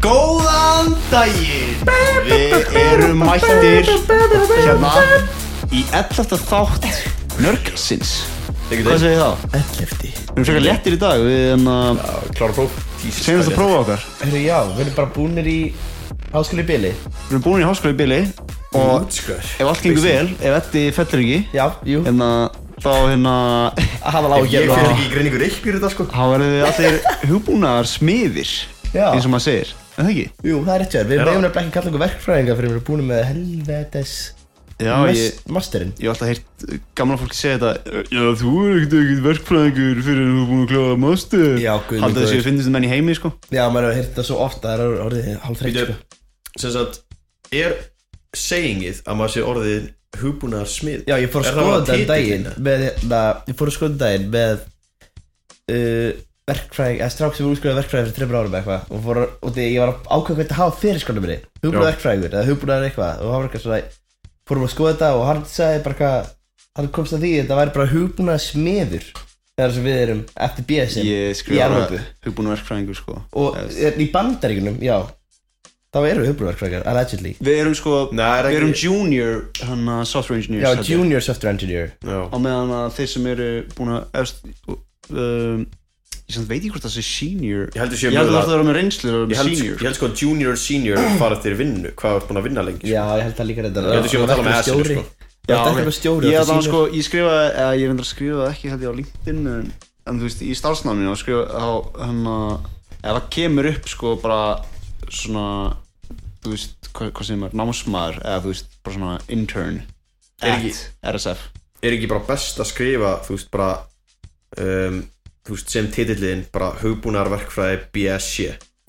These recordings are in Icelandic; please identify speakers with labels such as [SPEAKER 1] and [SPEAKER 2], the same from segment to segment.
[SPEAKER 1] Góðan daginn Við erum mættir hérna í 11. þátt nörgelsins Hvað segir það? 11. Við erum svolítið léttir í dag Við erum að
[SPEAKER 2] Klára próf
[SPEAKER 1] segjum þetta prófa okkar
[SPEAKER 3] Herru já, við erum bara búnir í háskóli bili
[SPEAKER 1] Við
[SPEAKER 3] Mm.
[SPEAKER 1] erum búin í háskóla í bili og
[SPEAKER 2] Útskör
[SPEAKER 1] ef allt gengur vel, ef þetta fellur ekki
[SPEAKER 3] Já, jú,
[SPEAKER 1] hérna, þá hérna
[SPEAKER 3] að hafa lág
[SPEAKER 2] Ég fyrir
[SPEAKER 3] að
[SPEAKER 2] ekki í greiningu reiknir þetta sko
[SPEAKER 1] þá verðum við allir hugbúnaðar smiðir
[SPEAKER 3] Já.
[SPEAKER 1] eins og maður segir, en það ekki?
[SPEAKER 3] Jú, það er rétt hjá þér, við
[SPEAKER 2] Er það?
[SPEAKER 3] meðum nefnilega ekki kalla okkur verkfræðinga fyrir við erum búin með helvetes
[SPEAKER 1] Já, ég,
[SPEAKER 3] mest- masterinn
[SPEAKER 1] Ég hef alltaf heyrt gamla fólki segja þetta Já, þú er ekkert ekkert verkfræðingur fyrir en þú er búin að klára master
[SPEAKER 3] Já, guð minn
[SPEAKER 1] Haldið þessi
[SPEAKER 3] góður.
[SPEAKER 1] að finnst þetta menn í heimi, sko
[SPEAKER 3] Já, maður hefur heyrt það svo ofta, það er orðið hálf þreytt
[SPEAKER 2] Býtu,
[SPEAKER 3] sko.
[SPEAKER 2] sem sagt Er seyingið að maður sé orðið hugbúnaðar smið
[SPEAKER 3] Já, ég fór
[SPEAKER 2] Er
[SPEAKER 3] að
[SPEAKER 2] það
[SPEAKER 3] skoða
[SPEAKER 2] bara hérna?
[SPEAKER 3] þetta um
[SPEAKER 2] titillinn?
[SPEAKER 3] daginn með, na, Ég fór að skoða þetta um daginn með uh, verkfræðing, eða strák sem voru útskóðað verkfræðing fyrir þreymur árum eða eitthvað og, fór, að- og því, ég var að ákveða hvað þetta hafa fyrir skóðum minni hugbúnað
[SPEAKER 2] Já.
[SPEAKER 3] verkfræðingur eða hugbúnaðar eitthvað og hann var eitthvað svona fórum að skoða þetta og hann sagði bara hvað hann komst að því að þetta væri bara hugbúnað smiður þegar sem við erum eftir BSM
[SPEAKER 1] Ég
[SPEAKER 3] í
[SPEAKER 1] skrifa
[SPEAKER 3] Evrópu
[SPEAKER 1] hugbúin verkfræðingur, sko
[SPEAKER 3] og er, í bandaríkunum, já þá eru hugbúnað verkfræðingar, allegedly
[SPEAKER 1] Við erum, sko,
[SPEAKER 2] Nei, er
[SPEAKER 1] við erum
[SPEAKER 2] ekki-
[SPEAKER 1] junior hann að software engineers
[SPEAKER 3] Já,
[SPEAKER 1] held ég.
[SPEAKER 3] junior software engineer
[SPEAKER 1] Á
[SPEAKER 2] Já
[SPEAKER 1] meðan að þeir sem eru búin að efst, um, Ég samt veit ekki hvort það sé senior
[SPEAKER 2] Ég heldur sé
[SPEAKER 1] Ég heldur
[SPEAKER 2] mögulega-
[SPEAKER 1] að það vera með reynslu og
[SPEAKER 2] Ég
[SPEAKER 1] með
[SPEAKER 2] held,
[SPEAKER 1] senior
[SPEAKER 2] ég held sko að junior og senior fara eftir vinnu Hvað þú ert búin að vinna lengi sko.
[SPEAKER 3] Já, ég held það líka reyndan
[SPEAKER 2] Ég held að séum að tala með S-inu, sko.
[SPEAKER 3] Já, þetta er eitthvað stjóri
[SPEAKER 1] Ég,
[SPEAKER 3] þetta
[SPEAKER 1] þannig,
[SPEAKER 3] sýnir-
[SPEAKER 1] sko, ég skrifaði, eða ég reyndar að skrifa það ekki held ég á LinkedIn en, en þú veist, í starfsnáminu þá skrifa þá hérna, eða það kemur upp sko bara svona þú veist, hvað, hvað sem er, námsmaður eða þú veist, bara svona intern
[SPEAKER 2] Er ekki-
[SPEAKER 1] at RSF
[SPEAKER 2] Er ekki bara best að skrifa Þú veist bara um, Þú veist sem titillin Bara hugbúnaðar verkfræði BSC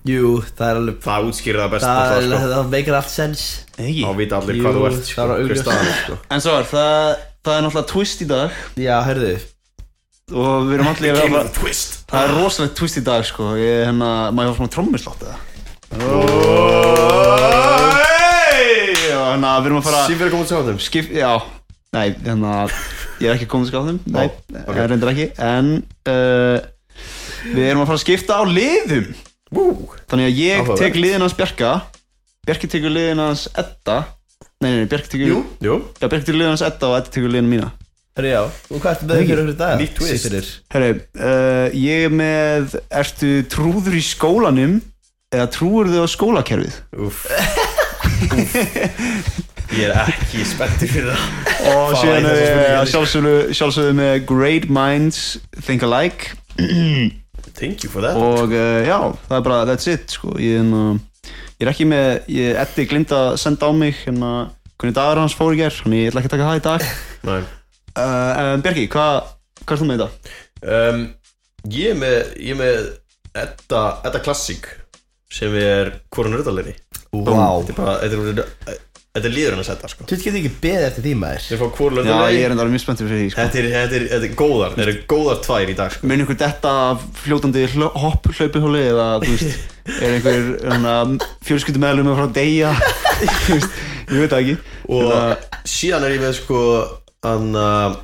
[SPEAKER 3] Jú, það er alveg
[SPEAKER 2] Það útskýrir það best
[SPEAKER 3] Það,
[SPEAKER 2] alltaf,
[SPEAKER 3] það,
[SPEAKER 2] sko.
[SPEAKER 3] það meikir allt sens
[SPEAKER 1] Ekki.
[SPEAKER 2] Þá vita allir
[SPEAKER 3] Jú,
[SPEAKER 2] hvað þú ert sko,
[SPEAKER 3] það var
[SPEAKER 2] hver
[SPEAKER 3] augljóst.
[SPEAKER 2] staðan er, sko.
[SPEAKER 1] En svo er, það, það er náttúrulega twist í dag
[SPEAKER 3] Já, hörðu
[SPEAKER 1] og við erum allir að
[SPEAKER 2] Kemur
[SPEAKER 1] vera
[SPEAKER 2] það twist
[SPEAKER 1] Það er rosalegt twist í dag sko, ég hérna, maður fá svona trommislátt eða Já, hérna, við erum að fara
[SPEAKER 2] Sýfir að koma út sáðum
[SPEAKER 1] skip, já Nei, hérna, ég er ekki komið skáð þeim Nei,
[SPEAKER 2] ok.
[SPEAKER 1] okay. reyndir ekki En uh, við erum að fara að skipta á liðum
[SPEAKER 2] Woo.
[SPEAKER 1] Þannig að ég
[SPEAKER 2] Áhugavert.
[SPEAKER 1] tek liðin hans Bjarka Bjarki tekur liðin hans Edda Nei, nei, nei, Bjarki tekur
[SPEAKER 2] Jú, jú
[SPEAKER 1] Já, Bjarki tekur liðin hans Edda og Edda tekur liðin mína
[SPEAKER 3] Hörðu, já Og hvað ertu með ykkur ykkur dag?
[SPEAKER 2] nýtt twist.
[SPEAKER 3] Sigfinnur?
[SPEAKER 1] Herri, uh, ég er með Ertu trúður í skólanum Eða trúur þau á skólakerfið
[SPEAKER 2] Úff Úff. Ég er ekki spenntur fyrir það
[SPEAKER 1] Og
[SPEAKER 2] Fá,
[SPEAKER 1] síðan
[SPEAKER 2] þessar
[SPEAKER 1] er ég
[SPEAKER 2] spurningar.
[SPEAKER 1] að sjálfsögðu sjálfsögðu með Great Minds Think Alike
[SPEAKER 2] Thank you for that
[SPEAKER 1] og uh, já, það er bara that's it sko. ég, hérna, ég er ekki með ég etti glimt að senda á mig hérna, hvernig dagur hans fór í ger þannig ég ætla ekki að taka það í dag
[SPEAKER 2] Næ
[SPEAKER 1] uh, en Bjarki, hvað hva er þú með þetta?
[SPEAKER 2] um, Ég er með Ég er með Edda Edda Classic Sem er Hvoran röðalegri
[SPEAKER 3] Vá
[SPEAKER 2] Þetta er bara Þetta er orðið- Þetta er líður hennar setta sko
[SPEAKER 3] Þú getur ekki beðið eftir því maður
[SPEAKER 2] Ég fá hvoran
[SPEAKER 1] Já, ég
[SPEAKER 2] röðalegri
[SPEAKER 1] er enda mjög spenntur fyrir því sko.
[SPEAKER 2] Þetta er, þetta, er, þetta er góðar, þetta eru góðar tvær í dag sko.
[SPEAKER 1] mun ykkur detta af fljótandi hlo- hopp hlaupuhóli eða þú veist er einhver hérna, fjölskyldum meðlum að fara að deyja Þú veist, ég veit það ekki
[SPEAKER 2] Og
[SPEAKER 1] Hérna,
[SPEAKER 2] síðan er ég með sko Þann að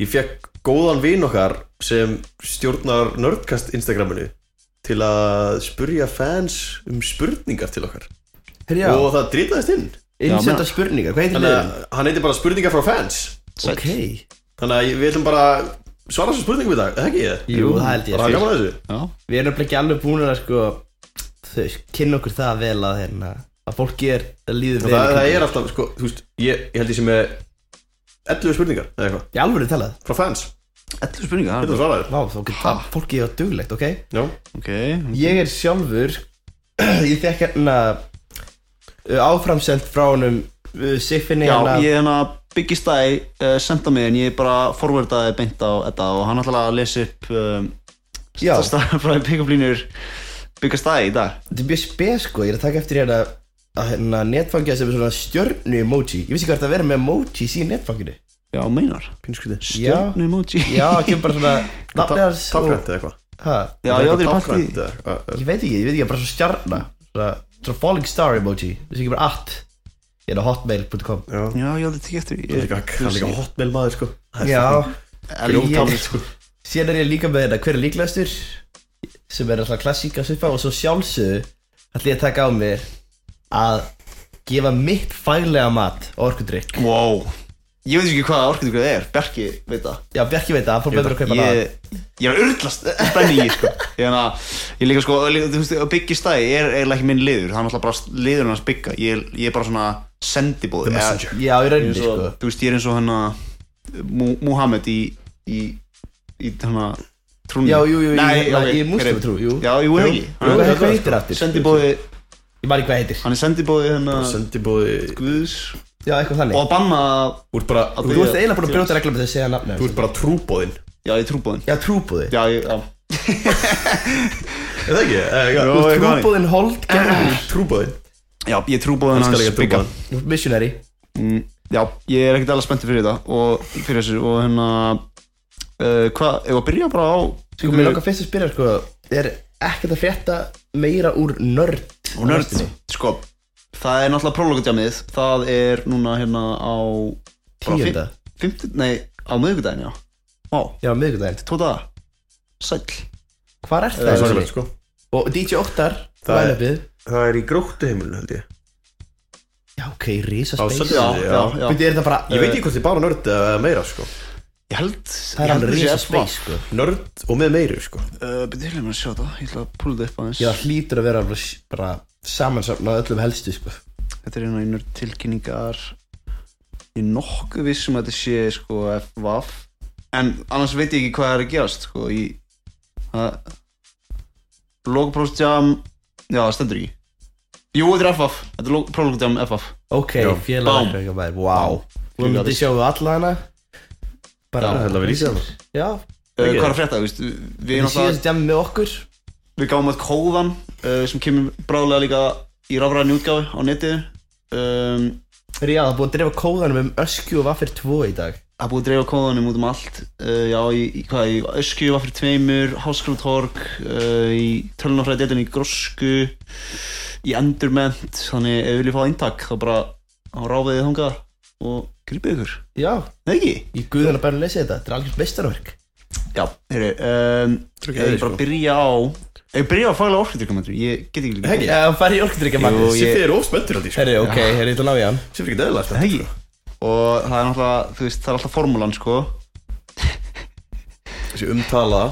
[SPEAKER 2] Ég fekk góðan vin okkar Sem stjórnar nördkast Instagraminu Til að spurja fans um spurningar til okkar
[SPEAKER 3] Hörðu, já
[SPEAKER 2] Og það dritaðist inn
[SPEAKER 1] Já,
[SPEAKER 3] Innsenda
[SPEAKER 1] meina-
[SPEAKER 3] spurningar, hvað heitir
[SPEAKER 2] Þannig
[SPEAKER 3] liðin?
[SPEAKER 2] að hann heitir bara spurningar frá fans
[SPEAKER 1] sæll.
[SPEAKER 3] Ok
[SPEAKER 2] Þannig að við ætlum bara að svara þessu spurningum í dag, er það ekki ég?
[SPEAKER 3] Jú, það held ég
[SPEAKER 2] Bara gaman að þessu
[SPEAKER 1] já,
[SPEAKER 3] Við erum nefnilega ekki alveg búin að sko Þau veist, kynna okkur það vel að hérna Að fólki er að líður
[SPEAKER 2] Og
[SPEAKER 3] vel
[SPEAKER 2] það,
[SPEAKER 3] í
[SPEAKER 2] það
[SPEAKER 3] kringum.
[SPEAKER 2] er alltaf, sko, þú veist, ég, ég held ég sem er 11 spurningar, eða eitthvað,
[SPEAKER 3] Í alvöru talað
[SPEAKER 2] frá fans
[SPEAKER 1] ellu spurninga
[SPEAKER 2] Þetta er svaraður
[SPEAKER 3] Vá, þá getur það Fólki er duglegt, ok?
[SPEAKER 2] Já,
[SPEAKER 1] ok,
[SPEAKER 3] Ég er sjálfur Ég fekk hérna uh, Áframsend frá honum uh, Siffinni
[SPEAKER 1] Já,
[SPEAKER 3] hérna
[SPEAKER 1] ég hérna byggist það í uh, senda mig en ég bara forwardaði beint á þetta og hann ætlaði að lesa upp um,
[SPEAKER 3] Já.
[SPEAKER 1] staðfræði pick-up-línur byggast það í dag
[SPEAKER 3] Þetta er mjög spes sko, ég er að taka eftir hérna að hérna netfangja sem er svona stjörnu emoji Ég vissi ekki hvað þetta að vera með emojis í netfanginu
[SPEAKER 1] Já, meinar
[SPEAKER 2] pínskuði
[SPEAKER 1] Stjörnu emoji
[SPEAKER 3] Já, það kemur bara svona nafnið hans og-
[SPEAKER 2] Tákrænt eða eitthvað
[SPEAKER 3] Ha,
[SPEAKER 1] já ég átti í partí
[SPEAKER 2] Tákrænt eða eitthvað
[SPEAKER 3] Ég veit ekki, ég veit ekki, bara svona stjarna Svona, svona falling star emoji Ég vissi ekki bara at Ég er á hotmail.com
[SPEAKER 2] Já,
[SPEAKER 1] Já, ég átti ekki eftir
[SPEAKER 2] það er líka, það er líka hotmail maður, sko
[SPEAKER 3] Já,
[SPEAKER 1] Eljótafl, sko
[SPEAKER 3] síðan er ég líka með hérna hver er líklegastur sem er alltaf klassík að svippa og svo sjálfsögðu ætlum ég að taka á mér að gefa mitt faglega mat og orkudrykk
[SPEAKER 1] Wow Ég veit ekki hvað orkundur það er, Berki veit það
[SPEAKER 3] Já, Bjarki veit það, hann fór betur að kaupa það
[SPEAKER 1] ég, ég er að urðlast spenningi sko. ég, hana, ég líka sko líka, þú veist, að byggja stæði er eiginlega ekki minn liður það er náttúrulega bara liður hans bygga ég, er- ég er bara svona sendibóð
[SPEAKER 2] The messenger.
[SPEAKER 3] Já, í
[SPEAKER 1] ég,
[SPEAKER 3] rauninni
[SPEAKER 1] er svo,
[SPEAKER 3] sko
[SPEAKER 1] þú veist, ég er eins og hana Mu, Muhammed í í, í hana trúni
[SPEAKER 3] Já, jú, jú, í-
[SPEAKER 1] Nei,
[SPEAKER 3] hérna,
[SPEAKER 1] ok,
[SPEAKER 3] í múslímatrú, jú.
[SPEAKER 1] já, jú,
[SPEAKER 3] Jú,
[SPEAKER 1] jú,
[SPEAKER 3] jú, hvað-
[SPEAKER 1] jú,
[SPEAKER 3] hvað heitir aftur?
[SPEAKER 1] sendibóði
[SPEAKER 3] Ég maður ekki hvað heitir
[SPEAKER 1] sko. hann er sendibóði hana
[SPEAKER 2] Sendibóði
[SPEAKER 1] Guðs
[SPEAKER 3] Já, eitthvað
[SPEAKER 1] og
[SPEAKER 3] þannig
[SPEAKER 1] að banna
[SPEAKER 2] Þú ert bara
[SPEAKER 1] Að
[SPEAKER 3] Þú ert eiginlega búin að brjóta reglum með þau að segja
[SPEAKER 2] Þú
[SPEAKER 3] nafnum
[SPEAKER 2] ert bara trúbóðinn
[SPEAKER 1] já, ég trúbóðin
[SPEAKER 3] Já, trúbúði
[SPEAKER 1] já, ég, já
[SPEAKER 2] Er það ekki? Eh, já,
[SPEAKER 1] Jú.
[SPEAKER 2] Þú
[SPEAKER 1] er góðan.
[SPEAKER 3] Trúbúðin hold gerður
[SPEAKER 2] ert trúbóðinn
[SPEAKER 1] Já, ég trúbóðin
[SPEAKER 2] Hann skal
[SPEAKER 1] hans
[SPEAKER 2] ekki
[SPEAKER 1] bygga
[SPEAKER 2] trúbóðinn
[SPEAKER 3] Þú ert missionary
[SPEAKER 1] mm, Já, ég er ekkert alveg spenntið fyrir þetta og fyrir þessu og hérna uh, hvað, ef að byrja bara á
[SPEAKER 3] Sko, mér langar fyrst að spyrja sko Er ekkert að frétta meira úr nörd á
[SPEAKER 1] og nörd
[SPEAKER 3] næstunni?
[SPEAKER 1] Sko, það er náttúrulega prólókutjamið það er núna hérna á bara
[SPEAKER 3] Tíunda?
[SPEAKER 1] fimm- fimmtu- Nei, á miðvikudaginn, já Ó,
[SPEAKER 3] Já, miðvikudaginn
[SPEAKER 1] tóta það Sæll
[SPEAKER 3] Hvar er
[SPEAKER 2] Það er
[SPEAKER 3] það?
[SPEAKER 2] svakalegt
[SPEAKER 3] Uh,
[SPEAKER 2] sko
[SPEAKER 3] og DJ Óttar
[SPEAKER 2] Það er-
[SPEAKER 3] line-upið.
[SPEAKER 2] Það er í gróttu heimilinu held ég
[SPEAKER 3] Já, ok, risa
[SPEAKER 2] Á
[SPEAKER 3] space
[SPEAKER 2] Sunday.
[SPEAKER 1] Já,
[SPEAKER 2] Já.
[SPEAKER 1] já, já
[SPEAKER 3] Býttu, er það bara
[SPEAKER 2] Ég veit ekki hvort þið bara nörd eða meira sko
[SPEAKER 1] Ég held
[SPEAKER 3] Það er alveg risa space,
[SPEAKER 1] space
[SPEAKER 3] sko
[SPEAKER 2] Nörd og með meiru sko
[SPEAKER 1] Býttu, Eh, ég lef mér að sjá þetta Ég ætla að púla þetta upp aðeins
[SPEAKER 3] Já, það hlýtur að vera alveg s- bara samansapnað öllum helstu, sko
[SPEAKER 1] Þetta er hérna einnur tilkynningar Ég er nokkuð viss um að þetta sé sko FVAF En annars veit ég ekki hvað það er að gerast sko í Logoprófstjám Já, það stendur ekki Jú, þetta er FVAF Þetta er Logoprófstjám FVAF
[SPEAKER 3] Ok,
[SPEAKER 2] Já.
[SPEAKER 1] Bám.
[SPEAKER 3] félagarkvækja bær, wow Þú myndi
[SPEAKER 1] Félagar-
[SPEAKER 3] sjáu alla hana Bara
[SPEAKER 2] Já, þetta var í síðan.
[SPEAKER 3] Já,
[SPEAKER 1] uh,
[SPEAKER 2] Ekki.
[SPEAKER 1] Hvað er að frétta, veist Við,
[SPEAKER 3] það
[SPEAKER 1] náttúrulega-
[SPEAKER 3] síðast dæmi með okkur
[SPEAKER 1] við gáum að kóðan uh, sem kemur bráðlega líka í rafræðinu útgáfi á netið um,
[SPEAKER 3] Fyrir já, það er búið að drefa kóðanum um öskju og vaffir 2 í dag
[SPEAKER 1] Það er búið að dreifa kóðanum út um allt uh, Já, í, í, hvað, í Öskju var fyrir tveimur Háskólatorg uh, Í tölunafræðið í Grosku Í Endurment Þannig ef við viljum fá eintak þá bara á ráfiðið þangað og grípið ykkur
[SPEAKER 3] Já,
[SPEAKER 1] Nei ekki?
[SPEAKER 3] í guðan að bæra að lesa þetta, þetta er algjörst meistarverk
[SPEAKER 1] Já, heyri um,
[SPEAKER 2] Trúi
[SPEAKER 1] Ef
[SPEAKER 2] ekki að
[SPEAKER 1] ég
[SPEAKER 2] því,
[SPEAKER 1] bara
[SPEAKER 2] sko.
[SPEAKER 1] byrja á Ef ég byrja á faglega orkutrykum Ég get ekki líka
[SPEAKER 2] Hegi.
[SPEAKER 3] Já, það fær í orkudrykja
[SPEAKER 1] Jú,
[SPEAKER 3] matið
[SPEAKER 1] ég-
[SPEAKER 2] Siffi er óspenntur held ég sko
[SPEAKER 3] Herri, ok, herri, ég ætla að ná í hann
[SPEAKER 2] Siffi er ekki dæðilega
[SPEAKER 1] Það
[SPEAKER 2] spenntur
[SPEAKER 1] ekki? Og það er náttúrulega, þú veist, það er alltaf formúlan sko
[SPEAKER 2] sko. Þessi umtala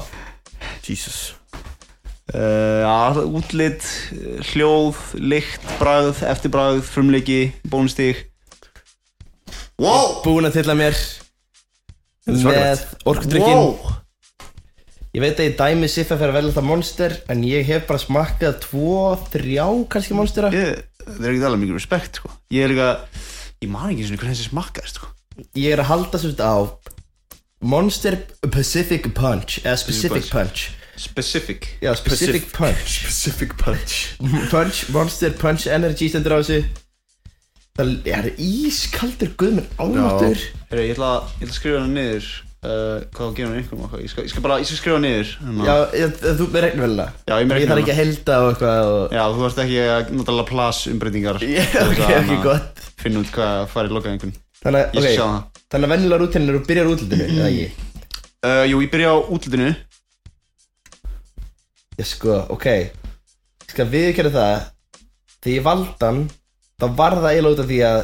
[SPEAKER 2] Jesus
[SPEAKER 1] Uh, já, útlit, eh, hljóð, lykt, bragð, eftirbragð, frumleiki, bónustík Wow!
[SPEAKER 3] Búin að tilla mér
[SPEAKER 2] er
[SPEAKER 3] Með
[SPEAKER 2] svakalegt.
[SPEAKER 3] orkudrykkin Ég veit að ég dæmi Siffa fyrir að velja þetta monster En ég hef bara smakkað tvo, þrjá kannski monstera
[SPEAKER 1] Ég, það er ekki alveg mikið respekt, sko Ég er líka, ég man ekki einu sinni hvernig þessi smakkaðist, sko
[SPEAKER 3] Ég er að halda svolítið á Monster Pacific Punch Eða Specific
[SPEAKER 1] Pacific
[SPEAKER 3] Punch
[SPEAKER 1] Specific
[SPEAKER 3] Já, Specific Punch
[SPEAKER 2] Specific punch
[SPEAKER 3] Punch, Monster Punch Energy stendur á þessu Það er ískaldur guðminn álmáttur
[SPEAKER 1] Heri, ég ætla að ég ætla að skrifa hana niður uh, Hvað þú gefur hana einhverjum og hvað Ég skal, ég skal bara, ég skal skrifa hana niður
[SPEAKER 3] Já,
[SPEAKER 1] hana.
[SPEAKER 3] ég- þú með regnvelna
[SPEAKER 1] Já, ég um með
[SPEAKER 3] Ég
[SPEAKER 1] reiknivélina.
[SPEAKER 3] þarf ekki að helda og eitthvað og...
[SPEAKER 1] Já, þú ert ekki að nota alveg plas umbreytingar
[SPEAKER 3] Já, ok, ok, gott
[SPEAKER 1] Finn hérna út hvað farið lokað einhvern
[SPEAKER 3] Þannig að,
[SPEAKER 1] Ég skal sjá
[SPEAKER 3] ok,
[SPEAKER 1] það
[SPEAKER 3] þannig að venjulega rútinin eru og byrjar útlutinu, eða ekki?
[SPEAKER 1] uh, Jú, ég byrja á útlitinu
[SPEAKER 3] Já sko, ok Skal við gera það Þegar ég valdi hann Þá var það eiginlega út af því að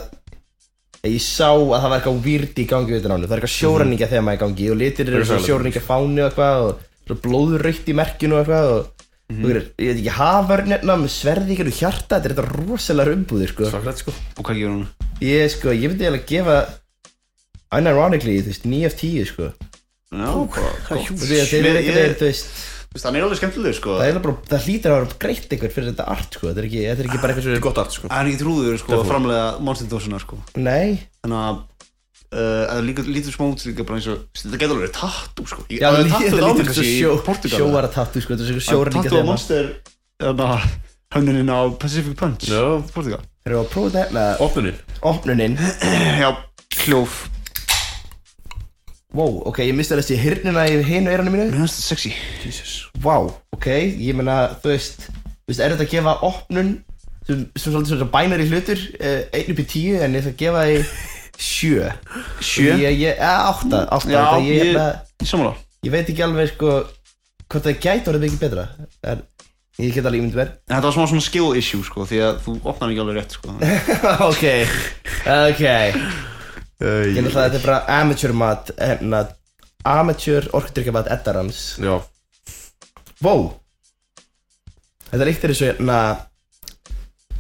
[SPEAKER 3] að Ég sá að það var eitthvað weird í gangi við þetta nánu Það er eitthvað sjóræningja þegar maður í gangi Og litir
[SPEAKER 2] Það
[SPEAKER 3] eru
[SPEAKER 2] er
[SPEAKER 3] svona
[SPEAKER 2] svakalegt.
[SPEAKER 3] sjóræningja fáni og eitthvað Og svona blóðurrautt í merkinu og eitthvað og, mm -hmm. og, Ég veit ekki, haförnirna með sverði ykkur og hjarta Þetta er þetta rosalega umbúðir sko
[SPEAKER 2] Svakalegt sko
[SPEAKER 1] Og hvað gefur hana?
[SPEAKER 3] Ég sko, ég myndi eiginlega gefa Unironically, þú veist, 9 af 10 sko
[SPEAKER 1] Já, hvað
[SPEAKER 3] Þú veist, þeir eru einhvern veginn, þú veist
[SPEAKER 1] Vist, hann er alveg skemmtilegur sko
[SPEAKER 3] Það, er eiginlega bara, það hlýtur að vera greitt einhver fyrir þetta art sko. þetta, er ekki, þetta er ekki bara eitthvað
[SPEAKER 2] Þetta er gott art sko
[SPEAKER 1] Það er ekki trúður sko að framlega monstindósina sko
[SPEAKER 3] svo Nei
[SPEAKER 1] Þannig að Uh, að líka, lítur smá út líka bara eins og þetta getur alveg verið tattoo sko ég,
[SPEAKER 3] Já,
[SPEAKER 1] alveg
[SPEAKER 3] lí-
[SPEAKER 1] tattoo
[SPEAKER 3] þetta
[SPEAKER 1] á mér
[SPEAKER 3] lítur eins og
[SPEAKER 1] kannski sko, í
[SPEAKER 3] sjó,
[SPEAKER 1] Portugal,
[SPEAKER 3] sjóara tattu sko, þetta er svona
[SPEAKER 1] eða?
[SPEAKER 3] sjóra
[SPEAKER 1] En
[SPEAKER 3] líka
[SPEAKER 1] tattoo á
[SPEAKER 3] þema
[SPEAKER 1] monster þannig að hönnunin á Pacific Punch
[SPEAKER 2] Já.
[SPEAKER 1] Portugal
[SPEAKER 3] Þeir eru að prófa þetta hérna,
[SPEAKER 2] Opnunin
[SPEAKER 3] opnunin
[SPEAKER 1] já, hljóf
[SPEAKER 3] Wow, ok, ég misti þessi hirnina í hinu eiranu mínu
[SPEAKER 1] mér finnst þetta sexy
[SPEAKER 2] Jesus
[SPEAKER 3] Wow, ok, ég meina, þú veist Þú veist, er þetta að gefa opnun sem, sem svolítið svona bænari hlutur eh, einn upp í tíu, en ég ætla að gefa því sjö
[SPEAKER 1] Sjö?
[SPEAKER 3] Ég, ég, eða átta, átta
[SPEAKER 1] já,
[SPEAKER 3] þetta, ég,
[SPEAKER 1] ég,
[SPEAKER 3] ég,
[SPEAKER 1] ég samanlá
[SPEAKER 3] ég veit ekki alveg sko hvort það gæti orðið mikið betra en ég get alveg ímynd mér
[SPEAKER 1] En þetta var smá svona skill issue sko Því að þú opnar ekki alveg rétt sko þannig.
[SPEAKER 3] ok, ok ég
[SPEAKER 2] Ég
[SPEAKER 3] náttúrulega þetta er bara amateur mat hérna, amateur orkudrykkamat eddarans
[SPEAKER 2] Já,
[SPEAKER 3] Vó Þetta líkt er eins og hérna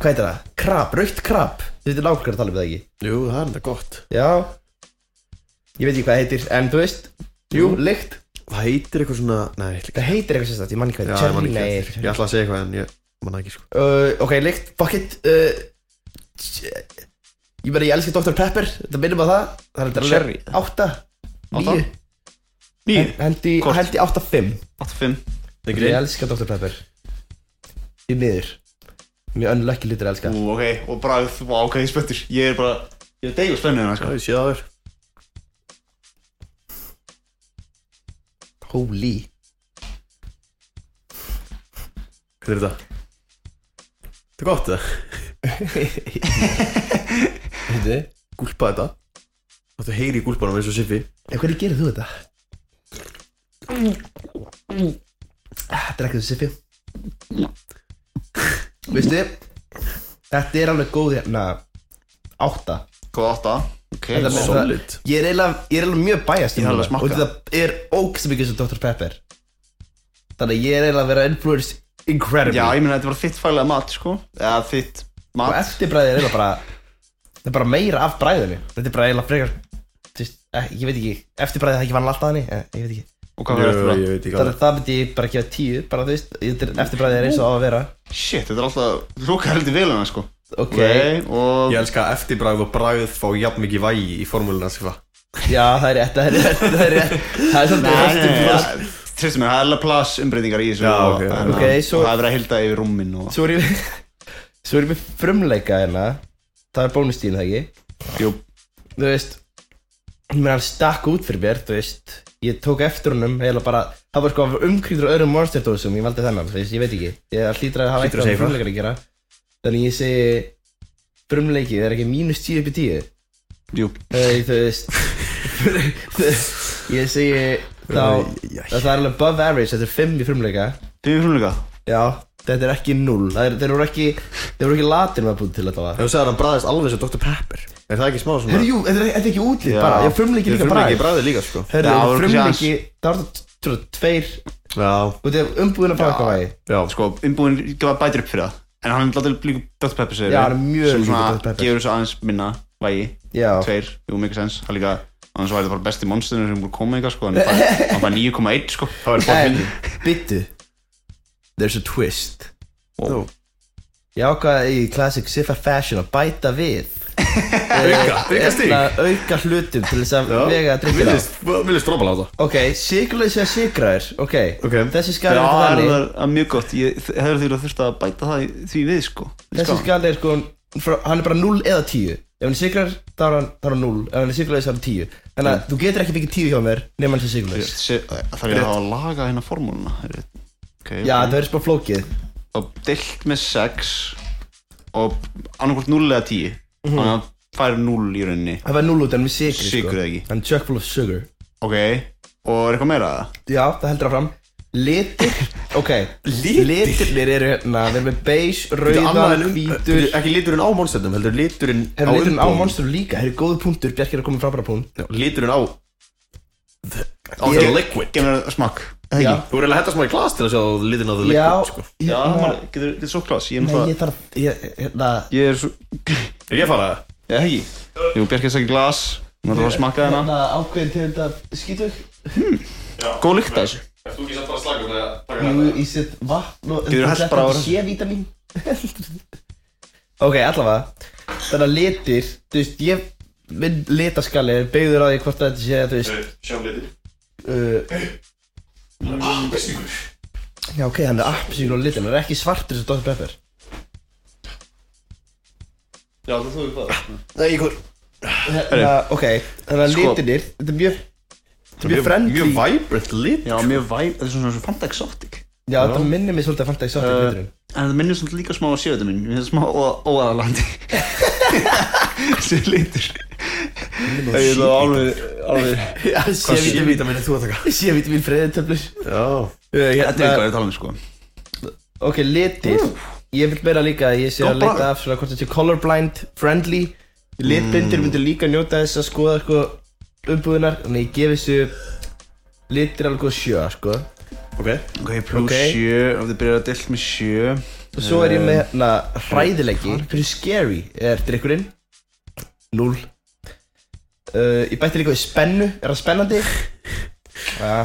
[SPEAKER 3] Hvað heitir það? Krab, rautt krab Þú veitir nákvæmlega að tala um það ekki
[SPEAKER 2] jú, það er þetta gott
[SPEAKER 3] Já Ég veit ekki hvað það heitir En þú veist Jú, lykt
[SPEAKER 2] Það heitir eitthvað svona, nei, ég ætla ekki
[SPEAKER 3] Það heitir eitthvað sérstætt Ég man ekki hvað
[SPEAKER 2] Já,
[SPEAKER 3] það
[SPEAKER 2] ég man ekki
[SPEAKER 3] heitir Cherry,
[SPEAKER 2] eftir. Ég
[SPEAKER 3] nei
[SPEAKER 2] ætla að segja eitthvað en ég man það ekki sko
[SPEAKER 3] uh, Ok, lykt, bucket uh, tj- Ég verði, ég elski Dr. Pepper Þetta minnum á það Það er þetta
[SPEAKER 1] Cherry.
[SPEAKER 3] alveg Átta
[SPEAKER 1] Átta?
[SPEAKER 3] Níu eh,
[SPEAKER 1] Níu?
[SPEAKER 3] Hendi,
[SPEAKER 1] Hvort?
[SPEAKER 3] hendi átta fimm
[SPEAKER 1] 85
[SPEAKER 2] Það er
[SPEAKER 3] Ég
[SPEAKER 2] greið
[SPEAKER 3] elska Dr. Pepper Í miður Mjög unlucky lítur að elska
[SPEAKER 1] Ú, ok, og bragð, vá, ok, ég er spenntur Ég er bara, ég er degu spennur hérna
[SPEAKER 2] Já,
[SPEAKER 1] sko
[SPEAKER 2] ég sé það þér
[SPEAKER 3] Holy
[SPEAKER 2] Hvað er þetta? Þetta er gott það
[SPEAKER 3] Veitu
[SPEAKER 2] Gúlpa þetta Þetta heyri í gúlpanum eins og Siffi
[SPEAKER 3] En Eh, hvernig gerir þú þetta? Þetta er ekki Ah, þessi siffi Veistu Þetta er alveg góð hérna Átta
[SPEAKER 1] Góð 8 Ok,
[SPEAKER 3] Þetta er
[SPEAKER 1] vá.
[SPEAKER 3] svo-
[SPEAKER 2] Solid
[SPEAKER 3] Ég er eiginlega, ég er eiginlega mjög bæjast
[SPEAKER 1] Ég þarf alveg að smakka.
[SPEAKER 3] Og þetta er ógst mikið sem Dr. Pepper Þannig að ég er eiginlega að vera influenced incredibly
[SPEAKER 1] Já, ég meina þetta var þitt fælega mat sko Eða þitt
[SPEAKER 3] Og
[SPEAKER 1] mat
[SPEAKER 3] eftirbræðið er eiginlega bara Það er bara meira af bræðinu Þetta er bara eiginlega frekar þú veist, eh, Ég veit ekki, eftirbræðið það ekki vann alltaf henni eh, Ég veit ekki
[SPEAKER 1] Og hvað var eftir
[SPEAKER 2] Ég
[SPEAKER 1] það?
[SPEAKER 2] veit ekki
[SPEAKER 3] Það,
[SPEAKER 2] hvað
[SPEAKER 3] er, það myndi ég bara gefa tíu, bara þú veist, þetta er eftirbræðið er eins og á að vera
[SPEAKER 1] Shit, þetta er alltaf, þú lókar heldur vel hérna sko
[SPEAKER 3] Ok,
[SPEAKER 1] og
[SPEAKER 2] Ég elska að eftirbræð og bræð fá jafn mikið vægi í sko. formúluna Siffa
[SPEAKER 3] já það er rétt, það er rétt, það er rétt Það er svolítið
[SPEAKER 1] Nei, nei, nei,
[SPEAKER 3] eftirbræðið
[SPEAKER 1] það- Treystu mér, það er alveg plass umbreytingar í þessu
[SPEAKER 2] Já,
[SPEAKER 1] og-
[SPEAKER 2] ok.
[SPEAKER 1] þannig að-
[SPEAKER 3] Ok, svo-
[SPEAKER 1] Og það er verið að hilda yfir rúmin og
[SPEAKER 3] Svo er ég með, svo er ég með frumleika hérna Það er bónustíðin það ekki
[SPEAKER 1] Jú,
[SPEAKER 3] Þú veist, ég meina hann stakk út fyrir mér, þú veist Ég tók eftir honum, eiginlega bara, það var sko umkrýndur á öðrum monsterdósum Ég valdi þennan, þú veist, ég veit ekki Ég hlýtur að hafa
[SPEAKER 2] Hlýtur að segja
[SPEAKER 3] eitthvað með
[SPEAKER 2] eitthvað.
[SPEAKER 3] frumleikar að gera Þannig ég segi, frumleikið er ekki mínus 10 upp í 10
[SPEAKER 1] jú
[SPEAKER 3] Nei, þú veist Ég segi þá
[SPEAKER 2] Æ, æ, æ.
[SPEAKER 3] Það er alveg above average, þetta er 5 í frumleika
[SPEAKER 1] Þið erum frumleika
[SPEAKER 3] Já Þetta er ekki 0 Það er, þeir eru ekki Þeir eru ekki latin með að búið til þetta
[SPEAKER 2] Ef þú sagðir að hann bræðist alveg sem Dr. Pepper Er það ekki smá svona?
[SPEAKER 3] Herru, jú, þetta er, þetta er ekki útlýtt
[SPEAKER 1] Já.
[SPEAKER 3] bara Já, frumleiki líka bara
[SPEAKER 2] Frumleiki bræði líka sko
[SPEAKER 3] Herru,
[SPEAKER 1] Já, það
[SPEAKER 3] þetta er
[SPEAKER 1] voru
[SPEAKER 3] frumleiki Það var þetta tr- tr- tveir
[SPEAKER 2] Já,
[SPEAKER 3] Út af umbúðina frá hvað vægi
[SPEAKER 2] já
[SPEAKER 1] Sko, umbúin gefa bætir upp fyrir það En hann er alltaf líka Dr. Pepper segir
[SPEAKER 3] Já, hann er mjög
[SPEAKER 1] Sem
[SPEAKER 3] líkur
[SPEAKER 1] svona
[SPEAKER 3] Dr. Pepper.
[SPEAKER 1] gefur þessu aðeins minna vægi
[SPEAKER 3] Já
[SPEAKER 1] Tveir, jú, mikið sens Það líka, annars væri það bara besti monsterinn sem búið komið eitthvað sko En það hann fær 9,1 sko Það væri fólk
[SPEAKER 3] En,
[SPEAKER 1] myndi
[SPEAKER 3] byttu There's a twist
[SPEAKER 2] Nú,
[SPEAKER 3] Ég ákvaði í Classic Siffa Fashion að bæta við Eh,
[SPEAKER 2] Auka, auka stík
[SPEAKER 3] Hérna, Auka hlutum til þess að vega að drikja
[SPEAKER 2] Viljið strópala á það
[SPEAKER 3] Ok, sykurlaus eða sykraður, ok,
[SPEAKER 2] Ok.
[SPEAKER 3] þessi skal
[SPEAKER 1] Já,
[SPEAKER 3] er þetta
[SPEAKER 1] það er
[SPEAKER 3] þannig,
[SPEAKER 1] það mjög gott Ég hefur því að þurft að bæta það í- því við sko Í
[SPEAKER 3] þessi
[SPEAKER 1] skálan.
[SPEAKER 3] skal er sko, frá, hann er bara 0 eða 10, ef hann er sykraður þá er hann, þá er hann 0, ef hann er sykurlaus þá er hann 10, þannig að þú getur ekki byggja 10 hjá mér nema hann sé sykurlaus.
[SPEAKER 1] Se- Það er að hafa að laga hérna formúluna okay,
[SPEAKER 3] Já, það verður bara flókið,
[SPEAKER 1] og deilt með 6 og annarkvort 0 eða 10
[SPEAKER 3] Mhm.
[SPEAKER 1] þannig að hann fær 0 í rauninni
[SPEAKER 3] það verður 0 út en við sykri sko.
[SPEAKER 1] Sykur eða ekki.
[SPEAKER 3] Hann er chuck full of sugar.
[SPEAKER 1] ok, og er eitthvað meira að það?
[SPEAKER 3] Já, það heldur áfram, litir, ok,
[SPEAKER 2] Litir?
[SPEAKER 3] litirnir eru hérna, við erum með beige,
[SPEAKER 2] Annað
[SPEAKER 3] rauðan,
[SPEAKER 2] en-
[SPEAKER 3] hvítur,
[SPEAKER 2] Ekki liturinn á monsternum, heldur liturinn á
[SPEAKER 3] Herra, liturinn á
[SPEAKER 2] umbúðum.
[SPEAKER 3] monster líka, herra, góðu punktur, Bjarki er að koma með frábæra punkt.
[SPEAKER 2] Já, Liturinn á Á
[SPEAKER 3] Ég-
[SPEAKER 2] the liquid
[SPEAKER 1] Gemur það smakk?
[SPEAKER 3] Já,
[SPEAKER 2] Þú verður að henda smá í glas til að sjá liturinn á the
[SPEAKER 3] já,
[SPEAKER 2] liquid sko.
[SPEAKER 1] Já,
[SPEAKER 3] hérna-
[SPEAKER 1] maður, getur þetta svo klás? Ég er
[SPEAKER 3] Nei,
[SPEAKER 1] náttúrulega,
[SPEAKER 3] ég þarf, ég, hérna,
[SPEAKER 1] ég er svo,
[SPEAKER 2] Er ég að fara það?
[SPEAKER 1] eða ekki? Jú, Bjarki er sækir glas, maður þarf að smakka hérna.
[SPEAKER 3] hérna ákveðin til þetta skýtug
[SPEAKER 1] Góð lykt að þessu.
[SPEAKER 2] Ef þú ekki samt bara slagur með að taka
[SPEAKER 3] Jú, ég set vatn og
[SPEAKER 1] Býður hest bara á
[SPEAKER 3] Þetta er C-vitamin Ok, allavega Þannig að litir, þú veist, ég minn litaskalli er beigður á því hvort þetta sé, þú veist
[SPEAKER 2] Sjá litur
[SPEAKER 3] uh,
[SPEAKER 2] Bestingur
[SPEAKER 3] Já, ok, hann er appsíl og litin, hann er ekki svartur sem Dr. Pepper
[SPEAKER 1] Já, það þú ekki það.
[SPEAKER 2] Nei, ég hvort
[SPEAKER 3] Þannig að, Hérna, ok, þannig að
[SPEAKER 1] Sko-
[SPEAKER 3] litinir, þetta er mjög Þetta er mjög friendly
[SPEAKER 2] Mjög vibrant lit
[SPEAKER 1] Já, mjög væp, þetta er svona svona fanta exotic.
[SPEAKER 3] Já, þetta minnir mig svolítið að fanta í svartur
[SPEAKER 1] Uh,
[SPEAKER 3] liturinn
[SPEAKER 1] En það minnir svona líka smá á sjöðunum minn, mér finnst smá óaðalandi. Þessi litur. Það er alveg, alveg.
[SPEAKER 3] Já,
[SPEAKER 2] Hvað sé
[SPEAKER 3] C-vitamin
[SPEAKER 2] vitaminu þú að taka?
[SPEAKER 3] C-vitamin freðitöflur
[SPEAKER 2] Já
[SPEAKER 3] Uh,
[SPEAKER 1] Þetta er
[SPEAKER 3] hérna,
[SPEAKER 1] eitthvað að tala um sko
[SPEAKER 3] ok, litir Ég vil meira líka að ég sé að
[SPEAKER 1] Gott
[SPEAKER 3] leita af svona hvort þetta sé colorblind, friendly Litblindir myndir líka njóta þess að skoða sko, umbúðunar Þannig ég gefi þessu litir alveg góð sjö sko.
[SPEAKER 2] Ok
[SPEAKER 1] Ok, plus
[SPEAKER 3] Ok.
[SPEAKER 1] 7, ef þið byrjar að delt með 7
[SPEAKER 3] Og svo er ég með hérna hræðilegi Hversu scary er drikkurinn? Núl uh, Ég bætti líka í spennu, er það spennandi? Ja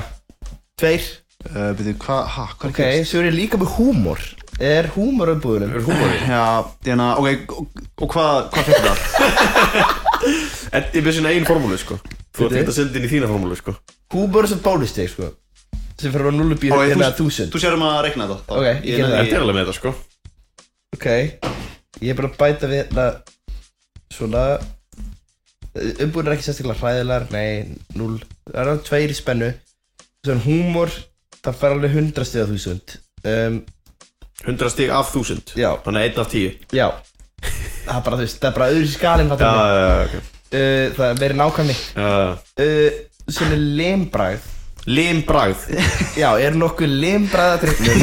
[SPEAKER 3] Tveir
[SPEAKER 1] uh, Byrju, hvað, hæ, hvað
[SPEAKER 3] Ok, svo er ég líka með húmor Er húmor umbúðunum?
[SPEAKER 2] Er húmóri
[SPEAKER 1] Já, hérna, ok, og, og hvað, hvað fyrir það?
[SPEAKER 2] En ég byrði svona einn formúlu sko Þú ert
[SPEAKER 3] Bíddu.
[SPEAKER 2] þetta að senda inn í þína formúlu sko
[SPEAKER 3] Húmor er svo bónustig sko Sem fyrir að núlu býra
[SPEAKER 1] Ok,
[SPEAKER 3] hérna
[SPEAKER 1] þú-
[SPEAKER 3] þúsund
[SPEAKER 1] Þú sérum að regna þetta þá.
[SPEAKER 3] Ok, ég gerði
[SPEAKER 1] nenni-
[SPEAKER 3] það.
[SPEAKER 2] Þetta er alveg með þetta sko
[SPEAKER 3] Ok Ég er bara að bæta við hérna Svona Umbúðun er ekki sérstaklega hræðilegar Nei, núl Það er hann tveir í spennu Svona húmor Það fer alveg hundra stiða þúsund um,
[SPEAKER 2] 100 stík af 1000
[SPEAKER 3] Já.
[SPEAKER 2] Þannig að 1 af 10
[SPEAKER 3] Já Það er bara, þú veist, það er bara öðru skalinn
[SPEAKER 2] Já,
[SPEAKER 3] uh,
[SPEAKER 2] já, já, ok
[SPEAKER 3] Það er verið nákvæmni
[SPEAKER 2] Já
[SPEAKER 3] uh, Svona lembræð
[SPEAKER 2] Limbragð
[SPEAKER 3] Já, er nokkuð lembræðatrykkur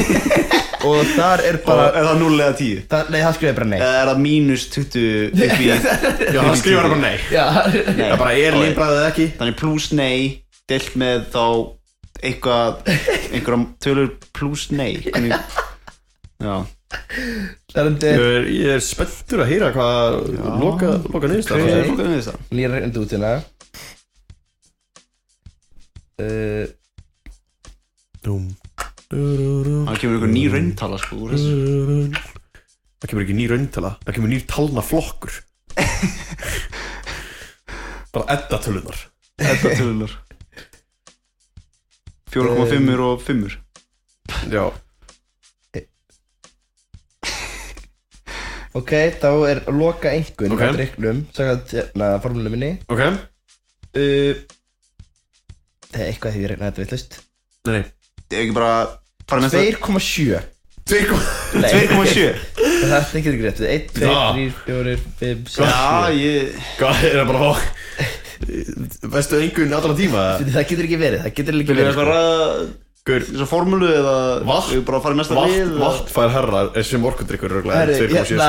[SPEAKER 3] Og þar er
[SPEAKER 1] Og Eh.
[SPEAKER 3] bara
[SPEAKER 1] Er það 0 eða 10?
[SPEAKER 3] það, Nei, það skrifaði bara nei
[SPEAKER 1] Eða er það mínus 20 upp í
[SPEAKER 2] Já, hann skrifar bara nei
[SPEAKER 3] Já,
[SPEAKER 1] Nei.
[SPEAKER 2] Það bara er limbragð eða ekki
[SPEAKER 1] Þannig plus nei, delt með þá eitthvað, einhverjum tölur plus nei Hvernig, Já,
[SPEAKER 3] það er þetta
[SPEAKER 2] Ég er, ég er spenntur að heyra hvað loka, loka niðurstað
[SPEAKER 1] hvernig
[SPEAKER 2] okay.
[SPEAKER 1] er fólk að niðurstaða?
[SPEAKER 3] Ég er reynda út hérna uh,
[SPEAKER 1] Það kemur einhver
[SPEAKER 2] Mm.
[SPEAKER 1] ný rauntala sko úr þessu
[SPEAKER 2] Það kemur ekki nýr raundtala Það kemur nýr talna flokkur Bara edda tölunar
[SPEAKER 1] Þetta tölunar 4,5 og 5
[SPEAKER 2] Já
[SPEAKER 3] Ok, þá er loka einhvern
[SPEAKER 2] Ok.
[SPEAKER 3] okay. á drikknum Sækast hérna formúlunum minni
[SPEAKER 2] Ok Nei,
[SPEAKER 3] uh, Það er eitthvað hef ég reynað þetta villust
[SPEAKER 2] nei
[SPEAKER 1] Ég ekki bara fara næsta
[SPEAKER 3] 2,7
[SPEAKER 2] Tveir kom
[SPEAKER 3] Nei,
[SPEAKER 1] 2,7
[SPEAKER 3] það er ekki greitt 1, 2,
[SPEAKER 2] Já.
[SPEAKER 3] 3, 4, 5, 6
[SPEAKER 1] Já, ég
[SPEAKER 2] Hvað er það bara að Vestu einhvern allra tíma eða?
[SPEAKER 3] Það getur ekki verið, það getur ekki
[SPEAKER 1] Viljum við
[SPEAKER 3] verið
[SPEAKER 1] eitthvað
[SPEAKER 3] sko.
[SPEAKER 1] ræða
[SPEAKER 2] Gaur,
[SPEAKER 1] þessa formúlu eða
[SPEAKER 2] Vatn.
[SPEAKER 1] Við bara fara í næsta
[SPEAKER 2] vatn,
[SPEAKER 1] lið eða-
[SPEAKER 2] vatn fær herra er sem orkudrykkur
[SPEAKER 3] Herri,
[SPEAKER 2] örglega
[SPEAKER 3] hérna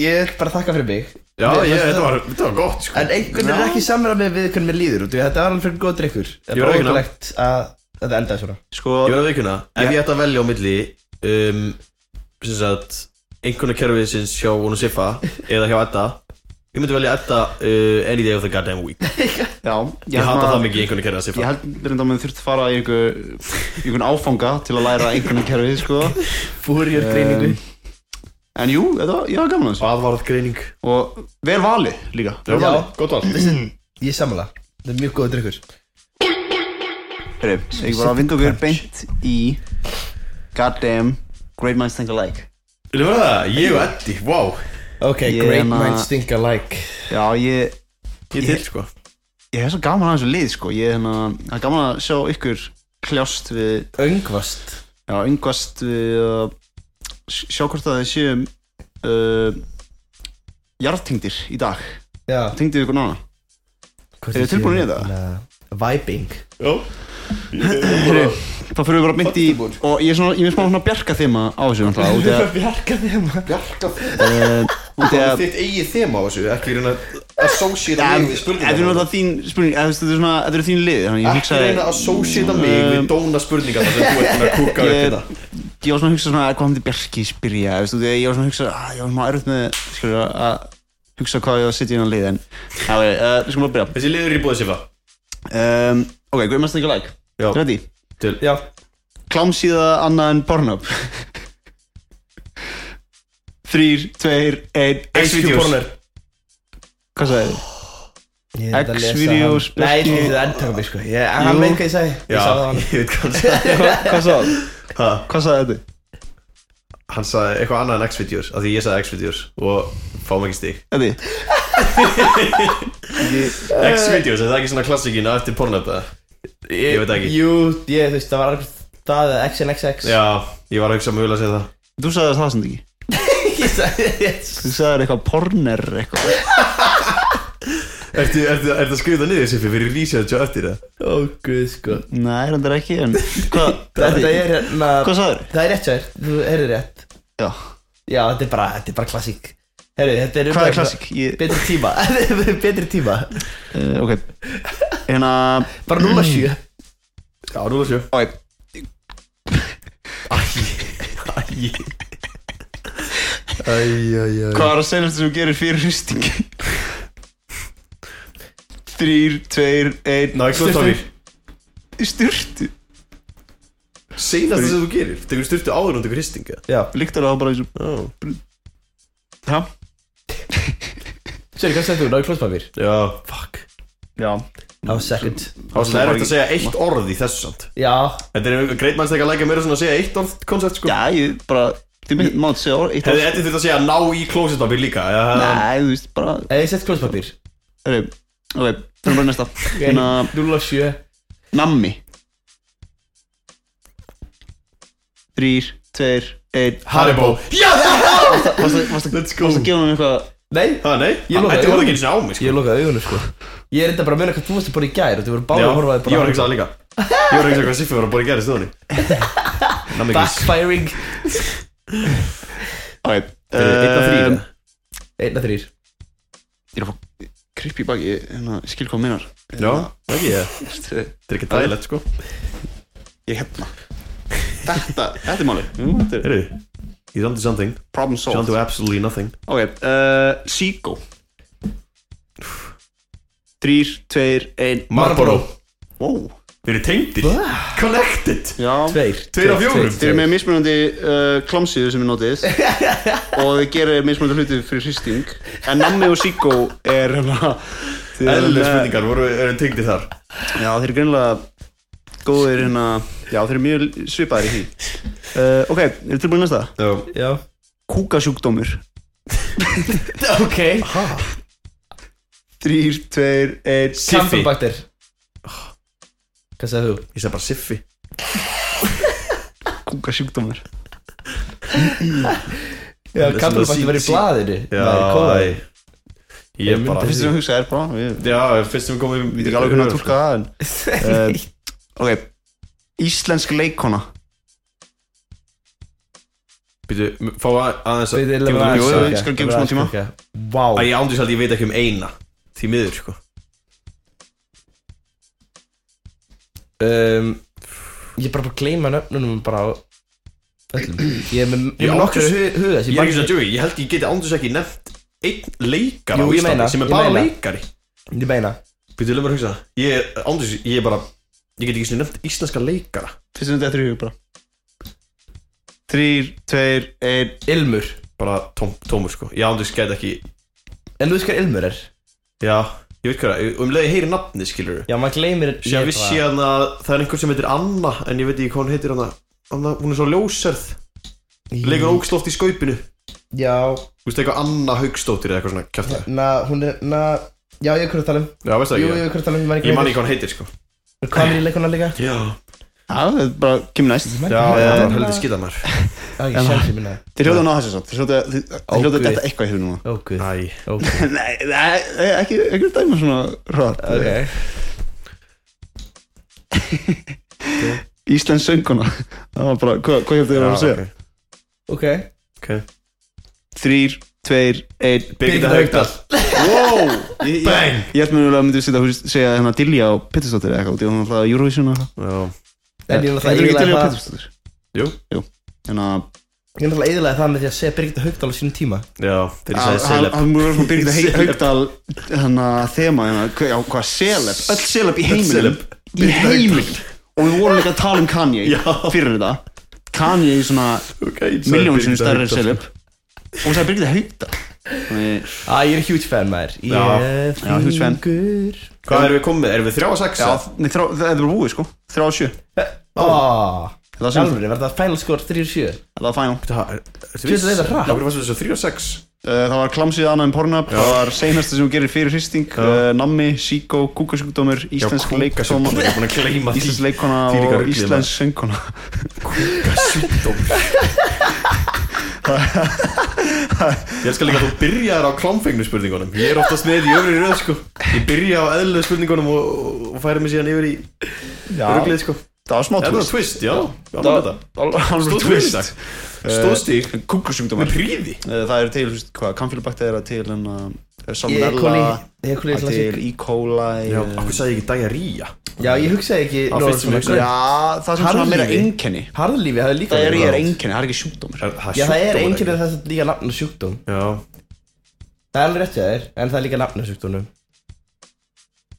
[SPEAKER 3] Ég vil bara þakka fyrir mig
[SPEAKER 2] sko. Já,
[SPEAKER 3] Mér
[SPEAKER 2] ég,
[SPEAKER 3] fannst
[SPEAKER 2] þetta
[SPEAKER 3] það-
[SPEAKER 2] var, þetta var gott sko
[SPEAKER 3] En einhvern er
[SPEAKER 1] Já.
[SPEAKER 3] ekki samræð með við hvernig mér líður út í Þetta var alveg fyrir góð drikkur
[SPEAKER 2] Ég
[SPEAKER 3] Það er
[SPEAKER 2] var
[SPEAKER 3] bara
[SPEAKER 2] ekki ná.
[SPEAKER 3] ótrúlegt að þetta endaði svona
[SPEAKER 1] Sko,
[SPEAKER 2] Ég verði að veikuna, ef ég ætti að velja á milli um, sem sagt einhvernig kerfið sinns hjá Onu Siffa eða hjá Edda Ég myndi velja Edda uh, any day of the goddamn week Ég
[SPEAKER 1] já
[SPEAKER 2] hata
[SPEAKER 1] að-
[SPEAKER 2] það mikið einhvernig kerfið að
[SPEAKER 1] Ég
[SPEAKER 2] Siffa
[SPEAKER 1] held byrjandi að maður þurfti að fara í einhver, einhvern áfanga til að læra einhvern kerfið, sko
[SPEAKER 3] Fúrjör greiningu
[SPEAKER 1] Em, En jú, þetta, var- ég var gaman að þessu
[SPEAKER 2] Aðvarð greining
[SPEAKER 1] Og vel valið líka
[SPEAKER 2] Já,
[SPEAKER 3] Já.
[SPEAKER 2] gott val
[SPEAKER 3] Ég samla Það er mjög góð drikkur
[SPEAKER 1] Heyri, Ég var að vinda okkur beint í Goddamn Great Minds Think Alike
[SPEAKER 2] Vilja verða það? Ég og Eddi, wow
[SPEAKER 3] Ok,
[SPEAKER 1] Ég
[SPEAKER 3] great
[SPEAKER 1] hérna-
[SPEAKER 3] minds think alike
[SPEAKER 1] Já, ég,
[SPEAKER 2] Ég er til sko
[SPEAKER 1] ég hef svo gaman að þessu lið, sko Ég er hérna, það er gaman að sjá ykkur kljást við
[SPEAKER 3] Öngvast
[SPEAKER 1] Já, yngvast við að sj- sjá hvort að þið séum uh, jarðtingdir í dag
[SPEAKER 3] Já
[SPEAKER 1] Tengdið ykkur nána Eru þið tilbúin í þetta?
[SPEAKER 3] Vibing
[SPEAKER 2] Já
[SPEAKER 1] Heyrðu, Þá fyrir við bara mynd í og ég er svona, ég er smá svona bjarga þema á þessu náttúrulega út í að,
[SPEAKER 3] Bjarga þeim
[SPEAKER 2] Bjarka
[SPEAKER 1] út í að
[SPEAKER 2] Þitt eigið þema á þessu, ekki verið að associata
[SPEAKER 1] En
[SPEAKER 2] mig við
[SPEAKER 1] þetta er náttúrulega þín spurning, eða þú veist, þetta er svona, þetta er þín lið Þannig ég
[SPEAKER 2] Ekki
[SPEAKER 1] hugsaði, Um,
[SPEAKER 2] reyna að associata mig við dóna spurningar sem þú ert með að kúka hérna. upp
[SPEAKER 1] Ég-
[SPEAKER 2] þetta
[SPEAKER 1] ég var svona að hugsa svona, "Ah, hvað myndi Bjarki spyrja, þú veist, út í að ég var svona að hugsa, að ég var svona erfitt með, skilur, að hugsa hvað ég var að setja innan lið En, já, ok, eh, við skulum að byrja
[SPEAKER 2] Þessi liður er í búið Sifa
[SPEAKER 1] um, Ok, hvað er mest ekki like?
[SPEAKER 2] Já.
[SPEAKER 1] Ready?
[SPEAKER 2] Til
[SPEAKER 3] Já
[SPEAKER 1] klámsíða annað en Pornhub Þrýr, tveir, einn
[SPEAKER 2] X-Videos.
[SPEAKER 1] Hvað sagði þið?
[SPEAKER 3] Ég er að lesa
[SPEAKER 1] X-Videos,
[SPEAKER 3] hann- Nei,
[SPEAKER 1] Bjarki.
[SPEAKER 3] ég- þetta endur mig sko Ég, hann
[SPEAKER 1] Jú.
[SPEAKER 3] veit hvað ég sagði Ég
[SPEAKER 2] Já,
[SPEAKER 3] sagði það á hann
[SPEAKER 2] ég veit hvað hann sagði
[SPEAKER 1] Hvað sagði þið?
[SPEAKER 2] Ha,
[SPEAKER 1] Hvað sagði þið?
[SPEAKER 2] Hann sagði eitthvað annað en X-Videos af Því ég sagði X-Videos og fáum ekki stig
[SPEAKER 1] Þetta Ég
[SPEAKER 2] X-Videos, er það ekki svona klassíkin að eftir pornöp eða? Ég veit ekki
[SPEAKER 3] Jú, ég, þú veist, það var alveg það eða XNXX
[SPEAKER 2] Já, ég var að hugsa mjög að segja það
[SPEAKER 1] Þú sagði það samt ekki
[SPEAKER 3] Ég sagði, yes
[SPEAKER 1] Þú sagði eitthvað porner eitthvað
[SPEAKER 2] Ertu, ertu, ertu að skrifa það niður Siffi fyrir research og eftir það?
[SPEAKER 3] Ó, guð, sko
[SPEAKER 1] Nei, þetta er ekki en, hva,
[SPEAKER 3] Þetta er hérna
[SPEAKER 1] Hvað sagður?
[SPEAKER 3] Það er rétt sér, þú heyrðu rétt
[SPEAKER 1] Já,
[SPEAKER 3] Já, þetta er bara, þetta er bara klassík Heyrðu, þetta er
[SPEAKER 1] hvað er klassik? Ég,
[SPEAKER 3] Betri tíma, betri tíma
[SPEAKER 1] uh, ok Hérna
[SPEAKER 3] Bara 0-7
[SPEAKER 2] Já, núna sjö
[SPEAKER 1] ok.
[SPEAKER 2] Æj Æj, æj, æj
[SPEAKER 1] Hvað er að seljast sem þú gerir fyrir hristing? Þrýr, tveir, einn
[SPEAKER 2] Nægla tókir
[SPEAKER 1] Styrtu
[SPEAKER 2] Seinast það sem þú gerir Tekur styrtu áður og tekur hristinga
[SPEAKER 3] Já,
[SPEAKER 1] Líktar það bara eins og
[SPEAKER 2] Já
[SPEAKER 1] Hæ?
[SPEAKER 3] sér, hvað segir þú? Náðu klóspapir
[SPEAKER 2] Já, fuck
[SPEAKER 1] Já
[SPEAKER 3] Á second
[SPEAKER 2] Það var svona erfitt að segja eitt orð í þessu samt
[SPEAKER 3] Já,
[SPEAKER 2] Þetta er einhver greit mannstek að lækja meira svona að segja eitt orð koncept sko
[SPEAKER 1] Já, ég bara Þið minn mátt segja orð eitt
[SPEAKER 2] Hefði
[SPEAKER 1] orð
[SPEAKER 2] Eddi þurft að segja ná í klósetpapir líka Já,
[SPEAKER 1] Nei, þú veist, bara
[SPEAKER 3] eða ég sett klóspapir
[SPEAKER 1] Herri, ok, fyrir bara í næsta Hérna,
[SPEAKER 3] 0-7
[SPEAKER 1] nammi Þrýr, tveir, einn
[SPEAKER 2] Haribo Já,
[SPEAKER 1] Varst að- varst að-
[SPEAKER 2] let's go
[SPEAKER 1] varst að gefa mér eitthvað
[SPEAKER 3] Nei,
[SPEAKER 2] Ha, nei,
[SPEAKER 3] Ég lokaði
[SPEAKER 2] Eddi voru
[SPEAKER 3] augunum.
[SPEAKER 2] ekki eins og á mig sko
[SPEAKER 3] ég lokaði augunum, sko Ég er enda bara að muna hvað þú varst að bora í gær og þú voru báði
[SPEAKER 2] Já,
[SPEAKER 3] að horfa
[SPEAKER 2] ég var að hugsa það líka Ég var að hugsa hvað Siffi var að bóra í gerðist þóni Namigris
[SPEAKER 3] Backfiring
[SPEAKER 1] Ok,
[SPEAKER 3] Eh,
[SPEAKER 2] Eitt af þrýr
[SPEAKER 1] ehm,
[SPEAKER 3] Einna þrýr
[SPEAKER 1] Ég er að fá kripp í baki, hérna, ég skil hvað minnar
[SPEAKER 2] Já, ekki ég Þetta er ekki dægilegt sko
[SPEAKER 1] Ég hérna Þetta, þetta er máli Jú, þetta er
[SPEAKER 2] Heyrðu, he's onto something
[SPEAKER 1] Problem
[SPEAKER 2] He's
[SPEAKER 1] solved
[SPEAKER 2] onto absolutely nothing
[SPEAKER 1] Ok, uh, Seago Þrýr, tveir, ein
[SPEAKER 2] Marlboro
[SPEAKER 1] Wow
[SPEAKER 2] Þeir eru tengdir Connected
[SPEAKER 1] Já
[SPEAKER 3] Tveir
[SPEAKER 2] Tveir af fjórum.
[SPEAKER 1] Þeir eru með mismunandi uh, klámsýðu sem ég notið og þeir gera mismunandi hluti fyrir hristing en Nammi og Seago er hérna þeir eru
[SPEAKER 2] Eðlilega
[SPEAKER 1] með-
[SPEAKER 2] spurningar voru eru tengdir þar
[SPEAKER 1] Já, þeir eru greinlega góðir hérna Já, þeir eru mjög svipaðir í því uh, Ok, eru tilbúin í næsta?
[SPEAKER 2] Já
[SPEAKER 3] Já
[SPEAKER 1] Kúkasjúkdómur
[SPEAKER 3] Ok
[SPEAKER 1] Þrýr, tveir, einn
[SPEAKER 2] Siffi
[SPEAKER 3] Campylobacter Hvað segir þú?
[SPEAKER 2] Ég segi bara Siffi
[SPEAKER 1] Kúkasjúkdómur
[SPEAKER 3] Já,
[SPEAKER 2] Listen,
[SPEAKER 3] Campylobacter var í
[SPEAKER 2] sí- sí-
[SPEAKER 3] blaðinu Nei,
[SPEAKER 2] Já
[SPEAKER 3] kóðaði
[SPEAKER 2] æ. Ég
[SPEAKER 3] Ég
[SPEAKER 2] bara
[SPEAKER 1] Það finnst sem að hugsa er bara Við við
[SPEAKER 2] Já, fyrst sem komum
[SPEAKER 1] veitum ekki alveg hvernig að tólka það en uh, Ok Íslensk leikona
[SPEAKER 2] Býtu, fá að- aðeins að
[SPEAKER 3] Við erum
[SPEAKER 2] Gefum
[SPEAKER 3] að
[SPEAKER 2] þú-
[SPEAKER 1] jú, jú,
[SPEAKER 3] aðeins taka,
[SPEAKER 1] skal gefa
[SPEAKER 3] bara
[SPEAKER 1] smá tíma.
[SPEAKER 3] aðeins taka. Vá
[SPEAKER 2] Æ, ég ándis að ég veit ekki um eina Því miður, sko Ehm,
[SPEAKER 3] um, Ég er bara bara að gleyma nöfnunum bara á öllum Ég er með, ég
[SPEAKER 2] Ég
[SPEAKER 3] er með nokkru
[SPEAKER 2] ákveð- Ég
[SPEAKER 3] huga
[SPEAKER 2] er ekki svona djói, ég held ég geti ándis ekki nefnt Einn leikara á
[SPEAKER 3] Jú, ég
[SPEAKER 2] Íslandi
[SPEAKER 3] meina,
[SPEAKER 2] Sem
[SPEAKER 3] ég
[SPEAKER 2] er bara
[SPEAKER 3] meina.
[SPEAKER 2] leikari
[SPEAKER 3] Ég meina
[SPEAKER 2] Býtu, lögum að hugsa Ég, ándis, ég er bara Ég get ekki svona nefnt íslenska leikara
[SPEAKER 1] Fyrst sem þetta er í hug bara Þrýr, tveir, einn
[SPEAKER 3] Ilmur
[SPEAKER 2] Bara tóm, tómur, sko Ég ándis get ekki
[SPEAKER 3] En þú veist hvað Ilmur er?
[SPEAKER 2] Já, ég veit hvað það Um leiði heyri nafni, skilur
[SPEAKER 3] Já, maður gleymir
[SPEAKER 2] Sér
[SPEAKER 3] ég
[SPEAKER 2] vissi
[SPEAKER 3] bara-
[SPEAKER 2] ég hann að það er einhver sem heitir Anna En ég veit ekki hvað hún heitir Anna Anna, hún er svo ljóserð
[SPEAKER 3] Mm.
[SPEAKER 2] Leikur ógsloft í skaupinu Þú
[SPEAKER 3] Já,
[SPEAKER 2] veist eitthvað Anna Haugstóttir eða eitthvað svona kjæftar
[SPEAKER 3] na, hún er, na Já, ég er hverju að tala um
[SPEAKER 2] Já, veist það
[SPEAKER 3] Jú,
[SPEAKER 2] ekki
[SPEAKER 3] ég
[SPEAKER 2] ég,
[SPEAKER 3] er hverju að tala um, ég man ekki
[SPEAKER 2] ég man ekki hvað hann heitir sko
[SPEAKER 3] hvað Hvað er í leikuna líka?
[SPEAKER 2] Já,
[SPEAKER 1] Já, þetta er bara kemur næst
[SPEAKER 3] Man
[SPEAKER 2] já,
[SPEAKER 3] ekki
[SPEAKER 2] það
[SPEAKER 3] hvað hann
[SPEAKER 2] var
[SPEAKER 3] heitir.
[SPEAKER 2] heldur skita mér
[SPEAKER 3] Já, ég sé sem minna
[SPEAKER 1] Þeir hljóta að ná þessu samt Þeir hljóta- Þeir þeir hljóta
[SPEAKER 3] Ó,
[SPEAKER 1] að
[SPEAKER 3] guð.
[SPEAKER 1] detta eitthvað í hug núna
[SPEAKER 3] Ó, guð
[SPEAKER 2] Æ
[SPEAKER 3] Ó, guð
[SPEAKER 1] Nei, nei, ekki, ekki dæma svona rátt
[SPEAKER 3] Ok
[SPEAKER 1] Íslensk sönguna Það var bara, hvað hva hefði þið að vera að segja?
[SPEAKER 2] ok.
[SPEAKER 3] Ok
[SPEAKER 2] ok
[SPEAKER 1] Þrýr, tveir, einn
[SPEAKER 2] Birgitta Haugdal
[SPEAKER 1] Wow Ég, ég,
[SPEAKER 2] Bang!
[SPEAKER 1] ég held mjög að myndi setja, hún segja hérna Dilja og Pettersdóttir eða eitthvað út í hún alltaf Eurovision og eitthvað
[SPEAKER 2] Já
[SPEAKER 3] En ég er
[SPEAKER 1] Þetta er ekki Dilja
[SPEAKER 3] náttúrulega
[SPEAKER 1] og
[SPEAKER 3] eyðilagði það-
[SPEAKER 1] Pettersdóttir Hérna,
[SPEAKER 2] Jú
[SPEAKER 1] Þannig að
[SPEAKER 3] ég er náttúrulega eðilega það með því að segja Birgitta Haugdal á sínum tíma
[SPEAKER 2] Já, þegar ég
[SPEAKER 1] að-
[SPEAKER 2] sagði
[SPEAKER 1] að-
[SPEAKER 2] Celeb
[SPEAKER 1] að mjög verður svona Birgitta
[SPEAKER 2] Celeb.
[SPEAKER 1] Haugdal þannig að þema hérna hva- já, hvað seleb öll seleb í heiminum
[SPEAKER 2] celeb.
[SPEAKER 1] í
[SPEAKER 2] Birgitta Haugdal.
[SPEAKER 1] heiminum og við vorum líka að tala um Kanye
[SPEAKER 2] um. Já.
[SPEAKER 1] fyrir þetta Kanye í svona
[SPEAKER 2] Ok, ég sagði
[SPEAKER 1] miljón sinni
[SPEAKER 2] Birgitta
[SPEAKER 1] stærri en
[SPEAKER 2] Haukdal.
[SPEAKER 1] seleb og hún sagði Birgitta Haugdal Þannig-
[SPEAKER 3] Æ, ég er huge fan maður Ég
[SPEAKER 2] Já.
[SPEAKER 3] er
[SPEAKER 1] Já, huge fan.
[SPEAKER 3] fingur
[SPEAKER 2] Hvað erum við komið? Erum við þrjá að sexa?
[SPEAKER 1] Já, nei, þrjá- það er bara búið sko 3 og 7
[SPEAKER 3] Áh
[SPEAKER 1] Það sem-
[SPEAKER 3] Alveg, verður það final score 3-7
[SPEAKER 1] Það var final
[SPEAKER 2] Þú
[SPEAKER 3] Þú veist þetta er hratt.
[SPEAKER 2] Hvað varstu þessu? Þrjá að sex?
[SPEAKER 1] Uh, Það var klamsið annað en pornab Það var seinasta sem hún gerir fyrir hristing uh, Nammi, síkó, kúkasjúkdómur
[SPEAKER 2] Já,
[SPEAKER 1] Íslensk leikdómar
[SPEAKER 2] kúkasjúkdómur. Ég er búin að gleyma því
[SPEAKER 1] Íslensk leikona
[SPEAKER 2] Þvílíka
[SPEAKER 1] og
[SPEAKER 2] ruglið,
[SPEAKER 1] íslensk söngkona
[SPEAKER 2] Sjúkdóm Ég skal líka að þú byrjar á klámfengnu spurningunum Ég er oftast með í öfri röð sko Ég byrja á eðlilegu spurningunum og, og- og færa mig síðan yfir í ruglið sko
[SPEAKER 1] Það var smá
[SPEAKER 2] Er það
[SPEAKER 1] twist
[SPEAKER 2] twist, já, gaman þetta
[SPEAKER 1] Stóð
[SPEAKER 2] Stóð twist Stóðstík
[SPEAKER 1] Eh, Kúkusjúkdómar
[SPEAKER 2] með príði
[SPEAKER 1] Eh, Það eru til, þú veist, hvað, kamfélubakta er til en að
[SPEAKER 3] Ég er
[SPEAKER 1] salmonella
[SPEAKER 3] koli- ég er koli
[SPEAKER 1] það er til
[SPEAKER 3] klassík
[SPEAKER 1] E. coli
[SPEAKER 2] Já,
[SPEAKER 1] eh,
[SPEAKER 2] okkur sagði ég ekki diarrhea
[SPEAKER 3] Já, ég hugsaði ekki
[SPEAKER 2] Það var fyrst sem ég hugsaði.
[SPEAKER 1] Já,
[SPEAKER 3] Já.
[SPEAKER 1] Ah, það er svona
[SPEAKER 3] Harðlífi.
[SPEAKER 1] meira einkenni
[SPEAKER 3] Harðlífi, það er líka
[SPEAKER 1] Það er,
[SPEAKER 3] verið
[SPEAKER 1] er
[SPEAKER 3] ráð.
[SPEAKER 1] einkenni, það er ekki sjúkdómur
[SPEAKER 2] Er-
[SPEAKER 3] Já, það er
[SPEAKER 2] sjúkdómur,
[SPEAKER 3] einhvern
[SPEAKER 2] ekki?
[SPEAKER 3] veginn þess að líka nafn og sjúkdóm
[SPEAKER 2] Já,
[SPEAKER 3] Það er alveg rétt hjá þér, en það er líka nafn og sjúkdómum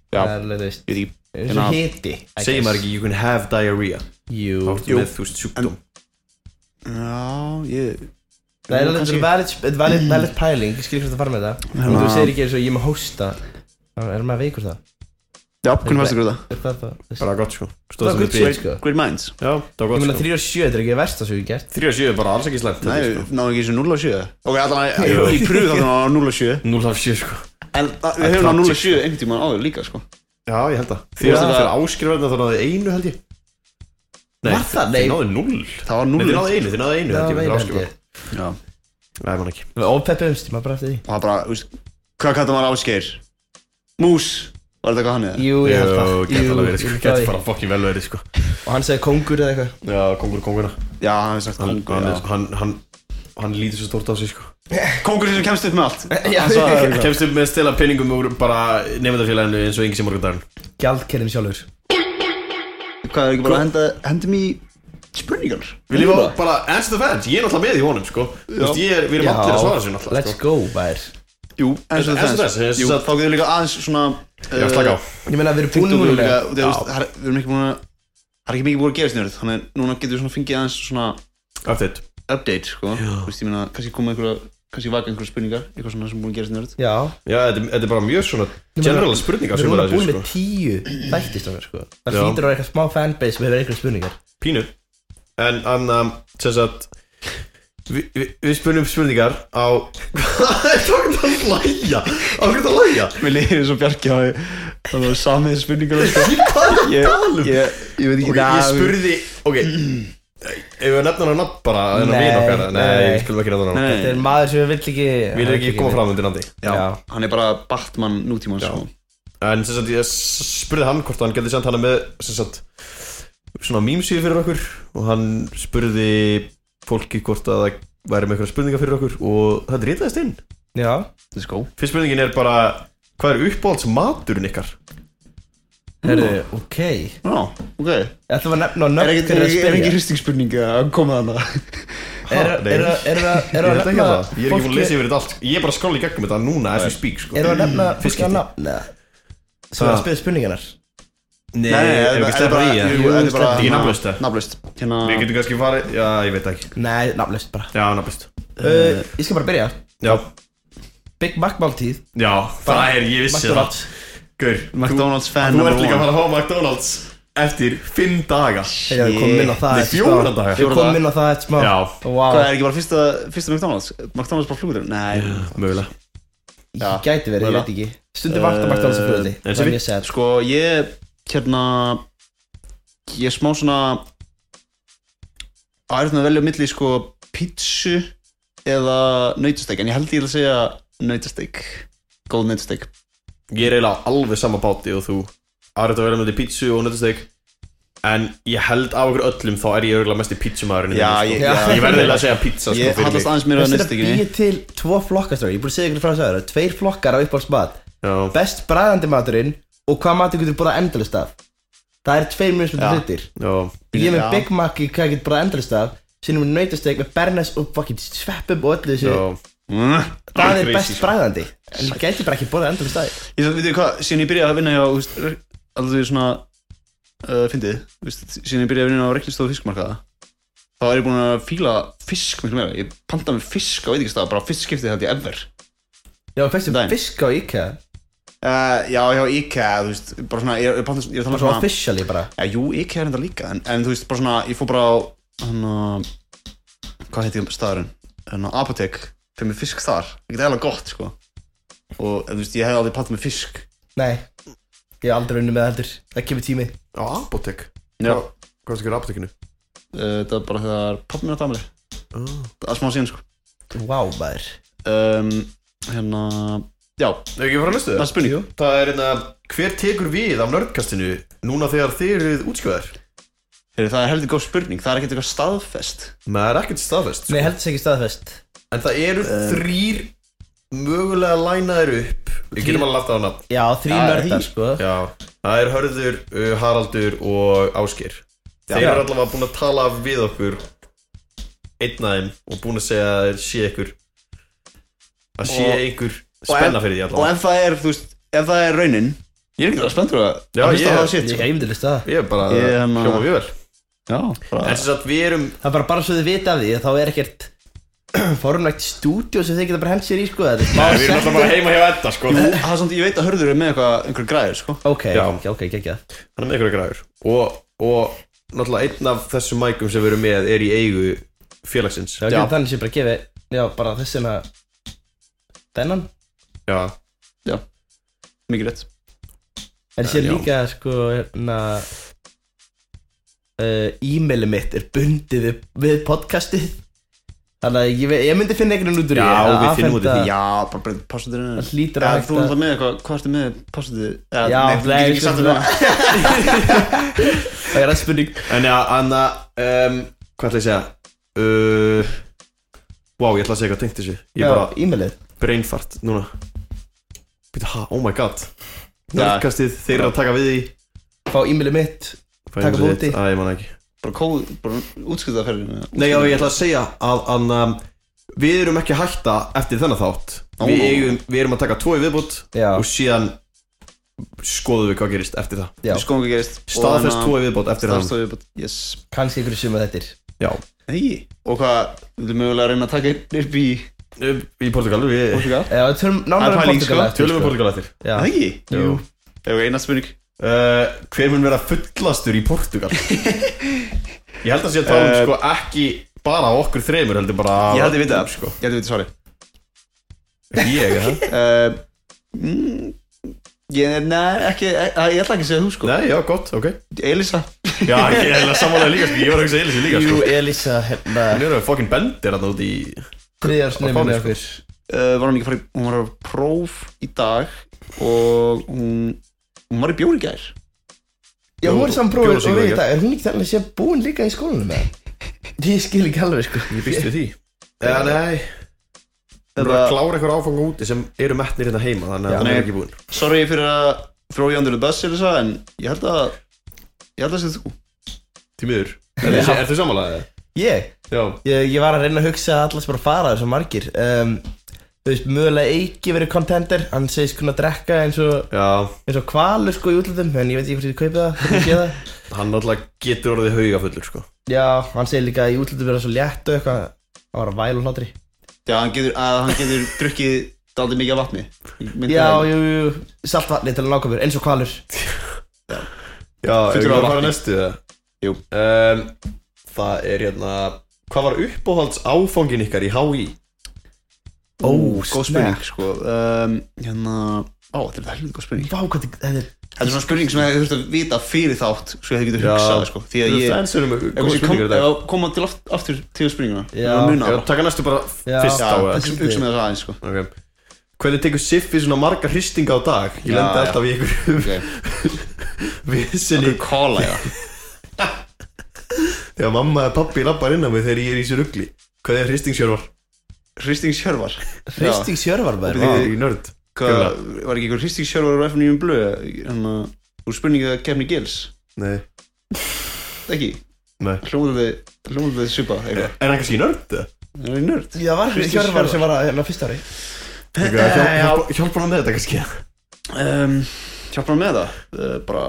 [SPEAKER 1] Já,
[SPEAKER 3] Það er alveg, þú veist,
[SPEAKER 1] ég veit ekki
[SPEAKER 3] eins
[SPEAKER 1] Hérna-
[SPEAKER 3] og hiti I
[SPEAKER 2] segir maður
[SPEAKER 3] guess.
[SPEAKER 2] ekki you can have diarrhea Þá
[SPEAKER 3] Jú,
[SPEAKER 2] ertu með þú veist sjúkdóm
[SPEAKER 1] Já, ég
[SPEAKER 3] það
[SPEAKER 1] Jú,
[SPEAKER 3] er alveg
[SPEAKER 1] kannski- Mm.
[SPEAKER 3] þetta valid, valid, valid, valid pæling, ég skil hvað það fara með það
[SPEAKER 1] Hérna-
[SPEAKER 3] Og þú segir ekki eins og ég er með hósta þá er maður veikur það
[SPEAKER 1] Já, hvernig fannst ykkur það?
[SPEAKER 3] Er það það? þú veist?
[SPEAKER 2] Bara gott sko
[SPEAKER 3] Það
[SPEAKER 2] Stóðstík
[SPEAKER 3] er
[SPEAKER 2] með
[SPEAKER 3] good
[SPEAKER 2] príði
[SPEAKER 3] shit, sko
[SPEAKER 1] Great Minds
[SPEAKER 2] Já, það var
[SPEAKER 3] Ég meina
[SPEAKER 2] gott sko
[SPEAKER 3] 3 og 7, þetta er ekki verst það sem ég hef gert
[SPEAKER 2] 3 og 7 er bara alls ekki slæmt sko.
[SPEAKER 1] Nei,
[SPEAKER 2] þetta,
[SPEAKER 1] við náðum ekki eins og 0 og 7 Ok, allan
[SPEAKER 2] Jú.
[SPEAKER 1] að ég pröfu þarna á 0 og 7
[SPEAKER 2] sko. 0 af 7 sko
[SPEAKER 1] En það- við höfum á 0 og 7 einhvern tímann áður líka, sko
[SPEAKER 2] Já, ég held að
[SPEAKER 1] Já.
[SPEAKER 2] Því að það er áskrifandi þá náðu einu held ég Nei,
[SPEAKER 3] Var það?
[SPEAKER 2] Þið
[SPEAKER 3] Nei.
[SPEAKER 2] náðu 0
[SPEAKER 1] Það var
[SPEAKER 2] Nei,
[SPEAKER 1] 0
[SPEAKER 2] þið náðu einu, þið náðu einu
[SPEAKER 3] Það
[SPEAKER 2] held ég, þetta
[SPEAKER 3] var
[SPEAKER 2] er
[SPEAKER 3] meira held
[SPEAKER 2] áskrifandi.
[SPEAKER 3] ég
[SPEAKER 1] Já
[SPEAKER 2] Nei, mann ekki
[SPEAKER 3] Ópeppumst, maður bara eftir því
[SPEAKER 1] Og það bara, þú veist Hvað kallar maður áskeir? Mús Var þetta hvað hann eða?
[SPEAKER 3] Jú, ég held það
[SPEAKER 2] Jú, gæti alveg verið
[SPEAKER 3] ég
[SPEAKER 2] sko
[SPEAKER 3] held
[SPEAKER 2] Gæti
[SPEAKER 3] það.
[SPEAKER 2] bara fokkin vel verið sko
[SPEAKER 3] Og hann segi kongur eða eitthvað
[SPEAKER 2] Já, kongur konguna
[SPEAKER 1] Já, hann hefði sagt
[SPEAKER 2] Hann,
[SPEAKER 1] kongur
[SPEAKER 2] hann,
[SPEAKER 1] já.
[SPEAKER 2] er- sko, hann, hann, hann lítur svo stórt á sig sko
[SPEAKER 1] Kongur sem kemst upp með allt
[SPEAKER 3] Já.
[SPEAKER 1] Hann sagði það, sko.
[SPEAKER 2] Kemst upp með stela peningum úr bara nefndafélaginu eins og yngi sem morgundarinn
[SPEAKER 3] Gjaldkerinn sjálfur
[SPEAKER 1] Hvað er ekki bara að henda Hendum í spurningar
[SPEAKER 2] Vil ég bara, bara answer the fans, ég er náttúrulega með í honum sko Þú veist, ég er, við erum allir að svara sér náttúrulega sko.
[SPEAKER 3] let's go, bær
[SPEAKER 1] Jú, eins og
[SPEAKER 2] Eins og
[SPEAKER 1] þess
[SPEAKER 2] þess, eins og
[SPEAKER 1] Jú,
[SPEAKER 2] þess.
[SPEAKER 1] þá getur líka aðeins svona
[SPEAKER 2] Já, slaka á
[SPEAKER 3] Ég meina, við erum búin
[SPEAKER 1] Búnum
[SPEAKER 3] núna
[SPEAKER 1] við líka þú veist,
[SPEAKER 3] Já.
[SPEAKER 1] það er- Við erum ekki búin að Það er ekki mikið búin að gefa snjörð Þannig að núna getur við svona fengið aðeins svona
[SPEAKER 2] Update
[SPEAKER 1] update, sko Þú veist, ég meina, kannski koma einhverja Kannski vaka einhverja spurningar Eitthvað svona sem búin að gerast nörd
[SPEAKER 3] Já
[SPEAKER 2] Já, þetta er- þetta er bara mjög svona
[SPEAKER 3] meina,
[SPEAKER 2] general spurningar
[SPEAKER 3] Við
[SPEAKER 2] sem
[SPEAKER 3] erum
[SPEAKER 2] er
[SPEAKER 3] núna
[SPEAKER 2] að
[SPEAKER 3] búin
[SPEAKER 2] þessu
[SPEAKER 3] með
[SPEAKER 2] sko
[SPEAKER 3] tíu þætti stofnir, sko Það
[SPEAKER 2] Já.
[SPEAKER 3] hlýtur á eitthvað smá fanbase sem hefur einhverjum spurningar
[SPEAKER 2] Pínu En hann, um, sem sagt Við vi, vi spurnum spurningar á Hvað er það að hlæja? Á hverju það að hlæja?
[SPEAKER 1] Mér leiðir svo bjarki á Það var samið spurningar sko. ég, ég, Mm. ég veit ekki
[SPEAKER 2] um? Ok, ég spurði Ok Ef við nefnum hann nafn bara Þannig að
[SPEAKER 3] Nei,
[SPEAKER 2] vina okkar Nei,
[SPEAKER 3] nei.
[SPEAKER 2] við skulum ekki nefna hann nafn.
[SPEAKER 1] Nei.
[SPEAKER 3] Þetta er maður sem vill ekki
[SPEAKER 2] Við erum ekki koma fram undir nandi
[SPEAKER 1] Já,
[SPEAKER 3] Já.
[SPEAKER 1] hann er bara Batman nútíman sko.
[SPEAKER 2] En sem sagt, ég s- spurði hann hvort hann geti sendt hana með Sem sagt Svona mýmsýði fyrir okkur Og hann spurði fólki hvort að það væri með einhverja spurningar fyrir okkur Og það ritaðist inn
[SPEAKER 3] Já
[SPEAKER 1] Let's go
[SPEAKER 2] Fyrst spurningin er bara Hvað er uppáhalds maturinn ykkar?
[SPEAKER 3] Herru, ok Ég
[SPEAKER 1] Já, ok
[SPEAKER 3] ætlum að nefna
[SPEAKER 1] Er
[SPEAKER 3] nöfn
[SPEAKER 1] ekki,
[SPEAKER 3] fyrir
[SPEAKER 1] er
[SPEAKER 3] að
[SPEAKER 1] ekki, er ekki
[SPEAKER 3] spyrja
[SPEAKER 1] hristingsspurning að koma þarna
[SPEAKER 3] Er
[SPEAKER 2] Ha, nei. Ég er
[SPEAKER 3] það að
[SPEAKER 2] ekki
[SPEAKER 3] nefna
[SPEAKER 2] að það, ég er ekki búin að lesa
[SPEAKER 3] fólki-
[SPEAKER 2] yfir þetta allt Ég er bara að skrolla í gegnum þetta núna as we speak sko.
[SPEAKER 3] Erum við að nefna fólki
[SPEAKER 2] Fiskiti.
[SPEAKER 3] að nafn eða? Sem er að spyrja spurningarnar
[SPEAKER 2] Nei, ef ekki sleppa í það
[SPEAKER 1] Jú, þetta er bara
[SPEAKER 2] Þetta er ekki nafnlaust, það?
[SPEAKER 1] Nafnlaust Hérna
[SPEAKER 2] Við getum kannski farið, já ég veit það ekki
[SPEAKER 3] Nei, nafnlaust bara
[SPEAKER 2] Já, nafnlaust
[SPEAKER 3] Uh, Ég skal bara byrja
[SPEAKER 2] Já,
[SPEAKER 3] Big Mac máltíð
[SPEAKER 2] já, það er, ég vissi það
[SPEAKER 3] McDonald's.
[SPEAKER 2] Gaur, þú
[SPEAKER 1] McDonalds fan
[SPEAKER 2] þú
[SPEAKER 1] number
[SPEAKER 2] ert líka að
[SPEAKER 1] one.
[SPEAKER 2] fara að fá McDonalds Eftir 5 daga
[SPEAKER 3] Hey, við komum inn á það
[SPEAKER 2] Nei,
[SPEAKER 3] eftir
[SPEAKER 2] fjóra
[SPEAKER 3] smá.
[SPEAKER 2] daga.
[SPEAKER 3] Við
[SPEAKER 1] Fjóra
[SPEAKER 3] komum
[SPEAKER 1] daga.
[SPEAKER 3] inn á það sko. eftir smá
[SPEAKER 2] Já.
[SPEAKER 3] wow.
[SPEAKER 1] Hvað er ekki bara fyrsta, fyrsta McDonalds? McDonalds bara flugur? Nei
[SPEAKER 2] Mögulega
[SPEAKER 1] Já.
[SPEAKER 3] Ég gæti verið, ég
[SPEAKER 1] Mögulega.
[SPEAKER 3] veit ekki Stundir vakta mægt alls að fljóði
[SPEAKER 2] en
[SPEAKER 3] Það
[SPEAKER 2] sem
[SPEAKER 3] er
[SPEAKER 2] við-
[SPEAKER 3] mjög sad
[SPEAKER 1] Sko ég Hérna Ég er smá svona Það er svona að velja á milli sko Pítsu Eða nautasteik En ég held ég að segja nautasteik Góð nautasteik
[SPEAKER 2] Ég er eiginlega á alveg sama báti og þú Árið að vera með því pítsu og nöttusteg En ég held af okkur öllum Þá er ég örgulega mest í pítsumaðurinn
[SPEAKER 1] Já,
[SPEAKER 2] sko.
[SPEAKER 1] ég-
[SPEAKER 3] já.
[SPEAKER 2] ég verði eiginlega að segja pítsa sko,
[SPEAKER 1] Ég
[SPEAKER 2] fyrir
[SPEAKER 1] hallast
[SPEAKER 2] mig.
[SPEAKER 1] aðeins meira að
[SPEAKER 3] Þess að býja
[SPEAKER 1] nautasteikinni
[SPEAKER 3] til tvo flokkastráð Ég er búin að segja ykkur frá þess aðra Tveir flokkar á uppáhaldsmat
[SPEAKER 2] Já.
[SPEAKER 3] Best bræðandi maturinn Og hvað matur getur búið endalist af Það er tveir mjög
[SPEAKER 1] Já.
[SPEAKER 3] smöndar hlutir
[SPEAKER 2] Já,
[SPEAKER 3] Ég er með
[SPEAKER 1] Já.
[SPEAKER 3] Big Mac í hvað ég getur búið endalist af Sýnum við nautasteik með bernes og fucking sveppum og öllu þessu
[SPEAKER 2] já,
[SPEAKER 1] Mm.
[SPEAKER 3] Það er
[SPEAKER 2] Crazy,
[SPEAKER 3] best
[SPEAKER 2] sko.
[SPEAKER 3] bræðandi En ég gæti bara ekki búið endalist af
[SPEAKER 1] Ég þú veitir hvað, síðan ég byrjaði að vinna hjá þú veist, re- Alveg svona uh, Fyndið, þú veist, síðan ég byrjaði að vinna á Reykjavíkstofu fiskmarkaða Þá er ég búinn að fíla fisk miklu meira Ég panta mér fisk á veitingastað Bara fyrst skiptið held ég ever
[SPEAKER 3] Já, fyrstu
[SPEAKER 1] Dæn.
[SPEAKER 3] fisk á IKEA
[SPEAKER 1] Uh, já, já, IKEA, þú veist, bara svona, ég, ég, panta, ég er að tala um
[SPEAKER 3] Svo
[SPEAKER 1] svona
[SPEAKER 3] officially bara
[SPEAKER 1] Já, jú, IKEA er enda líka, en, en þú veist, bara svona, ég fór bara á, hann að, hvað heitir staðurinn? Hann að apotek, fyrir mig fisk þar, ekkert eða gott, sko Og, en, þú veist, ég hefði aldrei pantað mér fisk
[SPEAKER 3] Nei, ég hef aldrei unni með það heldur Það kemur tími
[SPEAKER 2] á apotek
[SPEAKER 1] Já,
[SPEAKER 2] Hvað er það að gera apotekinu?
[SPEAKER 1] Eh, uh, það var bara þegar pappminn að dæmali það er smá síðan sko
[SPEAKER 3] Vá, maður
[SPEAKER 1] um, hérna já,
[SPEAKER 2] Ef ekki fara að næstu
[SPEAKER 1] það er spurning
[SPEAKER 2] Það er hérna, hver tekur við af nördkastinu núna þegar þið eruð útskjöðar?
[SPEAKER 1] Heyri, það er heldur góð spurning, það er ekkert eitthvað staðfest
[SPEAKER 2] Maður er ekkert staðfest
[SPEAKER 3] Nei,
[SPEAKER 2] sko.
[SPEAKER 3] heldur þess ekki staðfest
[SPEAKER 2] En það eru þrýr mögulega lænaðir upp Við getum alveg lagt á hana
[SPEAKER 3] Já, þrý
[SPEAKER 1] Já,
[SPEAKER 3] nördar,
[SPEAKER 1] því.
[SPEAKER 3] sko
[SPEAKER 2] Já, það er Hörður, uh, Haraldur og Ásker Þeir eru allavega búin að tala við okkur einn af þeim og búin að segja að þeir sé ykkur að sé
[SPEAKER 1] Og-
[SPEAKER 2] ykkur
[SPEAKER 1] Og ef-
[SPEAKER 2] spenna fyrir því
[SPEAKER 1] og
[SPEAKER 2] allavega
[SPEAKER 1] ef það er, þú veist, ef það er raunin ég er ekki það spenntur að
[SPEAKER 2] Já,
[SPEAKER 1] að hlusta á
[SPEAKER 2] ég-
[SPEAKER 1] það shit
[SPEAKER 3] Ég
[SPEAKER 1] sko.
[SPEAKER 3] er yfirleitt það
[SPEAKER 2] Ég er hérna- bara
[SPEAKER 1] Ég er
[SPEAKER 2] að
[SPEAKER 1] maður-
[SPEAKER 2] hljóma mjög vel
[SPEAKER 1] já, bara,
[SPEAKER 2] En sem sagt við erum
[SPEAKER 3] Það er bara bara svo þið vita af því að þá er ekkert formlegt stúdíó sem þið geta bara hent sér í sko þetta er smá
[SPEAKER 2] Við erum alltaf bara
[SPEAKER 3] setting.
[SPEAKER 2] heima hjá Edda sko
[SPEAKER 1] Jú, það er samt, ég veit að hörður er með eitthvað einhver græður, sko
[SPEAKER 3] Ok,
[SPEAKER 2] Já.
[SPEAKER 3] ok, ok, ekki
[SPEAKER 2] Hann er með ykkur græður og, og náttúrulega einn af þessum mækum sem við erum með er í eigu félagsins
[SPEAKER 3] Já, þannig sem bara gefi Já, bara þessum að Þennan
[SPEAKER 2] Já.
[SPEAKER 1] já, mikið rétt
[SPEAKER 3] En sér
[SPEAKER 2] Já.
[SPEAKER 3] líka sko hérna uh, E-mailið mitt er bundið við, við podcastið Þannig að ég, ve- ég myndi finna einhvern veginn út úr
[SPEAKER 2] Já,
[SPEAKER 3] því að
[SPEAKER 2] við finnum út úr því,
[SPEAKER 3] afhenda-
[SPEAKER 1] já, bara breyta passuturinn
[SPEAKER 3] Það hlýtur
[SPEAKER 1] að
[SPEAKER 3] að hægt
[SPEAKER 1] þú
[SPEAKER 3] að-
[SPEAKER 1] er það með eitthvað, hvað ertu með passutur
[SPEAKER 3] Já,
[SPEAKER 1] þú getur ekki sagt um það
[SPEAKER 3] Það er að spurning
[SPEAKER 2] En já, Anna um, Hvað ætla ég að segja? Uh, wow, ég ætla að segja eitthvað tengt þessu Ég er
[SPEAKER 3] Já,
[SPEAKER 2] bara
[SPEAKER 3] E-mailið
[SPEAKER 2] brainfart núna Býta, ha, oh my god
[SPEAKER 1] Já.
[SPEAKER 2] Nörgkastið, þeir eru að taka við því
[SPEAKER 3] Fá e-mailið mitt
[SPEAKER 2] Hvað
[SPEAKER 3] Taka
[SPEAKER 2] er nafnið
[SPEAKER 3] bóti.
[SPEAKER 2] þitt? Æ, ég man það ekki
[SPEAKER 1] bara kóð, bara útskriðaferðinu
[SPEAKER 2] Nei, já, ég ætla að segja að, að, að við erum ekki að hætta eftir þennan þátt við,
[SPEAKER 1] Ó.
[SPEAKER 2] eigum, við erum að taka tvo í viðbútt
[SPEAKER 3] Já.
[SPEAKER 2] og síðan skoðum við hvað gerist eftir það
[SPEAKER 1] við
[SPEAKER 3] Já,
[SPEAKER 1] skoðum hvað gerist Og
[SPEAKER 2] Staðfest
[SPEAKER 1] hana-
[SPEAKER 2] tvo í viðbútt eftir það
[SPEAKER 1] staðfest tvo í- yes
[SPEAKER 3] kannski ykkur suma þettir
[SPEAKER 2] Já,
[SPEAKER 1] Nei, og hvað, við erum mögulega að reyna að taka einn upp í
[SPEAKER 2] Um, í Portugal við
[SPEAKER 1] Portugal?
[SPEAKER 3] Já, við tölum
[SPEAKER 1] Það er
[SPEAKER 3] nánar um
[SPEAKER 1] pæling,
[SPEAKER 3] Portugal
[SPEAKER 1] sko.
[SPEAKER 3] eftir,
[SPEAKER 2] Tölum við
[SPEAKER 3] sko.
[SPEAKER 2] Portugal eftir
[SPEAKER 3] Já.
[SPEAKER 1] Það ekki?
[SPEAKER 2] Jú.
[SPEAKER 1] Ef við eina spurning
[SPEAKER 2] uh, Hver mun vera fullastur í Portugal? ég held að sé að tala um
[SPEAKER 1] Eh,
[SPEAKER 2] sko ekki bara af okkur þreymur heldur bara af
[SPEAKER 1] Ég held ég vita
[SPEAKER 2] öllum,
[SPEAKER 1] það, sko Ég held ég vita svarið
[SPEAKER 2] sko Ég, er það?
[SPEAKER 1] uh, mm, Ég, nei, ekki, eh, ég ætla ekki að segja þú, sko
[SPEAKER 2] Nei, já, gott, ok
[SPEAKER 1] Elisa
[SPEAKER 2] Já, ég held að samanlega líka, sko, ég var að hugsa Elisi líka,
[SPEAKER 3] Jú,
[SPEAKER 2] sko
[SPEAKER 3] Elisa,
[SPEAKER 2] Hún
[SPEAKER 3] hérna
[SPEAKER 2] er að fucking bendir hann út í
[SPEAKER 3] Þriðarsnöfinu
[SPEAKER 2] Á fáni,
[SPEAKER 3] okkur
[SPEAKER 1] uh, Var hún ekki að fara í, hún var á próf í dag Og hún, hún var í bjóri gær
[SPEAKER 3] Já, hún er saman
[SPEAKER 2] Bjóla
[SPEAKER 3] bróður
[SPEAKER 2] sig
[SPEAKER 3] og við
[SPEAKER 2] ekki.
[SPEAKER 3] í dag Er hún ekki þannig að sé búin líka í skólanum með það? Ég skil ekki alveg, sko
[SPEAKER 2] Ég býst við því Já, nei Þú eru að
[SPEAKER 1] Þetta-
[SPEAKER 2] klára eitthvað áfanga úti sem eru metnir hérna heima Þannig að
[SPEAKER 1] Já.
[SPEAKER 2] það er
[SPEAKER 1] Nei.
[SPEAKER 2] ekki búin
[SPEAKER 1] Sorry fyrir að throw you under the bus, Elisa En ég held að, ég held að segja þú
[SPEAKER 2] Tímiður
[SPEAKER 3] Já.
[SPEAKER 2] Er þið samanlega?
[SPEAKER 3] Ég,
[SPEAKER 2] Já
[SPEAKER 3] ég, ég var að reyna að hugsa að allas bara fara þessu margir um, Þú veist, mögulega Eiki verið contender Hann segist kunna drekka eins og,
[SPEAKER 2] Já
[SPEAKER 3] eins og kvalur, sko, í útlutum En ég veit ekki hvort ég kaupi það, hvernig ég sé það
[SPEAKER 2] Hann náttúrulega getur orðið haugafullur sko
[SPEAKER 3] Já, hann segir líka að í útlutum verið svo létt og eitthvað Það var að væla og hlátri
[SPEAKER 1] Já, hann getur, að hann getur drukkið daldið mikið af vatni Ég myndi
[SPEAKER 3] Já,
[SPEAKER 1] það.
[SPEAKER 3] jú, jú, saltvatni til að láka mér, um eins og kvalur
[SPEAKER 2] Já,
[SPEAKER 1] Fullur af
[SPEAKER 2] Fullur að fara
[SPEAKER 1] vatni.
[SPEAKER 2] næstu það
[SPEAKER 1] Jú.
[SPEAKER 2] um, Það er hérna Hvað var uppáhalds áfangin ykkar í HÍ?
[SPEAKER 3] Ó,
[SPEAKER 1] góð spurning sko um, hérna, á, þetta er helvita góð spurning
[SPEAKER 3] Vá, hvað þið- þetta er
[SPEAKER 1] þetta er svona spurning sem þið þurft að vita fyrir þátt svo þið getur
[SPEAKER 2] Já.
[SPEAKER 1] hugsað sko, því að ég
[SPEAKER 2] Það er hérna með
[SPEAKER 1] ef
[SPEAKER 2] góð
[SPEAKER 1] ég kom,
[SPEAKER 2] spurningar
[SPEAKER 1] ef
[SPEAKER 2] þetta
[SPEAKER 1] að koma til aft, aftur til spurninguna
[SPEAKER 3] Já.
[SPEAKER 1] og muna
[SPEAKER 2] Já,
[SPEAKER 1] það
[SPEAKER 2] taka næstu bara
[SPEAKER 3] Já.
[SPEAKER 2] fyrst
[SPEAKER 1] Já,
[SPEAKER 2] á eða?
[SPEAKER 1] hugsa hugsa með það aðeins sko
[SPEAKER 2] Ok Hvernig tekur Siffi svona marga hristinga á dag? Ég
[SPEAKER 1] Já,
[SPEAKER 2] lendi
[SPEAKER 1] já.
[SPEAKER 2] alltaf í ykkur
[SPEAKER 1] okay.
[SPEAKER 2] vissinni
[SPEAKER 1] kóla já
[SPEAKER 2] Þegar mamma eða pappi lappar inn á mig þegar ég er í sér ugli Hvað er hristingsjörvar?
[SPEAKER 1] hristingsjörvar
[SPEAKER 3] hristing sjörvar
[SPEAKER 2] Þið
[SPEAKER 3] bara
[SPEAKER 1] Já.
[SPEAKER 2] er í nörd
[SPEAKER 1] var ekki einhver hristingsjörvar á FNU um blöð hérna, úr spurningu að kemni gils
[SPEAKER 2] Nei,
[SPEAKER 1] ekki,
[SPEAKER 2] nei
[SPEAKER 1] hljómaðu þið svipa eitthvað,
[SPEAKER 2] Er hann kannski í nörd? eða?
[SPEAKER 1] það er í nörd
[SPEAKER 3] Já, var
[SPEAKER 1] Hristing
[SPEAKER 3] sjörvar
[SPEAKER 1] Hjörvar.
[SPEAKER 3] sem var að hérna fyrsta ári
[SPEAKER 2] Eitthvað, hjálp- hjálp- Hjálpar hann með þetta kannski?
[SPEAKER 3] Ehm,
[SPEAKER 1] um, hjálpa hann með það uh, bara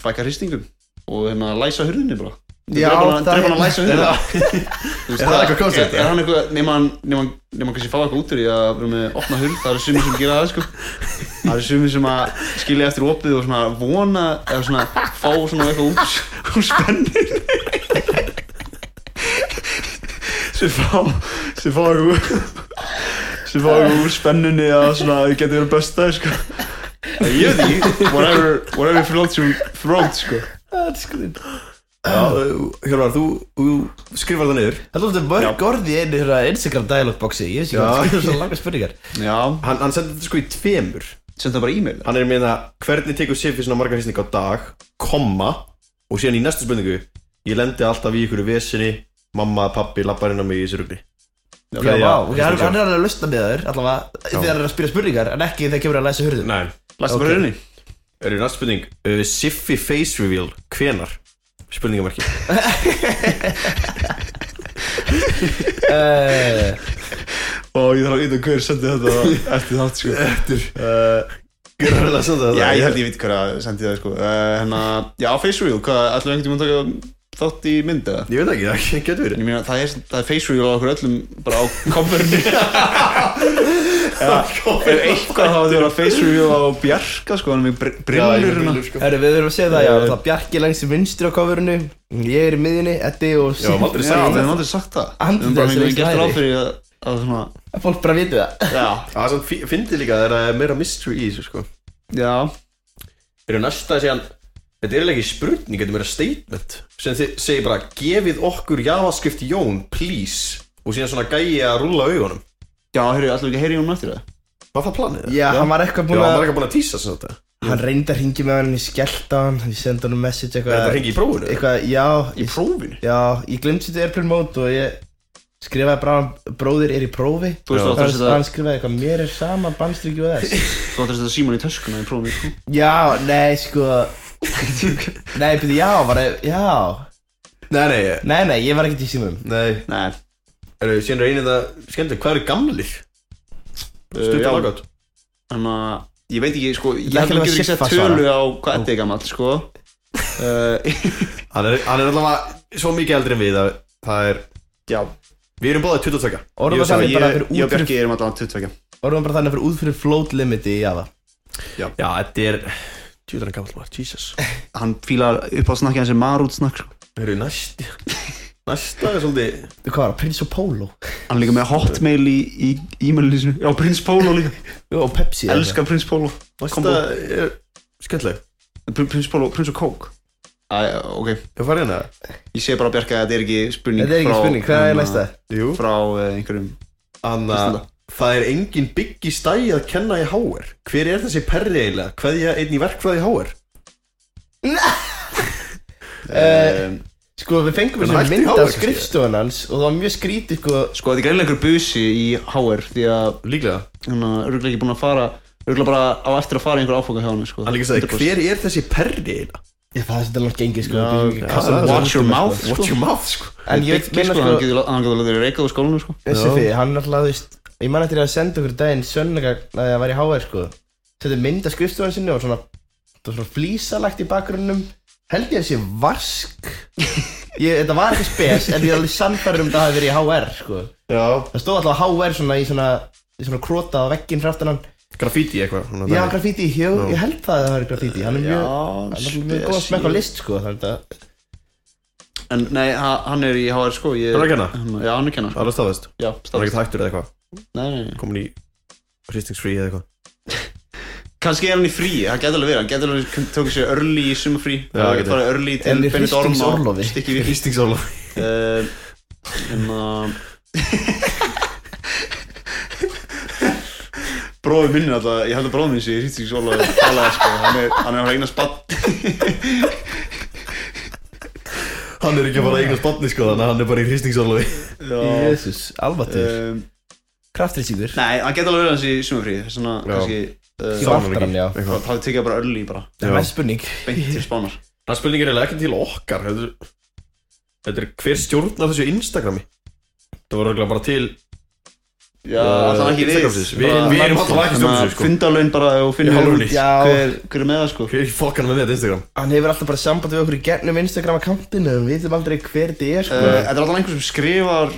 [SPEAKER 1] fækka hristingum og hérna læsa hurðinni bara
[SPEAKER 3] Já,
[SPEAKER 1] drepa hann
[SPEAKER 3] það
[SPEAKER 1] drepa hann
[SPEAKER 3] er-
[SPEAKER 1] að læsa hurðinni Þú veist,
[SPEAKER 2] er það eitthvað
[SPEAKER 1] er,
[SPEAKER 2] concept,
[SPEAKER 1] er hann eitthvað nema hann nema hann- nema hann kannski fá eitthvað út úr í að vera með opna hurð það eru sumir sem gera það sko það eru sumir sem að skilja eftir opið og svona vona eða svona fá svona eitthvað úr úr spennir sem fá sem fá eitthvað sem fá eitthvað úr spennunni að svona þau getur verið besta sko ég veit ekki whatever whatever floats your throat sko
[SPEAKER 3] Það er skrýn
[SPEAKER 2] Hjálmar, eh, þú, þú skrifar það niður
[SPEAKER 3] Það er alltaf mörg orð í einu hérna, Instagram dialogue boxi Ég veist
[SPEAKER 2] Já.
[SPEAKER 3] ekki hvað það er svo langa spurningar
[SPEAKER 1] Já,
[SPEAKER 2] Hann, hann sendi þetta sko í tveimur
[SPEAKER 1] senda það bara e-mail
[SPEAKER 2] Hann er með það, hvernig tekur Siffi svona margar hrisning á dag Komma Og síðan í næstu spurningu Ég lendi alltaf í ykkur vesinni Mamma, pappi, labbarinn á mig í þessu rugli
[SPEAKER 3] Já,
[SPEAKER 2] já,
[SPEAKER 3] já, ok, hann,
[SPEAKER 2] já.
[SPEAKER 3] hann er alveg að lausna með þér Allavega þegar hann er að spyrja spurningar En ekki þegar kemur að læsa hurðum
[SPEAKER 2] Nei
[SPEAKER 1] Læstu
[SPEAKER 3] Ok.
[SPEAKER 1] bara raunni
[SPEAKER 2] Er í næstu spurning uh, Siffi face reveal, hvenar? Spurningamarki
[SPEAKER 3] uh,
[SPEAKER 1] Og ég þarf að vita hver sendi þetta eftir þátt sko
[SPEAKER 2] Eftir Eh, Gjörðu það samt að
[SPEAKER 1] Já,
[SPEAKER 2] það
[SPEAKER 1] ég held ég veit hver að sendi það sko uh, Hérna, já, face reveal, hvað, ætlum við einhvern tímann taka þátt í mynd eða?
[SPEAKER 2] Ég veit ekki, það getur verið
[SPEAKER 1] Ég meina, það er, það er face reveal á okkur öllum bara á coverinu Ef eitthvað þá þurfa face reveal á Bjarka sko, hann er með br- brillur hérna.
[SPEAKER 2] sko
[SPEAKER 3] Herru, við þurfum að segja það,
[SPEAKER 1] Eh.
[SPEAKER 3] já, alltaf Bjarki lengst í vinstri á coverinu Ég er í miðjunni, Eddi og
[SPEAKER 2] Já,
[SPEAKER 1] Já,
[SPEAKER 2] aldrei
[SPEAKER 1] við
[SPEAKER 2] sagt
[SPEAKER 1] höfum aldrei sagt það
[SPEAKER 3] Andri,
[SPEAKER 1] Við höfum bara einhvern
[SPEAKER 3] þessi
[SPEAKER 1] veginn gert
[SPEAKER 3] læri.
[SPEAKER 1] ráð fyrir að, að svona,
[SPEAKER 3] Fólk bara vitið það
[SPEAKER 1] já,
[SPEAKER 2] Það sem fyndi líka þegar það er meira mystery í þessu sko
[SPEAKER 1] já
[SPEAKER 2] Eru næsta síðan Þetta er eiginlega ekki spurning, þetta er meira statement sem þið segir bara, gefið okkur javascript Jón, please og síðan svona gæi að rúla augunum
[SPEAKER 1] Já, heyrðu, ætlum við ekki að heyri hún eftir það
[SPEAKER 2] Var það planið?
[SPEAKER 3] Já, hann var eitthvað
[SPEAKER 2] Já, hann
[SPEAKER 3] búin
[SPEAKER 2] var
[SPEAKER 3] að
[SPEAKER 2] ekki búin að tísa sem þetta
[SPEAKER 3] Hann reyndi að ringi með hann, ég skellta hann Ég sendi hann message
[SPEAKER 2] Er þetta
[SPEAKER 3] eitthvað
[SPEAKER 2] hringi í prófunu?
[SPEAKER 3] Eitthvað, já,
[SPEAKER 1] Í
[SPEAKER 3] ég,
[SPEAKER 1] prófinu
[SPEAKER 3] já, ég glemti þetta airplane mode og ég skrifaði bara Bróðir er í prófi
[SPEAKER 1] Þú veist, þú átt að
[SPEAKER 3] Hann
[SPEAKER 1] setja-
[SPEAKER 3] hann skrifaði eitthvað, mér er sama, bannstrykju og þess
[SPEAKER 1] Þú ættir að setja síman í töskuna í prófinu sko.
[SPEAKER 3] Já, nei, sko Nei, byrju, já, var það, já
[SPEAKER 2] Nei, nei, ég-
[SPEAKER 3] Nei, nei, ég var ekkert í símum
[SPEAKER 2] nei
[SPEAKER 1] Nei,
[SPEAKER 2] Eru síðan reynið það skemmtileg, hvað eru gamlir?
[SPEAKER 3] Eh,
[SPEAKER 1] uh,
[SPEAKER 2] Stutt
[SPEAKER 1] já,
[SPEAKER 2] og lagátt
[SPEAKER 1] Þannig að ég veit ekki, sko, ég
[SPEAKER 3] Þetta er
[SPEAKER 1] held að
[SPEAKER 3] ekki
[SPEAKER 1] við getum ekki
[SPEAKER 3] alveg
[SPEAKER 1] sett
[SPEAKER 3] Siffa
[SPEAKER 1] tölu á hvað þetta er gammal, sko. Uh,
[SPEAKER 2] Hann er, hann er allavega svo mikið eldri en við að það er
[SPEAKER 1] já,
[SPEAKER 2] Við erum báðið 22
[SPEAKER 3] Orðum
[SPEAKER 1] ég,
[SPEAKER 3] bara þannig
[SPEAKER 1] ég,
[SPEAKER 3] bara
[SPEAKER 1] ég
[SPEAKER 3] fyrir
[SPEAKER 1] og
[SPEAKER 3] út fyrir
[SPEAKER 1] Bjarki erum alltaf 22.
[SPEAKER 3] Orðum bara þannig fyrir út fyrir float limiti í jaða
[SPEAKER 2] Já, þetta er Tjóðan gammal maður, Jesus
[SPEAKER 1] Hann fílar upp á snakkið hans er marút snakk, sko.
[SPEAKER 2] Eru næst Næsta er svolítið
[SPEAKER 3] Hvað var það, Prince of Polo
[SPEAKER 1] Hann er líka með hotmail í, í e-mailinu sinu. Já, Prins Pólo líka.
[SPEAKER 3] Jú, og Pepsi eða
[SPEAKER 1] Elskar Prins Pólo.
[SPEAKER 2] Næsta
[SPEAKER 1] Kombo.
[SPEAKER 2] er skemmtileg
[SPEAKER 1] Prins Pólo, Prins og Kók. Æ, ok.
[SPEAKER 2] Ég farið hérna
[SPEAKER 1] Ég sé bara Bjarki að þetta er ekki spurning
[SPEAKER 3] Þetta er ekki
[SPEAKER 1] frá-
[SPEAKER 3] spurning, hvað er
[SPEAKER 1] hérna,
[SPEAKER 3] næsta?
[SPEAKER 2] Jú
[SPEAKER 1] Frá eh, einhverjum.
[SPEAKER 2] Anna Það er engin byggi stæði að kenna í HR Hver er þessi perri eiginlega? Hverja einn í verkfræði HR?
[SPEAKER 1] Uh,
[SPEAKER 3] Sko, við fengum
[SPEAKER 2] Hann
[SPEAKER 3] þessu
[SPEAKER 2] hætti í
[SPEAKER 3] mynd
[SPEAKER 2] HR
[SPEAKER 3] af
[SPEAKER 2] kannski.
[SPEAKER 3] skrifstofan hans Og það var mjög skrítið, sko
[SPEAKER 1] sko, þetta er greinlega einhver busi í HR því að
[SPEAKER 2] Líklega
[SPEAKER 1] hann er örugglega ekki búin að fara örugglega bara á eftir að fara í einhver áfanga hjá hann sko.
[SPEAKER 2] Hann líka sagði
[SPEAKER 1] 100%.
[SPEAKER 2] Hver er þessi perri eiginlega?
[SPEAKER 3] Ég það er þetta langt gengið,
[SPEAKER 1] Já,
[SPEAKER 3] sko við getum ekki
[SPEAKER 1] já,
[SPEAKER 2] það
[SPEAKER 3] kastað
[SPEAKER 2] er
[SPEAKER 3] þessu
[SPEAKER 1] watch your
[SPEAKER 3] höndum,
[SPEAKER 1] mouth,
[SPEAKER 3] sko.
[SPEAKER 1] sko.
[SPEAKER 2] Watch your mouth sko
[SPEAKER 3] En ég veit,
[SPEAKER 1] Biggi,
[SPEAKER 3] minna,
[SPEAKER 1] sko, hann
[SPEAKER 3] sko
[SPEAKER 1] getur hann getur látið reikað úr skólanum sko.
[SPEAKER 3] SFI, hann alltaf, þú veist Ég man eftir að senda okkur daginn sönnagagn að það væri HR, sko Þetta er mynd af skrifstofan sinni og svona Það var svona flísalagt í bakgrunnum Held ég að sé vask ég, Þetta var ekki spes, en ég er alveg sannfærum um að það hafi verið í HR, sko
[SPEAKER 2] Já
[SPEAKER 3] Það stóð alltaf HR svona í svona, í svona króta á vegginn fyrir aftan hann
[SPEAKER 2] Graffiti eitthvað svona
[SPEAKER 3] Já,
[SPEAKER 2] dæmi.
[SPEAKER 3] graffíti, hjó, ég held það að það er graffíti Hann er mjög, hann er mjög góð að
[SPEAKER 1] spes,
[SPEAKER 3] smekka á
[SPEAKER 1] ég-
[SPEAKER 3] list sko þannig að
[SPEAKER 1] en nei, ha- hann er í HR sko ég,
[SPEAKER 2] Hann er að kenna?
[SPEAKER 1] Hann- já, hann er að kenna sko.
[SPEAKER 2] Það er staðvist
[SPEAKER 1] já,
[SPEAKER 2] Það er
[SPEAKER 1] staðfest.
[SPEAKER 2] ekkert hættur eða eitthvað
[SPEAKER 1] Nei, nei, nei.
[SPEAKER 2] Komin í Hristingsfrí eða eitthvað
[SPEAKER 1] kannski er hann í frí, það getur alveg verið hann getur alveg tókið sér örli í sumafrí
[SPEAKER 2] Já,
[SPEAKER 1] Það
[SPEAKER 2] getur.
[SPEAKER 1] er bara örli til
[SPEAKER 3] En í hristingsorlofi.
[SPEAKER 1] stikki við
[SPEAKER 2] Hristingsóla
[SPEAKER 1] Eh, en uh, að bróður minni alltaf, ég held að bróður minni sé hýttingsóla talaði sko, hann er, hann er að reyna spatt
[SPEAKER 2] Hann er ekki bara eignast botni sko Þannig að hann er bara í hristingsóla
[SPEAKER 1] um,
[SPEAKER 3] Jésús, alvatur uh, Kraftrýsingur
[SPEAKER 1] Nei, hann getur alveg verið hans í sumafríð svona
[SPEAKER 2] Já.
[SPEAKER 1] kannski
[SPEAKER 3] Ég
[SPEAKER 1] uh,
[SPEAKER 3] var aftur hann, já
[SPEAKER 2] Eitthvað
[SPEAKER 1] það tekja bara örli bara,
[SPEAKER 3] Það er næst spurning
[SPEAKER 1] beint til spánar
[SPEAKER 2] Það er spurning er eiginlega ekki til okkar Þetta er, þetta er hver stjórnar þessu Instagrami Það var eiginlega bara til
[SPEAKER 1] Já,
[SPEAKER 2] Uh,
[SPEAKER 1] alltaf ekki við
[SPEAKER 2] Instagramsins. Við- við erum alltaf ekki stjórnum þessu, sko.
[SPEAKER 1] Fundalaun bara og
[SPEAKER 2] Í
[SPEAKER 1] finnum
[SPEAKER 2] hálfunni.
[SPEAKER 1] út
[SPEAKER 3] Já.
[SPEAKER 1] hver, hver er með það sko
[SPEAKER 2] Hver er fokkan með þetta Instagram?
[SPEAKER 3] Hann hefur alltaf bara samband við okkur í gernum Instagram akkantinu Við veitum aldrei hver þetta
[SPEAKER 1] Uh,
[SPEAKER 3] er sko
[SPEAKER 1] Þetta er alltaf einhver sem skrifar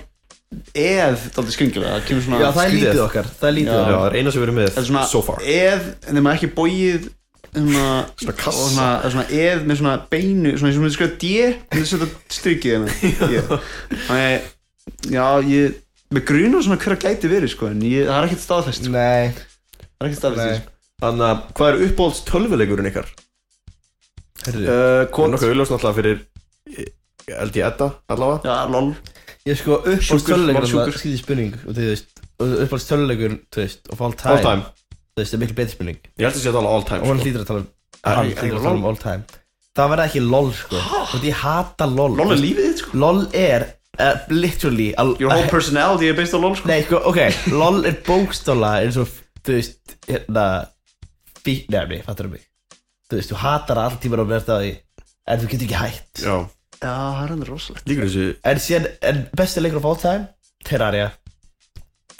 [SPEAKER 1] eð, dálítið skringilega, það kemur svona
[SPEAKER 3] Já, það er
[SPEAKER 2] skrítið.
[SPEAKER 3] lítið okkar Það er lítið
[SPEAKER 2] Já, e-
[SPEAKER 1] Já.
[SPEAKER 3] okkar
[SPEAKER 2] það er eina sem við erum með
[SPEAKER 1] Þetta er svona
[SPEAKER 2] So far
[SPEAKER 1] eð, en þegar maður ekki bóið svona,
[SPEAKER 2] Svona kassa.
[SPEAKER 1] og svona, það er svona eð með svona beinu, svona eins og maður skrifa D en þess að þetta strykið hennar hérna. Ég- þannig, já, ég með grunar svona hver að gæti verið sko, en ég, það er ekkert staðfest sko.
[SPEAKER 3] Nei,
[SPEAKER 1] það er ekkert staðfest
[SPEAKER 3] nei
[SPEAKER 1] sko.
[SPEAKER 2] Þannig að hvað er uppáhalds tölvuleikurinn ykkar?
[SPEAKER 3] Herru,
[SPEAKER 1] uh,
[SPEAKER 2] Það er
[SPEAKER 1] Kod
[SPEAKER 2] nokkuð auðljósn alltaf fyrir eh, held ég Edda allavega
[SPEAKER 1] Já, lol
[SPEAKER 3] Ég sko uppáls
[SPEAKER 1] Sjúkur,
[SPEAKER 3] töluleikur
[SPEAKER 1] var sjúkur.
[SPEAKER 3] Það skýði spurning og þú veist uppáls töluleikur þú veist og fall time,
[SPEAKER 2] all time
[SPEAKER 3] þú veist er miklu betri spurning
[SPEAKER 2] ég held að sé að tala all
[SPEAKER 3] og
[SPEAKER 2] time
[SPEAKER 3] hann
[SPEAKER 2] sko.
[SPEAKER 3] hlýtur að tala um
[SPEAKER 2] Æ,
[SPEAKER 3] hann
[SPEAKER 2] ég- ég-
[SPEAKER 3] hlýtur að tala um all time það verða ekki lol sko og ég hata lol
[SPEAKER 1] Lol er lífið þitt sko
[SPEAKER 3] lol er uh, literally a,
[SPEAKER 1] Your whole personality er based on lol sko
[SPEAKER 3] nei sko ok lol er bókstóla eins og þú veist hérna fíknefni fattur mig þú veist þú hatar allt tíma og verða því en þú getur ekki hætt
[SPEAKER 2] já
[SPEAKER 1] Já, það er hendur rosalegt
[SPEAKER 2] líkur þessu
[SPEAKER 3] en síðan en besti leikur of all time Terraria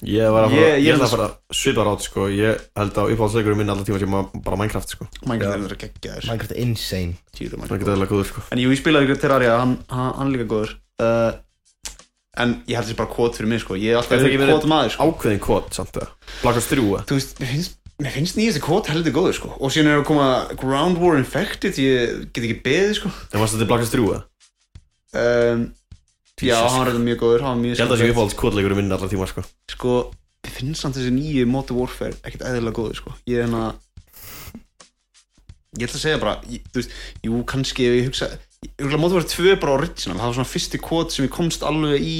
[SPEAKER 2] ég var að
[SPEAKER 1] Ég-
[SPEAKER 2] fara
[SPEAKER 1] ég
[SPEAKER 2] ég held
[SPEAKER 1] held
[SPEAKER 2] að fara svipar át sko ég held að uppáhaldsleikurinn minn alla tíma tíma bara Minecraft sko
[SPEAKER 1] Minecraft er hendur að geggja þér
[SPEAKER 3] Minecraft er insane
[SPEAKER 1] Týru
[SPEAKER 2] það er
[SPEAKER 1] Minecraft
[SPEAKER 2] ekki aðeins góður sko
[SPEAKER 1] En jú, ég spilaði ykkur Terraria, hann, hann, hann er líka góður uh, En ég held þessi bara kvot fyrir mig sko Ég er alltaf
[SPEAKER 2] Hefur ekki
[SPEAKER 1] verið
[SPEAKER 2] verið-
[SPEAKER 1] kvot maður sko
[SPEAKER 2] ákveðin kvot samt það Black Ops 3 eða?
[SPEAKER 1] Þú veist, mér finnst, mér finnst nýjast kvot heldur góður sko Og síðan er að koma Ground War Infected Ég get ekki beðið sko
[SPEAKER 2] en varst þetta Black Ops 3 eða?
[SPEAKER 1] um, Já,
[SPEAKER 2] Jesus.
[SPEAKER 1] hann var reynda mjög góður, hann var mjög
[SPEAKER 2] ég held að
[SPEAKER 1] skemmtilegur.
[SPEAKER 2] sé uppáhaldsleikurinn minn alla tíma sko
[SPEAKER 1] sko, ég finnst samt þessi nýju Modern Warfare ekkert eðlilega góður sko. ég er hérna ég ætla að segja bara, ég, þú veist jú, kannski ef ég hugsa ég hugla Modern Warfare 2 bara original, það var svona fyrsti kvot sem ég komst alveg í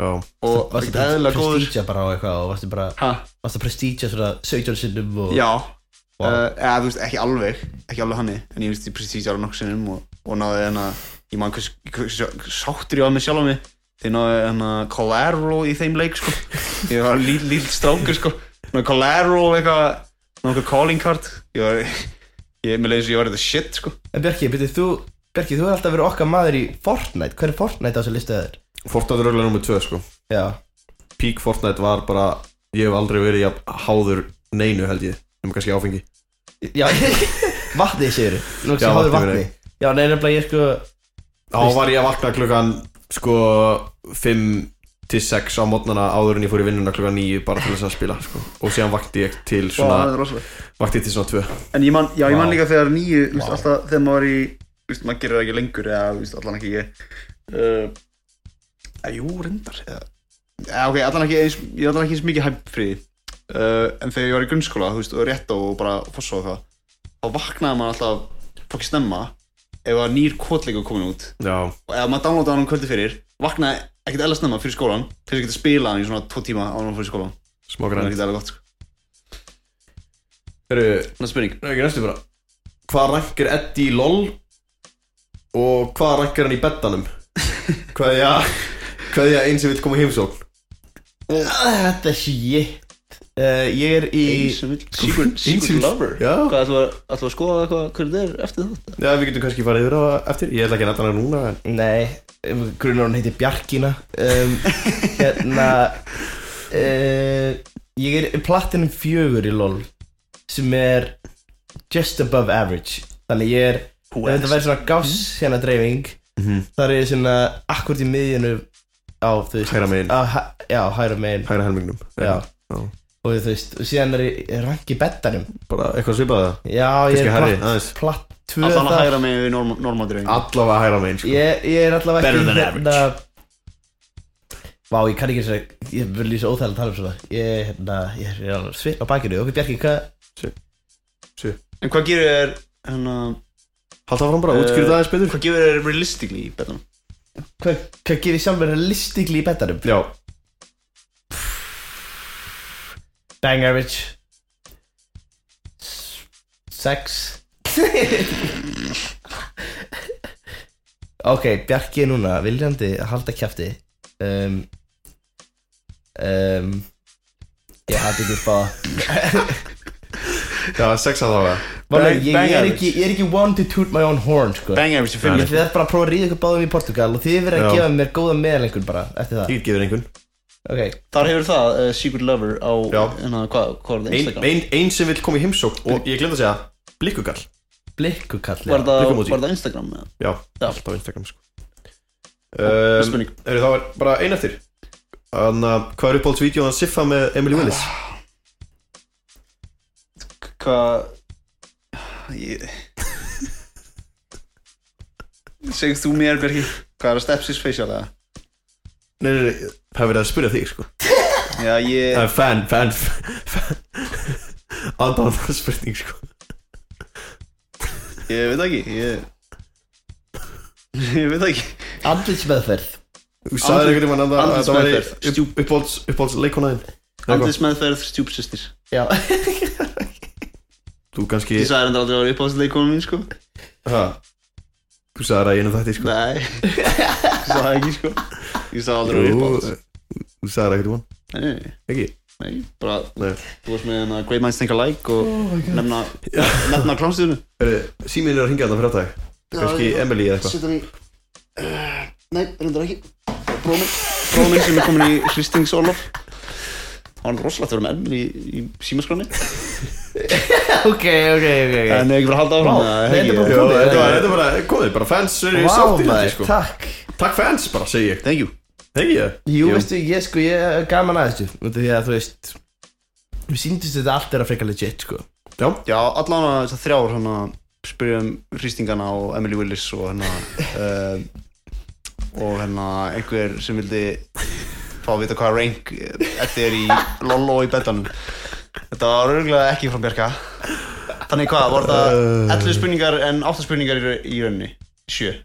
[SPEAKER 2] já
[SPEAKER 1] og
[SPEAKER 3] Varstu
[SPEAKER 1] ekkert eðlilega góður
[SPEAKER 3] prestíja bara á eitthvað og varstu bara
[SPEAKER 1] ha,
[SPEAKER 3] varstu prestíja svona 17 sinnum og
[SPEAKER 1] já,
[SPEAKER 3] Sko. Vá.
[SPEAKER 1] wow. eða þú veist, ekki alveg ekki alveg hannig, en ég veist, ég prestíði alveg nokkuð sinnum og, og náði hérna ég man hvers, hvers, hvers sáttur ég á mig sjálf á mig því náði hérna collateral í þeim leik sko, ég var líl, líl strákur sko, náði collateral eitthvað náttúrulega calling card ég var, ég, mér leiðis að ég var þetta shit sko
[SPEAKER 3] En Bjarki, byrju, þú, Bjarki, þú er alltaf verið okkar maður í Fortnite Hver er Fortnite á þessu listu þér?
[SPEAKER 2] Fortnite er örgulega nummið 2 sko
[SPEAKER 3] Já
[SPEAKER 2] Peak Fortnite var bara Ég hef aldrei verið jafn háður neinu held ég Um kannski áfengi
[SPEAKER 3] Já, vatni segir þú
[SPEAKER 2] Já,
[SPEAKER 3] Já, vatni,
[SPEAKER 2] vatni,
[SPEAKER 3] vatni. Já, nei, nefnilega ég sko
[SPEAKER 2] Þá var ég að vakna klukkan sko 5 til 6 á mótnana áður en ég fór í vinnuna klukkan 9 bara til þess að spila sko. og síðan vakti ég til svona
[SPEAKER 1] er rosalega
[SPEAKER 2] vakti ég til svona 2
[SPEAKER 1] en ég man, já, ég man
[SPEAKER 3] Vá.
[SPEAKER 1] líka þegar nýju þú veist,
[SPEAKER 3] Vá.
[SPEAKER 1] alltaf þegar maður var í, þú veist, maður gerir það ekki lengur eða, þú veist, allan ekki ég uh, eða, eh, jú, reyndar eða, eða, ok, allan ekki eins, ég er allan ekki eins mikið hæpfriði uh, en þegar ég var í grunnskóla, þú veist, og rétt og bara fossa og það, þá vaknaði maður alltaf fokkið snemma ef að nýr kótleikur komin út
[SPEAKER 2] Já,
[SPEAKER 1] og ef maður downloadaði hann um kvöldi fyrir vaknaði ekkert eða snemma fyrir skólan til þess að geta spilað hann í svona tvo tíma á hann fyrir skólan
[SPEAKER 2] smá
[SPEAKER 1] það er
[SPEAKER 2] græn
[SPEAKER 1] ekkert eða gott sko.
[SPEAKER 2] Hörru,
[SPEAKER 1] Næsta spurning
[SPEAKER 2] ekki næstu bara Hvað rankir Eddie í LOL og hvað rankir hann í bettanum? Hvað ég Hvað ég eins sem vill koma í heimsókn?
[SPEAKER 3] Þetta er shit uh, Ég er í
[SPEAKER 1] Secret, secret Lover
[SPEAKER 2] Já
[SPEAKER 1] Hvað ætlum við ætlum við að skoða hvað, hvað þetta er eftir þetta?
[SPEAKER 2] Já, við getum kannski farið yfir á það eftir Ég ætla ekki að nefna hana núna en
[SPEAKER 3] Nei, um, grunar hún heitir Bjarkina um, Hérna uh, Ég er í platinum fjögur í LOL Sem er just above average Þannig ég er Ef þetta væri svona gáss
[SPEAKER 2] Hmm?
[SPEAKER 3] hérna dreifing
[SPEAKER 2] Mhm.
[SPEAKER 3] þar er ég svona akkurat í miðjunu á þú veist
[SPEAKER 2] Hægra megin.
[SPEAKER 3] á, hæ- Já, hæra megin
[SPEAKER 2] hægra helmingnum
[SPEAKER 3] Ah. Já.
[SPEAKER 2] Já.
[SPEAKER 3] Og þú veist, og síðan er ég ég rank í beddanum
[SPEAKER 2] Bara eitthvað svipað það
[SPEAKER 3] Já, ég
[SPEAKER 2] Kannski
[SPEAKER 3] er
[SPEAKER 2] hærri,
[SPEAKER 3] platt,
[SPEAKER 2] aðeins
[SPEAKER 3] platt tvö
[SPEAKER 1] Alltaf hann að
[SPEAKER 3] þar.
[SPEAKER 1] hæra mig við normadreifing
[SPEAKER 2] Allavega hægra megin sko.
[SPEAKER 3] ég, ég er allavega hérna-
[SPEAKER 2] Better than
[SPEAKER 3] Vá, ég kann ekki eins og ég vil lýsa óþægilega að tala um svona Ég, hérna, ég er alveg svip á bakinu Ok, Bjarki, hvað
[SPEAKER 1] En hvað gerir þér hérna,
[SPEAKER 2] Halda fram bara, útskýrðu það aðeins betur
[SPEAKER 1] Hvað gerir þér realistically í betanum?
[SPEAKER 3] hva, hva gerir sjálfur listigli í beddanum?
[SPEAKER 2] Já,
[SPEAKER 3] Bang average S- Sex Ok, Bjarki er núna viljandi að halda kjafti um, um, Ég hafði ekki bá
[SPEAKER 2] já, sex allavega
[SPEAKER 3] Málega,
[SPEAKER 1] Bang-
[SPEAKER 3] ég,
[SPEAKER 1] bang
[SPEAKER 3] ég, er
[SPEAKER 1] average.
[SPEAKER 3] ekki, ég er ekki one to toot my own horn sko.
[SPEAKER 1] Bang average er
[SPEAKER 2] Nei,
[SPEAKER 1] fyrir
[SPEAKER 3] Ég þarf bara að prófa að ríða ykkur báðum í Portugal og þið verður
[SPEAKER 2] Já.
[SPEAKER 3] að gefa mér góða meðalengun bara eftir það
[SPEAKER 2] Ég gefur einhvern
[SPEAKER 3] Ok,
[SPEAKER 1] Þar hefur það uh, Secret Lover á
[SPEAKER 2] Já.
[SPEAKER 1] hérna, hvað, hvað er það
[SPEAKER 2] Ein,
[SPEAKER 1] Instagram?
[SPEAKER 2] ein, ein sem vill koma í heimsókn Og ég glemt að segja Blikkugall
[SPEAKER 3] blikkukalli
[SPEAKER 1] var, það,
[SPEAKER 2] Blikkum út í.
[SPEAKER 1] var það Instagram? eða?
[SPEAKER 2] Já,
[SPEAKER 1] Já.
[SPEAKER 2] alltaf Instagram sko
[SPEAKER 1] Næsta
[SPEAKER 2] um,
[SPEAKER 1] spurning
[SPEAKER 2] Er það var bara ein eftir Þannig að hvað er uppáhaldsvídeóðan Siffa með Emily Willis?
[SPEAKER 1] Hvað ég... Segð þú mér Bergi Hvað er að stepsis facial eða?
[SPEAKER 2] Nei, nei, nei, það er verið að spyrja þig sko
[SPEAKER 1] Já ég
[SPEAKER 2] Það er fan, fan, fan Aðdáðan spurning sko
[SPEAKER 1] Ég veit það ekki Ég, ég veit það ekki
[SPEAKER 3] Andlitsmeðferð
[SPEAKER 2] Þú sagði einhvern veginn að það- að
[SPEAKER 1] Andlits-
[SPEAKER 2] það væri
[SPEAKER 1] meðferð.
[SPEAKER 2] upp- uppáhalds uppáhalds leikonaðin
[SPEAKER 1] Andlismeðferð, stjúpsistir
[SPEAKER 3] Já
[SPEAKER 2] Þú kannski
[SPEAKER 1] Ég sagði hendur aldrei að vera uppáðsleikonum mín sko
[SPEAKER 2] ha, Þú sagði það í einum þætti sko
[SPEAKER 1] Nei Ég sagði það ekki sko Ég sagði aldrei að vera
[SPEAKER 2] Jú,
[SPEAKER 1] uppáðs
[SPEAKER 2] Þú sagði það einhvern veginn
[SPEAKER 1] Nei,
[SPEAKER 2] Ekki?
[SPEAKER 1] nei, bara
[SPEAKER 2] Nei
[SPEAKER 1] Þú varst með hennar Great Minds Think Alike og nefna, nefna klámstíðinu
[SPEAKER 2] Heyrðu, Síminn er að ringja þarna fyrir áttag Kannski Emily eða eitthvað
[SPEAKER 1] Sittan í Eh, Nei, reyndar ekki Bróminn Bróminn sem er komin í hristingsorlof Það var hann rosalegt að vera með Emily í, í símaskráni
[SPEAKER 3] Ok, ok, ok, ok
[SPEAKER 1] En ekki verið að halda
[SPEAKER 3] Vá,
[SPEAKER 1] áfram eða,
[SPEAKER 3] nei,
[SPEAKER 1] hegi,
[SPEAKER 3] þetta er bara
[SPEAKER 1] eða?
[SPEAKER 2] Jó,
[SPEAKER 3] komið,
[SPEAKER 2] þetta var
[SPEAKER 3] eða?
[SPEAKER 2] þetta var bara Komið, bara fans eru
[SPEAKER 3] Vá,
[SPEAKER 2] sáttir
[SPEAKER 3] maður,
[SPEAKER 2] þetta sko
[SPEAKER 3] takk
[SPEAKER 2] Takk fans bara, segi ég
[SPEAKER 1] Thank you
[SPEAKER 2] Hegi ég?
[SPEAKER 3] Jú, veistu, ég sko, ég er gaman að þessu Út af Því að þú veist Við síndist þetta allt er að freka legit, sko
[SPEAKER 2] Já
[SPEAKER 1] Já, allan að þessar þrjár hann að spyrja um hristingana og Emily Willis og hérna um, og hérna einhver sem vildi fá að vita hvað rank þetta er í Lollo í betanum Þetta var örgulega ekki frá Bjarka Þannig hvað, voru það 11 spurningar en 8 spurningar í, í rauninni 7 Já,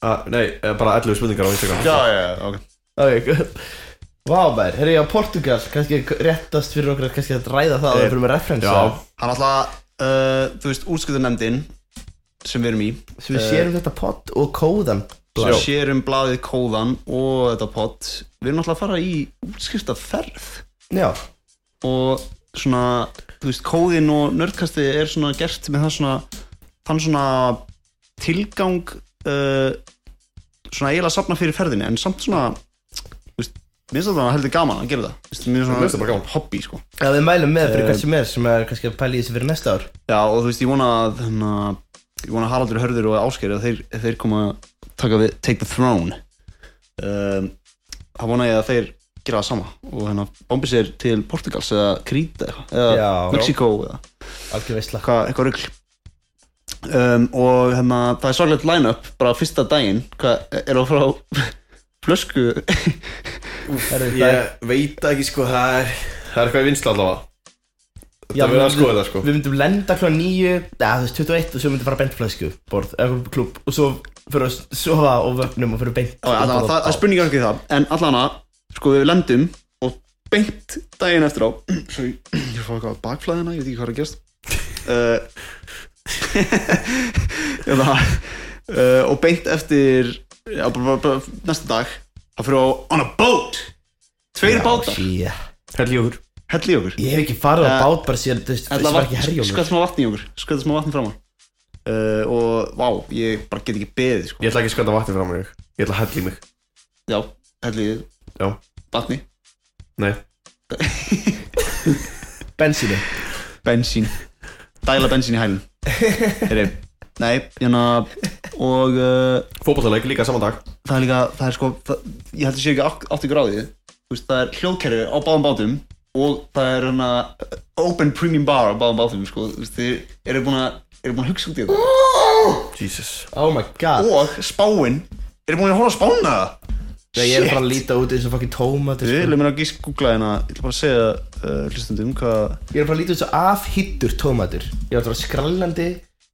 [SPEAKER 2] Ah, Nei, eh, bara 11 spurningar á Instagram
[SPEAKER 1] já, já, ok
[SPEAKER 3] Ok, good Vá, maður, herri ég á Portugal Kannski réttast fyrir okkur að kannski að ræða það Það fyrir með referensa
[SPEAKER 2] Eh, Já.
[SPEAKER 1] Hann alltaf, uh, þú veist, útskutunefndin sem við erum í
[SPEAKER 3] Svo við sérum þetta pott og kóðan
[SPEAKER 1] sem
[SPEAKER 2] Já.
[SPEAKER 1] sér um blaðið kóðan og þetta pott við erum alltaf að fara í útskriftafærð
[SPEAKER 3] Já
[SPEAKER 1] og svona, þú veist, kóðin og nördkasti er svona gert með það svona þann svona tilgang uh, svona eiginlega að safna fyrir ferðinni en samt svona, þú veist minnst þetta heldur gaman að gera það Þú veist, mér
[SPEAKER 2] Mér
[SPEAKER 1] finnst
[SPEAKER 2] finnst það bara gaman.
[SPEAKER 1] hobby sko
[SPEAKER 3] Já, við mælum með fyrir hvert sem er sem er kannski að pæla í þessu fyrir næsta ár
[SPEAKER 1] Já, og þú veist, ég vona að hana, ég vona að Haraldur Hörður og Ásgeir að þeir, þeir koma að taka við Take the Throne um, það vona ég að þeir gera það sama og hérna bombi sér til Portugals eða Krít eða, eða
[SPEAKER 3] Já.
[SPEAKER 1] Mexiko eða
[SPEAKER 3] Algjör veistla
[SPEAKER 1] eitthvað, eitthvað rugl um, og hérna það er sorglegt line-up bara fyrsta daginn hvað er það frá flösku
[SPEAKER 3] Herri, það er-
[SPEAKER 2] Ég veit ekki sko, það er Það er eitthvað í vinsla allavega
[SPEAKER 3] Já,
[SPEAKER 2] Þetta verður að
[SPEAKER 3] við-
[SPEAKER 2] skoða þetta sko
[SPEAKER 3] Við myndum lenda klá 9, eða þú veist 21 og svo myndum fara beint flösku borð, eða klub og svo fyrir að sofa og vögnum og fyrir beint
[SPEAKER 1] Já, já, allavega, það, það spurningar ekki það En allavega, sko við lendum Og beint daginn eftir á Svo ég, ég fá eitthvað bakflæðina Ég veit ekki hvað er að gerst uh, Eða uh, Og beint eftir já, bara, bara, bara, Næsta dag Það fyrir á On a boat Tveir bátar,
[SPEAKER 3] Já,
[SPEAKER 2] Heljóður
[SPEAKER 1] hell í okkur
[SPEAKER 3] Ég hef ekki farið á
[SPEAKER 1] Eh,
[SPEAKER 3] bát bara síðan, þú veist,
[SPEAKER 1] Hella
[SPEAKER 3] þessi var
[SPEAKER 1] vatn- sko-
[SPEAKER 3] ekki herjónur
[SPEAKER 1] Skvætt smá vatn í okkur Skvætt smá vatn fram á uh, Og vá, ég bara get ekki beðið sko.
[SPEAKER 2] Ég ætla ekki að skönda vatni fram mér Ég ætla að hella í mig
[SPEAKER 1] Já, hell í
[SPEAKER 2] Já,
[SPEAKER 1] vatni
[SPEAKER 2] nei
[SPEAKER 3] Bensínu
[SPEAKER 1] bensín dæla bensín í hælinn Heyri, nei, hérna og uh,
[SPEAKER 2] Fótballtaleik líka saman dag
[SPEAKER 1] það er líka, það er sko það, ég heldur sér ekki átt- átt ykkur á því Þú veist, það er hljóðkerfi á báðum bátum og það er hérna uh, open premium bar á báðum bátum sko, Þú veist, þið eru búin að eru búin að hugsa út í þetta
[SPEAKER 2] Jesus
[SPEAKER 3] Oh my god
[SPEAKER 1] og spáin, eru búin að horfa á spána það
[SPEAKER 3] Já, Ég er bara að líta út eins og fucking sko. tómat
[SPEAKER 1] Við
[SPEAKER 3] Ég
[SPEAKER 1] erum að gísk googla hérna, ég ætla bara að segja uh, hlustundum hvað
[SPEAKER 3] er bara að líta út eins og afhittur tómatur Ég var bara skrallandi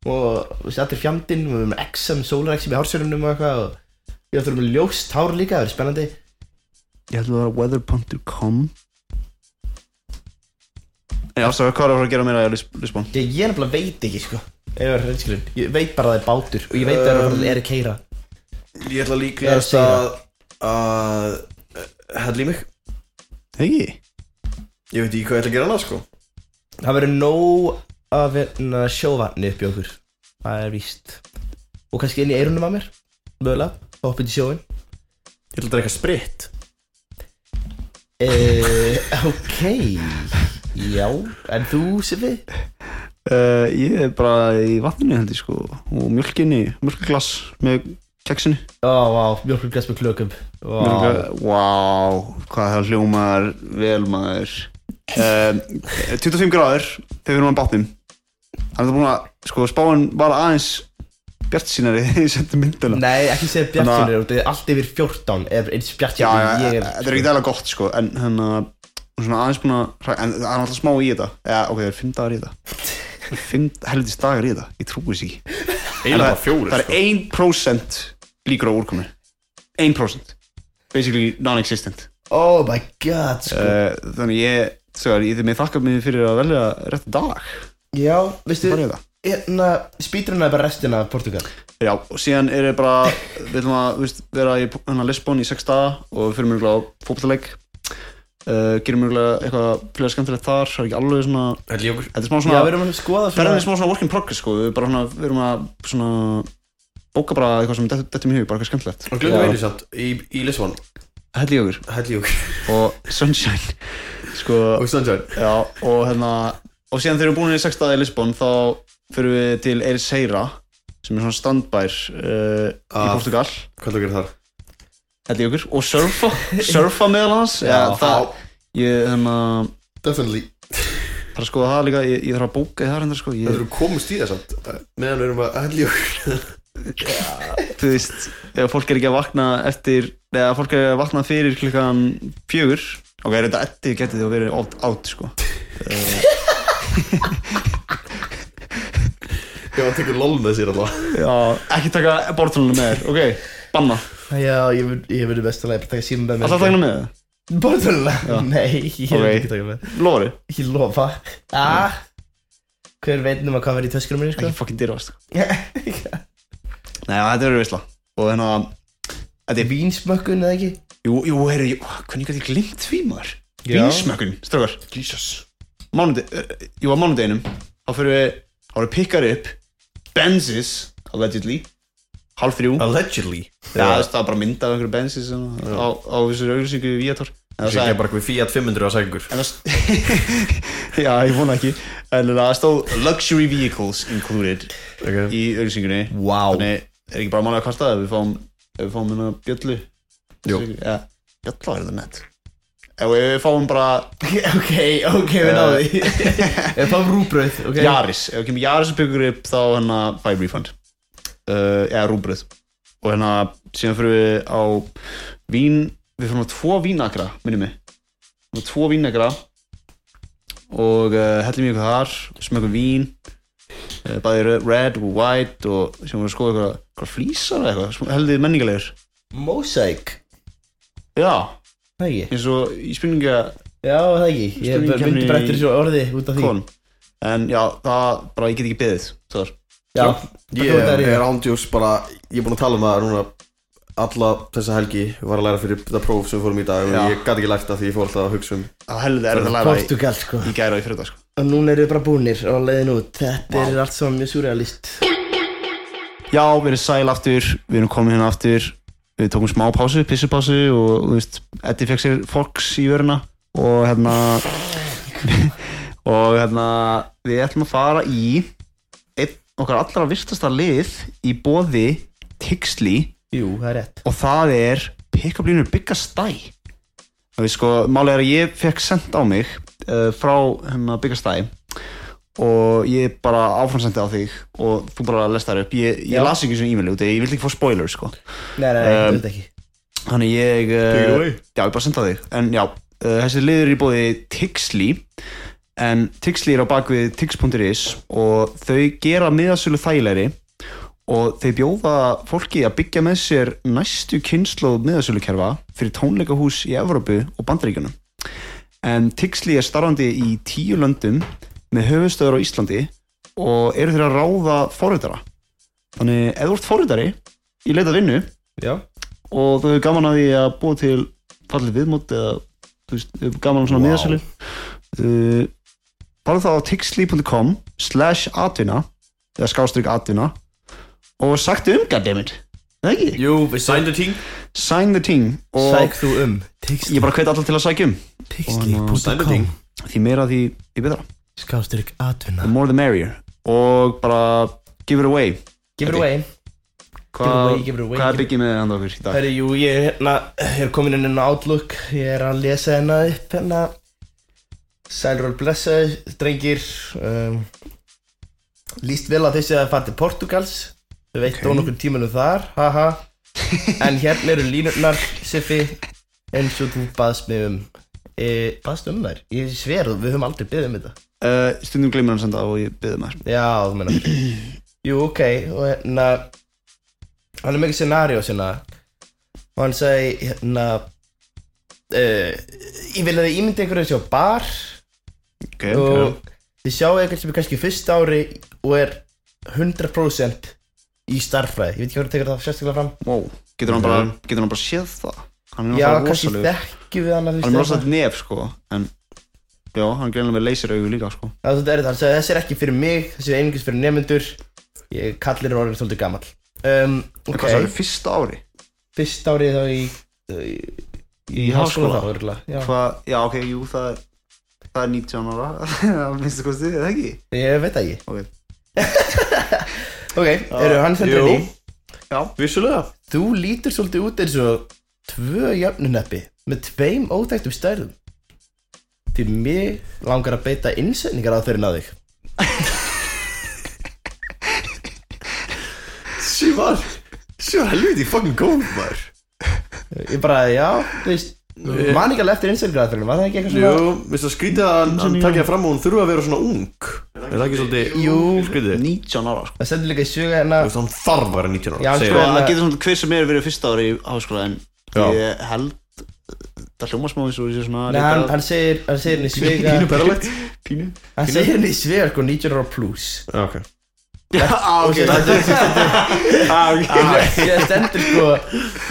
[SPEAKER 3] og þú veist, allir fjandinn og við erum með XM, sólarexum í hársörunum og eitthvað og ég var með ljóst hár líka, það er spennandi
[SPEAKER 1] Ég ætla að vera weatherpunk.com Nei, afsaka, hvað er að fara að gera meira í Lis- Lisbon?
[SPEAKER 3] Ég, ég nefnilega veit ekki sko Ef ég var reynskilinn Ég veit bara að það er bátur Og ég veit að það er að keira
[SPEAKER 2] Ég ætla
[SPEAKER 3] Ég er
[SPEAKER 2] líklega
[SPEAKER 3] að segja.
[SPEAKER 2] að að eh, hella í mig
[SPEAKER 1] Hegi?
[SPEAKER 2] Ég veit ekki hvað ég ætla að gera annað sko
[SPEAKER 3] Það verður nóg að verna sjóvatni upp í okkur Það er víst Og kannski inn í eirunum að mér Mögulega Hoppa út í sjóin
[SPEAKER 2] Ég ætla að drekka spritt
[SPEAKER 3] e, Ok Já En þú Sifi?
[SPEAKER 1] Uh, ég er bara í vatninu held ég sko og mjölkinni, mjölkglass með keksinu
[SPEAKER 3] Ó, vá Mjölkur glas með klökum Vá
[SPEAKER 1] Mjólka- Vá, hvað það hljómaður vel maður um, 25 gráður þegar við erum á bátnum Hann er það búin að, sko, spáin var aðeins bjart sínari þegar ég sendi myndina
[SPEAKER 3] Nei, ekki segja
[SPEAKER 1] Þannig
[SPEAKER 3] bjartjónir Það er allt yfir 14 Er
[SPEAKER 1] já,
[SPEAKER 3] eins
[SPEAKER 1] já,
[SPEAKER 3] bjartjónir ég er
[SPEAKER 1] þetta er ekkert eða gott sko en hérna svona aðeins búin að en það er alltaf smá í þetta eða ok, það er fimm dagar í þetta Það eru fimm helvitist dagar í þetta, ég trúi þess ekki
[SPEAKER 3] sko.
[SPEAKER 2] Eila bara
[SPEAKER 1] það
[SPEAKER 2] fjóri
[SPEAKER 1] er 1% líkur á úrkomu 1% basically non-existent
[SPEAKER 3] Oh my god, sko
[SPEAKER 1] uh, þannig ég, þegar ég þið með þakka mig fyrir að velja rétt dag
[SPEAKER 3] Já, veistu,
[SPEAKER 1] Bara í það.
[SPEAKER 3] hérna, spýtruna er bara restina af Portugal
[SPEAKER 1] já, og síðan er ég bara við viljum að þú veist, vera í hana, Lisbon í 6 daga og við fyrir mjög á fótballleik uh, gerum mjög eitthvað fleira skemmtilegt þar, það er ekki alveg svona
[SPEAKER 2] Helljókur
[SPEAKER 1] þetta er smá
[SPEAKER 3] Já,
[SPEAKER 1] svona
[SPEAKER 3] við erum að skoða
[SPEAKER 1] Það er
[SPEAKER 3] svona
[SPEAKER 1] smá svona work in progress sko, við bara svona, við erum að svona bóka bara eitthvað sem dettur dettur mér í hug, bara eitthvað skemmtilegt.
[SPEAKER 2] Og glöðum
[SPEAKER 3] Já.
[SPEAKER 2] einu samt í, í Lisbon
[SPEAKER 1] Helli okkur
[SPEAKER 2] Helljókur
[SPEAKER 1] og Sunshine, sko,
[SPEAKER 2] Og Sunshine
[SPEAKER 1] já, og hérna, og síðan þegar við erum búin í sextaði í Lisbon þá fyrir við til Ericeira sem er svona strandbær uh, í
[SPEAKER 2] Ah.
[SPEAKER 1] Portugal,
[SPEAKER 2] Hvað er það að gera þar?
[SPEAKER 1] helli okkur, og surfa, surfa meðal hans, já,
[SPEAKER 3] Já.
[SPEAKER 1] það, ég, hérna,
[SPEAKER 2] Definitely
[SPEAKER 1] þarf að skoða það líka, ég, ég þarf að bóka það hérna, sko,
[SPEAKER 2] Það
[SPEAKER 1] ég,
[SPEAKER 2] eru komist í það samt Meðan við erum að Helljókur
[SPEAKER 1] þú veist, ef fólk er ekki að vakna eftir, eða fólk er að vakna fyrir klukkan fjögur ok, er þetta etti getið þú að vera átt átt sko
[SPEAKER 2] Já, hann tekur lol með sér alltaf
[SPEAKER 1] Já, ekki taka bortunum með þér, ok, banna
[SPEAKER 3] Já, ég mun- ég verður best að leiða, bara taka síma með mér
[SPEAKER 1] alltaf taka með þér,
[SPEAKER 3] Portugala?
[SPEAKER 1] Já.
[SPEAKER 3] Nei, ég
[SPEAKER 1] Ok. Mm.
[SPEAKER 3] okay. ekki taka með
[SPEAKER 1] lofari
[SPEAKER 3] Ég lofa ah. Hver veit nema hvað verður í töskunum minni, sko
[SPEAKER 1] ekki fucking dyrfast sko. nei, já, þetta verður veistla og hérna, þetta er
[SPEAKER 3] Vínsmökkun eða ekki
[SPEAKER 1] jú, jú, herri, jú, hvernig gæti ég glimt því maður
[SPEAKER 3] Já.
[SPEAKER 1] vinsmökkun, strökar
[SPEAKER 2] Jesus
[SPEAKER 1] mánudag, uh, jú, á mánudeginum þá fyrir við, þá erum við pikkar upp Benzis, allegedly halv þrjú
[SPEAKER 2] Allegedly
[SPEAKER 1] Já, þú veist, það var bara myndað af einhverju bensin sem á, á þessu auglýsingu í Viator en það
[SPEAKER 2] Það er
[SPEAKER 1] sagði
[SPEAKER 2] bara eitthvað Fiat 500 á sækingur
[SPEAKER 1] en það Já, ég vona ekki en það stóð Luxury Vehicles Included
[SPEAKER 2] okay.
[SPEAKER 1] í auglýsingunni
[SPEAKER 3] Vá
[SPEAKER 1] þannig er ekki bara málega að kvarta ef við fáum ef við fáum hérna bjöllu
[SPEAKER 2] Jú.
[SPEAKER 1] ja, Bjölla er það nett ef við fáum bara
[SPEAKER 3] Ok, ok, við náðum því Við fáum rúbröð, ok
[SPEAKER 1] Jaris ef við kemur Jaris og byggur upp þá hérna fæ ég refund uh, eða rúbröð og hérna síðan fyrir við á vín við fyrir á tvo vínakra minni mig Við fórum á tvo vínakra og uh, hellum í eitthvað þar smökum vín uh, bæði re- red og white og sem voru að skoða eitthvað, eitthvað flýsar eða eitthvað smá- heldur menningarlegur
[SPEAKER 3] Mosaic
[SPEAKER 1] já
[SPEAKER 3] Það ekki
[SPEAKER 1] eins og í spurninga
[SPEAKER 3] Já, það ekki Ég
[SPEAKER 1] Stundum
[SPEAKER 3] myndi
[SPEAKER 1] kemur
[SPEAKER 3] bara
[SPEAKER 1] í-
[SPEAKER 3] eftir þessu orði út af því
[SPEAKER 1] konum en já það bara ég get ekki beðið þar
[SPEAKER 3] Já,
[SPEAKER 2] Ég
[SPEAKER 3] Þetta var
[SPEAKER 2] er
[SPEAKER 3] þetta
[SPEAKER 2] ándjós bara Ég er búin að tala um það núna Alla þessa helgi Ég var að læra fyrir það próf sem við fórum í dag
[SPEAKER 1] Já.
[SPEAKER 2] og Ég gat ekki lært það því ég fór alltaf að hugsa um
[SPEAKER 1] það heldur er það
[SPEAKER 3] er
[SPEAKER 1] læra í,
[SPEAKER 3] Portugal, sko
[SPEAKER 1] í gæra og í fyrir dag sko.
[SPEAKER 3] Og núna eru við bara búnir og leiðin út Þetta er allt saman mjög surrealist
[SPEAKER 1] já við erum sæl aftur við erum komin hérna aftur við tókum smá pásu pissupásu og þú veist Eddi fekk sér fólks í vöruna og hérna og hérna við ætlum að fara í einn okkar allra virtasta lið í boði Tixli
[SPEAKER 3] Jú, það er rétt
[SPEAKER 1] og það er pick-up línur byggastæ það við sko, málega er að ég fekk sendt á mig uh, frá hennar byggastæ og ég bara áframsendi á þig og þú bara lest það upp ég, ég
[SPEAKER 3] Já.
[SPEAKER 1] las ekki svona e-mail út, ég vildi ekki fá spoiler sko.
[SPEAKER 3] Nei, nei, nei,
[SPEAKER 1] Um,
[SPEAKER 3] þetta ekki
[SPEAKER 1] þannig ég
[SPEAKER 2] Take it
[SPEAKER 1] uh,
[SPEAKER 2] away.
[SPEAKER 1] já, ég bara senda á þig en já, uh, þessi liður er í bóði Tixli en Tixli er á bakvið tix.is og þau gera miðasölu þægilegri og þeir bjóða fólki að byggja með sér næstu kynnslóð miðasölukerfa fyrir tónleikahús í Evrópu og Bandaríkjunum en Tixli er starfandi í tíu löndum með höfustöður á Íslandi og eru þeir að ráða forritara þannig ef þú ert forritari í leitað vinnu
[SPEAKER 3] Já
[SPEAKER 1] og þau hefur gaman að því að búa til fallið viðmót eða þú veist, þau hefur gaman að svona
[SPEAKER 2] Vá.
[SPEAKER 1] wow. miðasölu uh, bara þá á tixli.com slash atvinna eða skástrík atvinna og sagtu um goddammit það ekki,
[SPEAKER 2] Jú, við signed the team
[SPEAKER 1] sign the ting og
[SPEAKER 3] Sæk þú um
[SPEAKER 1] ég bara hveit alltaf til að sækja um
[SPEAKER 2] Sæktu ting.
[SPEAKER 3] Pixli.com
[SPEAKER 1] því meira því, því betra,
[SPEAKER 3] Skástyrk
[SPEAKER 1] the
[SPEAKER 3] atvinna
[SPEAKER 1] more the merrier og bara give it away
[SPEAKER 3] Give it away
[SPEAKER 1] Hva,
[SPEAKER 3] Give it away, give it away,
[SPEAKER 1] hvað
[SPEAKER 3] give
[SPEAKER 1] er byggið með hann okkur í dag
[SPEAKER 3] Herri, jú, ég er hérna, ég er komin inn inn á Outlook, ég er að lesa hérna upp hérna Sælról blessaði, drengir, um, líst vel á þessi að fara til Portugals, við veitum okay. okkur tímanum þar, haha En hérna eru línurnar, Siffi, eins og þú baðst mig um, e, baðst um þær? Ég sver, við höfum aldrei beðið um þetta
[SPEAKER 1] uh, stundum gleymur hann um senda og ég byrði maður
[SPEAKER 3] Já, þú meina Jú, ok, og hérna hann er mikið scenario sinna og hann segi hérna uh, ég vil að þið ímyndi einhverju þessi á bar
[SPEAKER 1] ok, ok
[SPEAKER 3] og þið sjáu eitthvað sem er kannski fyrst ári og er 100% í starffræði, ég veit ekki hvað það tekur það sérstaklega fram
[SPEAKER 1] wow. getur, hann bara, getur hann bara séð það hann er
[SPEAKER 3] já,
[SPEAKER 1] náttúrulega
[SPEAKER 3] kannski
[SPEAKER 1] rosalegur.
[SPEAKER 3] þekkjum við hann að þú
[SPEAKER 1] hann er
[SPEAKER 3] veist
[SPEAKER 1] með rosalega
[SPEAKER 3] eitthvað.
[SPEAKER 1] nef sko en já, hann er greinlega með leysiraugu líka sko
[SPEAKER 3] Já, þetta er þetta, hann sagði þessi er ekki fyrir mig, þessi er einungis fyrir nefnendur ég kallir er orðin svolítið gamall um,
[SPEAKER 1] en
[SPEAKER 3] ok,
[SPEAKER 1] hvað sagði fyrsta ári?
[SPEAKER 3] fyrst árið þá í í, í
[SPEAKER 1] Í háskóla?
[SPEAKER 3] háskóla þá, örugglega, já.
[SPEAKER 1] Hvað, já ok, jú, það er það er 19 ára, að minnstu kosti, eða ekki?
[SPEAKER 3] ég veit það ekki
[SPEAKER 1] Ok,
[SPEAKER 3] ok, eru hann
[SPEAKER 2] jú.
[SPEAKER 3] þendur í
[SPEAKER 1] já,
[SPEAKER 2] Vissulega
[SPEAKER 3] þú lítur svolítið út eins og tvö jöfnuneppi með tveim óþægtum stærðum því mig langar að beita innsendingar á þeirinn á þig
[SPEAKER 2] Sývar Sývar helviti fucking góð maður
[SPEAKER 3] ég bara, já, þú veist man ekki alveg eftir innsendingar á þeirinn, var það ekki eitthvað
[SPEAKER 2] Jú,
[SPEAKER 3] svona
[SPEAKER 2] minnst það skrítið að hann- hann takja fram og hún þurfa að vera svona ung Er það ekki svolítið
[SPEAKER 3] Jú.
[SPEAKER 2] Skrítið
[SPEAKER 1] 19 ára sko
[SPEAKER 3] það stendur líka í sögu hérna
[SPEAKER 2] Þú veist, hann þarf að vera 19
[SPEAKER 3] Já,
[SPEAKER 2] ára segir
[SPEAKER 1] Sko,
[SPEAKER 3] sko,
[SPEAKER 2] hann.
[SPEAKER 1] það getur svona hver sem er verið fyrsta ári í háskóla en
[SPEAKER 2] Já.
[SPEAKER 1] ég held það hljóma smá eins og þessi svona
[SPEAKER 3] Nei, hann, hann segir, hann segir henni í svega
[SPEAKER 2] Pínu perralegt
[SPEAKER 1] pínu
[SPEAKER 3] Hann segir henni í svega sko 19 ára plus
[SPEAKER 2] Já, ok
[SPEAKER 1] Já, Ah, ok, Ah,
[SPEAKER 3] Það Ah, stendur sko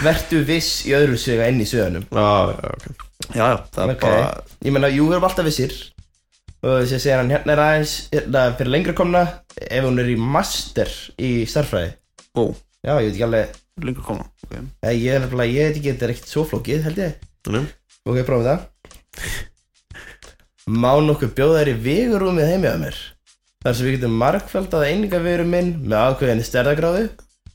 [SPEAKER 3] Vertu viss í öðru svega enn í sveganum
[SPEAKER 2] Já, já, ok
[SPEAKER 1] já, já, það er
[SPEAKER 3] Ok.
[SPEAKER 1] bara
[SPEAKER 3] Ég meina, jú, við erum alltaf vissir Og þess að segja hann hérna er aðeins hérna, Fyrir lengra komna Ef hún er í master í starffræði
[SPEAKER 1] ó,
[SPEAKER 3] Já, ég veit ekki alveg
[SPEAKER 1] lengur koma okay.
[SPEAKER 3] Nei, Ég, er nefnilega- ég veit ekki, þetta er ekkert svo flókið, held ég
[SPEAKER 2] Þannig
[SPEAKER 3] Ok, prófum það Má nokkuð bjóða þær í vigurúmið heimja á mér Þar sem við getum markfaldað einingavegurum minn með ákveðinni stærðagráðu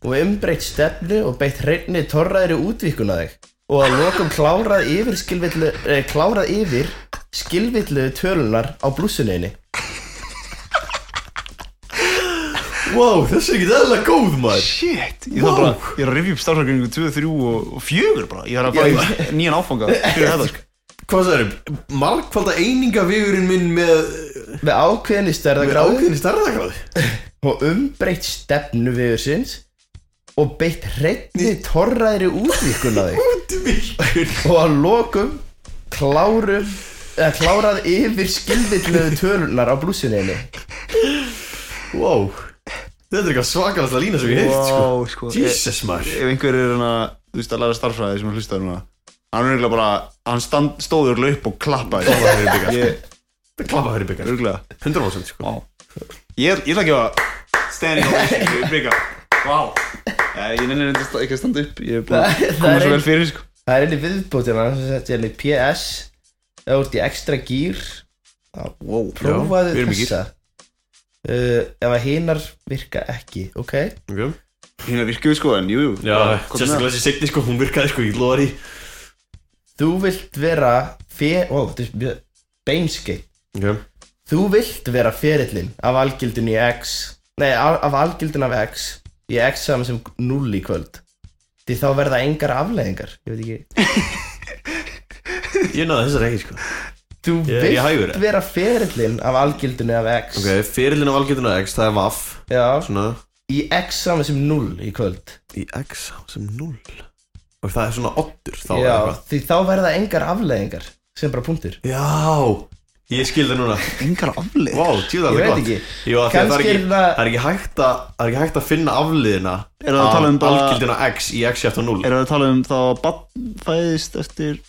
[SPEAKER 3] og umbreytt stefnu og beitt hreinni torraðri útvíkun að þig og að lokum klárað yfir skilvillu eh, klárað yfir skilvillu tölunar á blússunniðinni
[SPEAKER 2] Wow, þessi er ekki eðlilega góð maður
[SPEAKER 1] Shit, ég þarf bara, ég er að rifja upp starfsakringu 2, 3 og, og 4 bara Ég er að fara í nýjan áfanga fyrir þetta sko
[SPEAKER 2] Hvað það eru? Markvalda einingavegurinn minn með
[SPEAKER 3] með ákveðinni
[SPEAKER 2] með
[SPEAKER 3] stærðagráðu
[SPEAKER 2] ákveðinni stærðagráði
[SPEAKER 3] og umbreytt stefnu vegursins og beitt hreinni torraðri útvíkun að þig
[SPEAKER 2] Útvíkur
[SPEAKER 3] og að lokum klárum eða klárað yfir skilvilluðu tölunar á blússinniðinni
[SPEAKER 2] Wow Þetta er eitthvað svakalasta lína sem ég heilt sko.
[SPEAKER 1] Vá, sko, ég-
[SPEAKER 2] Jesus maður
[SPEAKER 1] ef einhver er hérna, þú veist, að læra starffræði sem að hlusta hérna, hann er eiginlega bara hann stand, stóður löp og klappaði
[SPEAKER 2] Klappa fyrir byggar
[SPEAKER 1] ég,
[SPEAKER 2] Þetta er klappa fyrir byggar
[SPEAKER 1] örgulega
[SPEAKER 2] 100% sko.
[SPEAKER 1] ég, er- ég ætla ekki að standing ovation bygga, vá Nei, ég nenni reyndar sta- ekki að standa upp ég er búin að
[SPEAKER 3] Það- það
[SPEAKER 1] koma
[SPEAKER 3] er
[SPEAKER 1] svo
[SPEAKER 3] ein-
[SPEAKER 1] vel fyrir sko.
[SPEAKER 3] Það er henni viðbótina sem hérna setti henni PS eða úr í ekstra gýr
[SPEAKER 1] wow,
[SPEAKER 2] við
[SPEAKER 3] prófaðu
[SPEAKER 2] erum í gír.
[SPEAKER 3] þessa uh, ef að hinar virka ekki ok
[SPEAKER 2] okay.
[SPEAKER 1] hérna virkuðu sko en jú, jú
[SPEAKER 2] Já,
[SPEAKER 1] bara, komdu með
[SPEAKER 2] sérstaklega
[SPEAKER 1] það.
[SPEAKER 2] þessi setni sko, hún virkaði sko, ég loðar í
[SPEAKER 3] þú vilt vera fe... ó, þetta er mjög beinskeitt
[SPEAKER 2] okay.
[SPEAKER 3] þú vilt vera ferillin af algildin í X nei, af af algildin af X í X saman sem 0 í kvöld því þá verða engar afleðingar ég veit ekki
[SPEAKER 2] Ég náði þessar ekki sko.
[SPEAKER 3] Þú
[SPEAKER 2] Ég- ég hægur
[SPEAKER 3] vilt
[SPEAKER 2] það.
[SPEAKER 3] vera ferillin af algildinu af X
[SPEAKER 2] Ok, fyrirlinn á valgetuna X, það er vaff
[SPEAKER 3] Já,
[SPEAKER 2] Svona
[SPEAKER 3] í X saman sem 0 í kvöld
[SPEAKER 2] í X sem 0 Og það er svona oddur þá
[SPEAKER 3] Já,
[SPEAKER 2] eitthvað.
[SPEAKER 3] því þá verða engar afleðingar sem bara punktur
[SPEAKER 2] Já, ég skil það núna
[SPEAKER 1] engar aflið
[SPEAKER 2] Vá, tjóðar það
[SPEAKER 3] Ég veit
[SPEAKER 2] er gott
[SPEAKER 3] ekki.
[SPEAKER 2] Jú, af því að það er
[SPEAKER 3] Kannski
[SPEAKER 2] ekki,
[SPEAKER 3] er það-
[SPEAKER 2] það er ekki hægt að Það er ekki hægt að finna afliðina
[SPEAKER 1] Er það að tala um bara-
[SPEAKER 2] Algildina X í X eftir 0
[SPEAKER 1] erum við að tala um þá að bann fæðist eftir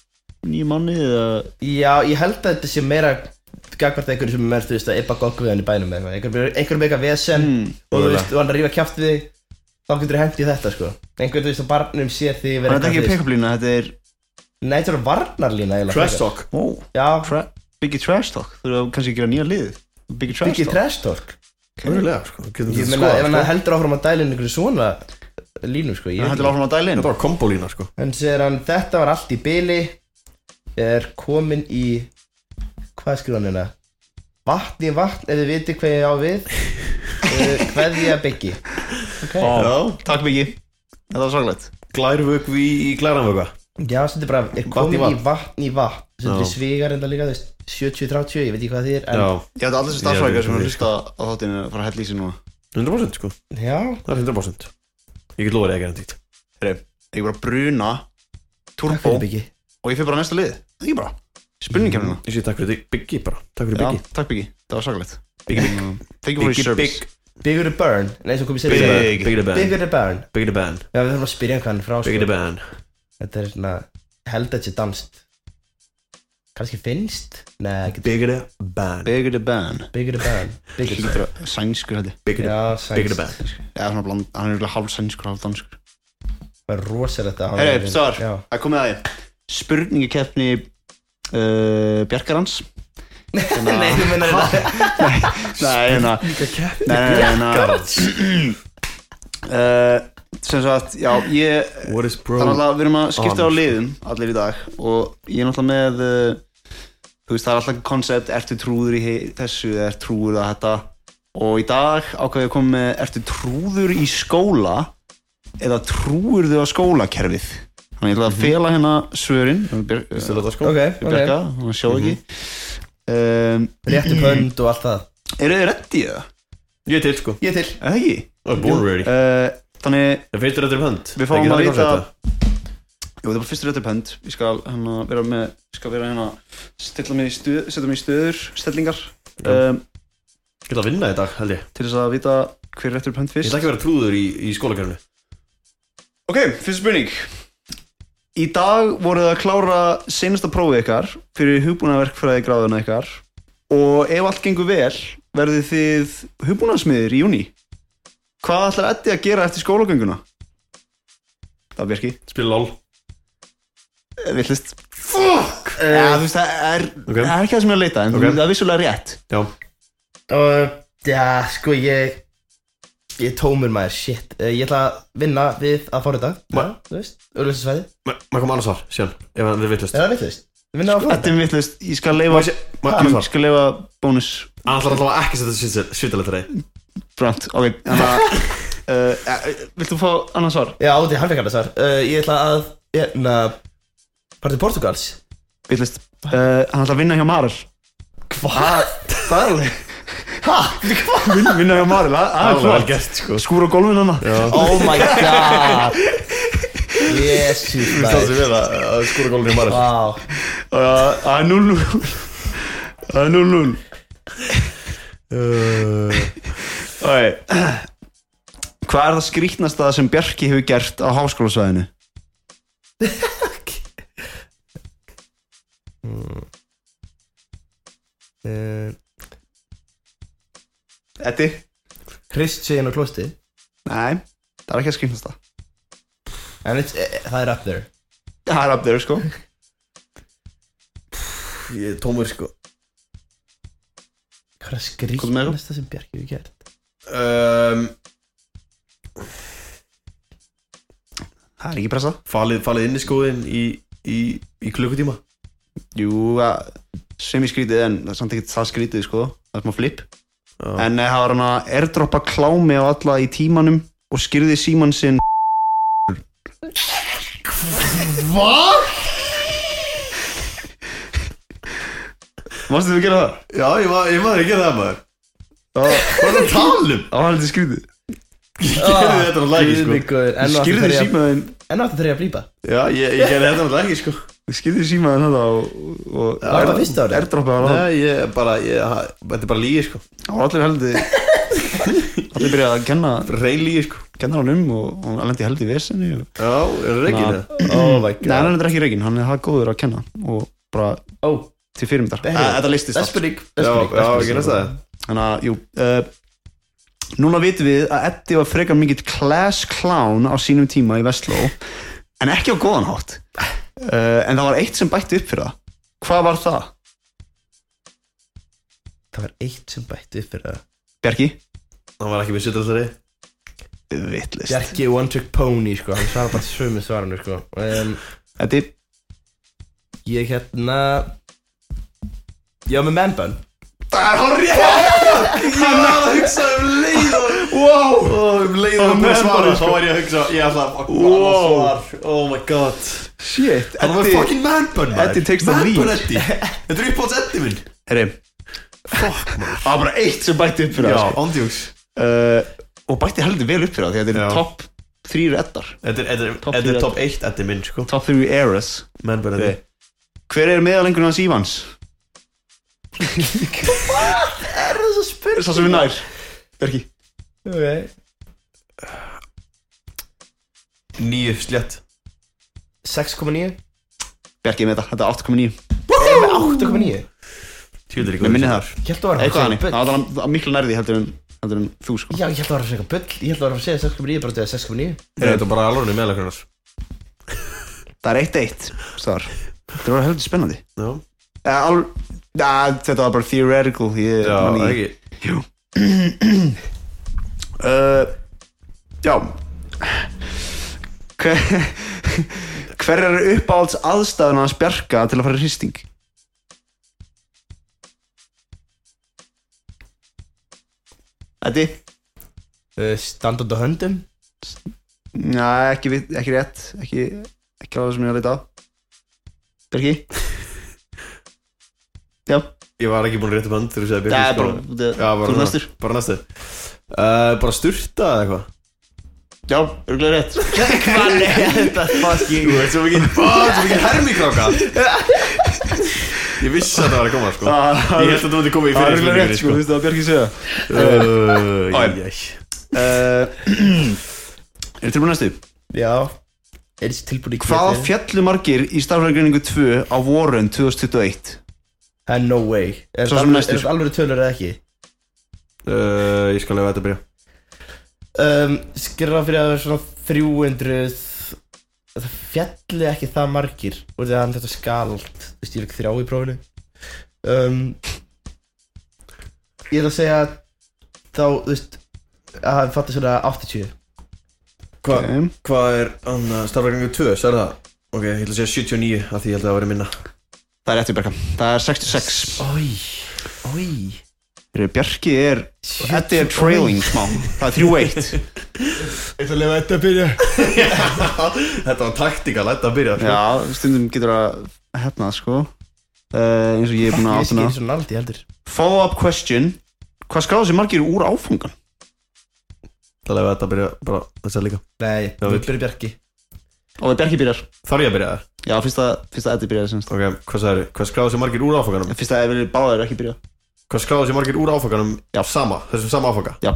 [SPEAKER 1] nýjum manni eða
[SPEAKER 3] Já, ég held að þetta sé meira gagvart einhverju sem er, þú veist, að yppa gogg við hann í bænum eða eitthvað einhverjum einhverjum eitthvað vesen og þú
[SPEAKER 2] mögulega.
[SPEAKER 3] veist, og hann er að rífa kjátt við þig þá getur þú hendt í þetta, sko einhverjum, þú veist, að barnum sé því
[SPEAKER 1] er þetta ekki pick-up-lína, þetta er
[SPEAKER 3] Nei, þetta er varnarlína eiginlega,
[SPEAKER 2] Trash
[SPEAKER 3] frekar.
[SPEAKER 2] talk
[SPEAKER 1] wow,
[SPEAKER 3] Já,
[SPEAKER 1] tra byggja trash talk þú erum kannski að gera nýja lið byggja trash
[SPEAKER 3] byggir
[SPEAKER 1] talk
[SPEAKER 3] trash talk
[SPEAKER 2] Mögulega, sko Við getum
[SPEAKER 3] Ég
[SPEAKER 2] þetta
[SPEAKER 3] meina, ef
[SPEAKER 2] skoðað,
[SPEAKER 3] hann
[SPEAKER 2] sko.
[SPEAKER 3] heldur áfram að dæla inn einhverju svona línum, sko ég
[SPEAKER 1] Ég
[SPEAKER 3] veit
[SPEAKER 1] hættir
[SPEAKER 3] ekki.
[SPEAKER 1] áfram að dæla inn
[SPEAKER 2] Þetta var kombolína, sko
[SPEAKER 3] En segir hann, þetta var allt í byli Er komin í Hvað skrifa hann hérna? Vatn í vatn, ef þið viti hvað ég á við Eh, Kveðja byggi okay.
[SPEAKER 1] Já, takk mikið Þetta var svaklegt
[SPEAKER 2] Glærvögvi í glæranvögva
[SPEAKER 3] Já, þetta er bara, er
[SPEAKER 2] Vatn í
[SPEAKER 3] komin
[SPEAKER 2] vatn.
[SPEAKER 3] í vatn í vatn Þetta er
[SPEAKER 2] Já.
[SPEAKER 3] svigar enda líka, þú veist 70-30, ég veit ekki hvað þið er en,
[SPEAKER 2] Já,
[SPEAKER 1] Ég ætla allir sem starfsfrækja sem er að hlusta á þáttinu að fara að hella í sig núna
[SPEAKER 2] 100% sko
[SPEAKER 3] já,
[SPEAKER 2] Það er 100% Ég get lofað þér að gera þetta
[SPEAKER 1] Heyrðu, ég er bara að bruna
[SPEAKER 3] Takk
[SPEAKER 1] turbo
[SPEAKER 3] fyrir
[SPEAKER 1] og
[SPEAKER 3] byggi
[SPEAKER 1] ég fyrir bara næsta lið það er ekki bara, spurningkjæmina
[SPEAKER 2] Ég sé takk fyrir þig, Biggi bara Takk fyrir
[SPEAKER 1] Já,
[SPEAKER 2] Biggi
[SPEAKER 1] takk Biggi, það var sakalegt
[SPEAKER 2] Biggi Big
[SPEAKER 1] Um, Thank you for your
[SPEAKER 2] Biggi Big
[SPEAKER 1] service
[SPEAKER 3] Bigger the burn Nei, sem kom í
[SPEAKER 2] Biggi
[SPEAKER 3] sérið
[SPEAKER 1] Big.
[SPEAKER 2] Big Biggi the Band
[SPEAKER 3] Bigger the burn
[SPEAKER 2] Biggi the Band
[SPEAKER 3] Já, við þurfum að spyrja hann frá
[SPEAKER 2] Biggi
[SPEAKER 3] sko.
[SPEAKER 2] the Band
[SPEAKER 3] Þetta er svona Held að sé danst Kanski finnst? Nei, ekki
[SPEAKER 2] Biggi the Band
[SPEAKER 1] Bigger the band
[SPEAKER 3] Bigger the burn Bigger the burn
[SPEAKER 1] Sænskur hætti
[SPEAKER 2] Biggi the
[SPEAKER 3] Já,
[SPEAKER 2] Biggi the
[SPEAKER 3] sæns
[SPEAKER 2] Band
[SPEAKER 1] Eða svona bland, hann er örugglega hálf sænskur, hálf danskur
[SPEAKER 3] Það er rosalegt að
[SPEAKER 1] Herri, Svar,
[SPEAKER 3] Já
[SPEAKER 1] það er komið að þér Spurningakeppni uh, Bjarkarans Hérna-
[SPEAKER 3] Nei, þú meinar þetta
[SPEAKER 1] Nei, hérna
[SPEAKER 2] Líka kepp
[SPEAKER 1] Nei, nei, nei, nei Eh, Sem sagt, já, ég
[SPEAKER 2] What is bro?
[SPEAKER 1] Það er alltaf, við erum að skipta á
[SPEAKER 2] on.
[SPEAKER 1] liðum allir í dag og ég er náttúrulega með uh, þú veist, það er alltaf koncept ertu trúður í he- þessu, eða ertu trúður að þetta og í dag ákveði ég að koma með ertu trúður í skóla eða trúður þau á skólakerfið þannig ég ætla að fela hérna svörin
[SPEAKER 2] Vistu
[SPEAKER 1] Björka,
[SPEAKER 2] Mhm. þetta Mhm. sko?
[SPEAKER 3] Ok, ok
[SPEAKER 1] hún sjá ekki um,
[SPEAKER 3] Réttu pönd og allt það
[SPEAKER 1] Eru þið reddi eða?
[SPEAKER 2] Ég er til sko
[SPEAKER 3] Ég er til
[SPEAKER 1] Er það ekki?
[SPEAKER 2] I was born ready
[SPEAKER 1] Uh, þannig,
[SPEAKER 2] Það finnst þér þetta um hönd
[SPEAKER 1] Við fáum
[SPEAKER 2] Ekki
[SPEAKER 1] að
[SPEAKER 2] þannig
[SPEAKER 1] vita-
[SPEAKER 2] konceptið?
[SPEAKER 1] jú, það er bara fyrst réttur pönd ég skal hérna vera með ég skal vera hérna, stilla mig í stuð setja mig í stöður, stellingar
[SPEAKER 2] Já.
[SPEAKER 1] um,
[SPEAKER 2] Ég ætla að vinna í dag, held ég
[SPEAKER 1] til þess að vita hver réttur pönd
[SPEAKER 2] Ég
[SPEAKER 1] fyrst
[SPEAKER 2] ætla ekki að vera trúður í, í skólakerfinu
[SPEAKER 1] Ok, fyrst spurning Í dag voruð þið að klára senasta prófið ykkar fyrir hugbúnaverkfræði gráðuna ykkar og ef allt gengur vel verðið þið hugbúnaðsmiðir í júni Hvað ætlar Eddi að gera eftir skólagönguna? Það er Björki,
[SPEAKER 2] Spila lol
[SPEAKER 1] villist Fuck! Ja, þú veist, það er,
[SPEAKER 2] Ok.
[SPEAKER 1] það er ekki það sem ég er að leita en
[SPEAKER 2] Ok.
[SPEAKER 1] það er vissulega rétt
[SPEAKER 2] Já
[SPEAKER 3] Og, já, sko, ég Ég er tómur maður, shit Eh, Ég ætla að vinna við að fórita
[SPEAKER 2] Ma-
[SPEAKER 3] Þú veist, auðvitaðsvæði Er
[SPEAKER 2] Ma- Maður kom annars svar, síðan Ef hann er vittlust
[SPEAKER 3] það vittlust? Vinna að
[SPEAKER 1] Eddi
[SPEAKER 3] fórita?
[SPEAKER 1] er villist, ég skal leifa
[SPEAKER 2] Annars
[SPEAKER 1] ég
[SPEAKER 2] svar
[SPEAKER 1] skal leifa bónus
[SPEAKER 2] Hann ætlar alltaf ekki að setja svitalegt rey
[SPEAKER 1] Brant, ok, þannig að uh, eh, Viltu fá annars svar?
[SPEAKER 3] Já, átti, hann fekk hann þessar uh, Ég ætla að, hérna Parti Portugals
[SPEAKER 1] Villist uh, Hann ætla að vinna hjá Marel
[SPEAKER 3] Hvað?
[SPEAKER 1] Það er alveg
[SPEAKER 3] Ha?
[SPEAKER 1] Vinna, vinna hjá Marel, það það
[SPEAKER 2] Það
[SPEAKER 1] er
[SPEAKER 2] var vel
[SPEAKER 1] klart
[SPEAKER 2] gert, sko
[SPEAKER 1] Skúra á gólfinu hana
[SPEAKER 3] Oh my god Jesus, maður
[SPEAKER 2] vel að að skora gólunni í marg
[SPEAKER 3] Vá
[SPEAKER 1] Uh, Það er 0-0 Það er 0-0 Ok Hvað er það skrýtnasta sem Bjarki hefur gert á háskólasvæðinu?
[SPEAKER 3] Mm. Eh,
[SPEAKER 1] Eddi?
[SPEAKER 3] Hrist seginn á klostið
[SPEAKER 1] Nei, það er ekki að skrýtnasta
[SPEAKER 3] En it's, eh, það er up there
[SPEAKER 1] Það er up there sko
[SPEAKER 2] Ég er tómur, sko
[SPEAKER 3] Hvað er að
[SPEAKER 1] Komdu með
[SPEAKER 3] skrýta
[SPEAKER 1] þú.
[SPEAKER 3] næsta sem Bjarki hefur gert?
[SPEAKER 2] um,
[SPEAKER 1] Það er ekki pressa
[SPEAKER 2] Falið, falið inn í skóðin í, í, í klukkutíma
[SPEAKER 1] Jú, að- sem í skrítið en það er samt ekkert það skrítið sko Það er smá flip
[SPEAKER 2] Já.
[SPEAKER 1] En eh, það var hann að airdroppa klámi á alla í tímanum og skýrði síman sinn Hvað? Varstu þú að gera það?
[SPEAKER 2] Já, ég maður, ég maður ekki að það maður
[SPEAKER 1] Það var-
[SPEAKER 2] Hvað er það að tala um?
[SPEAKER 1] það var heldur skrítið
[SPEAKER 2] Ég gerði
[SPEAKER 3] Ah,
[SPEAKER 2] þetta náttúrulega ekki,
[SPEAKER 1] Þú
[SPEAKER 2] sko
[SPEAKER 1] skýrði
[SPEAKER 3] sko
[SPEAKER 1] símaðin
[SPEAKER 3] Enn átti þegar ég að blípa
[SPEAKER 2] Já, ég, ég gerði þetta náttúrulega ekki, sko
[SPEAKER 1] skýrði símaðin þetta og, og
[SPEAKER 3] Var það fyrsta árið?
[SPEAKER 1] Airdroppa var það
[SPEAKER 2] Nei, ég bara, ég, ha- þetta er bara lígi, sko
[SPEAKER 1] Það var allir heldur Allir byrjaði að kenna,
[SPEAKER 2] Reyn lígi, sko
[SPEAKER 1] kenna hann um og hann lendi heldur í vesenni og
[SPEAKER 2] Já, er það ekki
[SPEAKER 1] Ná.
[SPEAKER 2] það?
[SPEAKER 3] Oh my
[SPEAKER 1] Nei, hann er reyndar ekki reygin, hann er það góður að kenna og bara
[SPEAKER 3] Ó,
[SPEAKER 1] til fyrirmyndar
[SPEAKER 3] Heyrðu,
[SPEAKER 1] Æ, Þetta listist
[SPEAKER 3] það er
[SPEAKER 1] allt
[SPEAKER 3] spurning
[SPEAKER 2] Já, já, ekki næsta það
[SPEAKER 1] Þannig að, jú uh, Núna vitum við að Eddi var frekar mikill class clown á sínum tíma í Vestló en ekki á góðan hátt uh, en það var eitt sem bætti upp fyrir það Hvað var það?
[SPEAKER 3] Það var eitt sem bætti upp fyrir það
[SPEAKER 1] Bjarki?
[SPEAKER 2] Hann var ekki með svitalegt rey
[SPEAKER 1] Vittlist
[SPEAKER 3] Bjarki One Trick Pony sko, hann svarar bara sömu svarinu sko um,
[SPEAKER 1] Eddi?
[SPEAKER 3] Ég hérna Ég var með mennbönn
[SPEAKER 1] Það er hann rétt!
[SPEAKER 2] Ég var að hugsa um leið og
[SPEAKER 1] Wow!
[SPEAKER 2] og um leið
[SPEAKER 1] Og
[SPEAKER 2] og með
[SPEAKER 1] með
[SPEAKER 2] svara
[SPEAKER 1] bara,
[SPEAKER 2] Þá
[SPEAKER 1] sko.
[SPEAKER 2] var ég að hugsa, ég ætla að fuck
[SPEAKER 1] Wow.
[SPEAKER 2] bara svar Oh my god
[SPEAKER 1] Shit,
[SPEAKER 2] Hann var
[SPEAKER 1] Eddi
[SPEAKER 2] fucking manbun
[SPEAKER 1] Eddi takes the
[SPEAKER 2] Manbun
[SPEAKER 1] lead.
[SPEAKER 2] Eddi Þetta er uppáhalds Eddi minn
[SPEAKER 1] Herri Það var bara eitt sem bætti upp fyrir það sko.
[SPEAKER 2] ándjúks
[SPEAKER 1] uh, og bætti heldur vel upp fyrir það því að þetta
[SPEAKER 2] Já.
[SPEAKER 1] er topp þrýr eddar
[SPEAKER 2] Þetta er, þetta er,
[SPEAKER 1] Topp
[SPEAKER 2] þetta
[SPEAKER 1] þrjú.
[SPEAKER 2] er top 1 Þetta er minn sko
[SPEAKER 1] Top 3 errors
[SPEAKER 2] Menn bara þetta
[SPEAKER 1] Hver er meðalengur hans Ívans?
[SPEAKER 3] Er það svo spurning?
[SPEAKER 1] Sá sem við nær Berki
[SPEAKER 3] Ok
[SPEAKER 2] Nýju slétt
[SPEAKER 3] 6,9
[SPEAKER 1] Berki er með þetta, þetta er 8,9
[SPEAKER 3] Er með 8,9 Ég
[SPEAKER 2] Tjóður
[SPEAKER 1] Mér minni það
[SPEAKER 3] held
[SPEAKER 1] Eitthvað
[SPEAKER 3] að vera að
[SPEAKER 1] hannig,
[SPEAKER 3] segja
[SPEAKER 1] það var alveg miklu nærði heldur en, heldur en þú sko
[SPEAKER 3] Já, ég held að vera að segja bull Ég held að vera að segja 6,9 bara til að 6,9
[SPEAKER 2] Þetta er bara alveg meðlega hvernig
[SPEAKER 1] Það er eitt eitt Star. Þetta var heldur spennandi
[SPEAKER 2] Já
[SPEAKER 1] Eh, al- Ja, Þetta var bara theoretical ég,
[SPEAKER 2] Já,
[SPEAKER 1] man
[SPEAKER 2] það
[SPEAKER 1] í-
[SPEAKER 2] ekki
[SPEAKER 1] Jú uh, Já Hver, hver er uppáhalds aðstæðun hans Bjarka til að fara í hristing? Þetta
[SPEAKER 3] Uh, Standa út á höndum
[SPEAKER 1] Næ, ekki, við- ekki rétt ekki, ekki á það sem ég er að leita á Bjarki Já,
[SPEAKER 2] Ég var ekki búin að rétta upp hönd þegar þú segði
[SPEAKER 1] það er bara
[SPEAKER 2] Já,
[SPEAKER 1] Þú
[SPEAKER 2] bara
[SPEAKER 1] er
[SPEAKER 2] núna.
[SPEAKER 1] næstur
[SPEAKER 2] Bara næstu uh, Bara sturta eða eitthvað
[SPEAKER 1] Já, örgulega rétt Hvað er þetta? Fucking
[SPEAKER 2] Þú veit svo mikið Báð, svo mikið hermikráka Ég vissi að það var að koma sko
[SPEAKER 1] Það
[SPEAKER 2] Ég
[SPEAKER 1] er
[SPEAKER 2] held að þú myndi koma í sko.
[SPEAKER 1] Það er örgulega
[SPEAKER 2] fyrir
[SPEAKER 1] Ah, rétt, sko, þú veist það að Bjarki segja
[SPEAKER 2] Það er
[SPEAKER 1] uh, Er tilbúin næstu?
[SPEAKER 3] Já Er þessi tilbúin í
[SPEAKER 1] Hvað fjallu margir í starfræðgreiningu 2 á vorun 2021?
[SPEAKER 3] Það er no way Er
[SPEAKER 1] Svo
[SPEAKER 3] þetta
[SPEAKER 1] sem
[SPEAKER 3] alveg,
[SPEAKER 1] næstur.
[SPEAKER 3] er þetta alveg tölur eða ekki?
[SPEAKER 2] Uh, ég skal lefa þetta að byrja
[SPEAKER 3] um, Skrá fyrir að það er svona 300 Það fjalli ekki það margir Úr því að hann þetta skald Þú veist, ég fikk þrjá í prófinu um, Ég ætla að segja Þá, þú veist Að hann fatti svona 80
[SPEAKER 2] Hva,
[SPEAKER 1] Ok.
[SPEAKER 2] Hvað er annað starfregningu 2, sér það? Ok, ég ætla að segja 79 af því ég held að það væri minna
[SPEAKER 1] Það er rétt við Bjarka Það er 66
[SPEAKER 3] Ói, ói
[SPEAKER 1] Heyrðu, Bjarki er Þetta er trailing smá Það er 3-1
[SPEAKER 3] Ég ætla að lefa þetta að byrja
[SPEAKER 2] Þetta var taktika, lætta að byrja sko.
[SPEAKER 1] Já, stundum getur að hefna það sko Uh, eins og ég er búin að
[SPEAKER 3] Ég
[SPEAKER 1] áttuna
[SPEAKER 3] skil svo nált í heldur
[SPEAKER 1] Follow up question Hvað skráðu sér margir úr áfangan?
[SPEAKER 2] Það lefa þetta að byrja, bara þess að líka
[SPEAKER 3] Nei,
[SPEAKER 2] Já,
[SPEAKER 3] við
[SPEAKER 2] vill.
[SPEAKER 3] byrjum bjarki
[SPEAKER 1] Og það Bjarki byrjar
[SPEAKER 2] Þarf ég að byrja það?
[SPEAKER 1] Já, fyrst að, fyrst að Eddi byrjar semst
[SPEAKER 2] Ok, hvað sagði Hvað skráðu sér margir úr áfanganum?
[SPEAKER 1] Fyrst að Eddi báðir ekki byrja
[SPEAKER 2] Hvað skráðu sér margir úr áfanganum?
[SPEAKER 1] Já.
[SPEAKER 2] Sama, þessum sama áfanga
[SPEAKER 1] Já.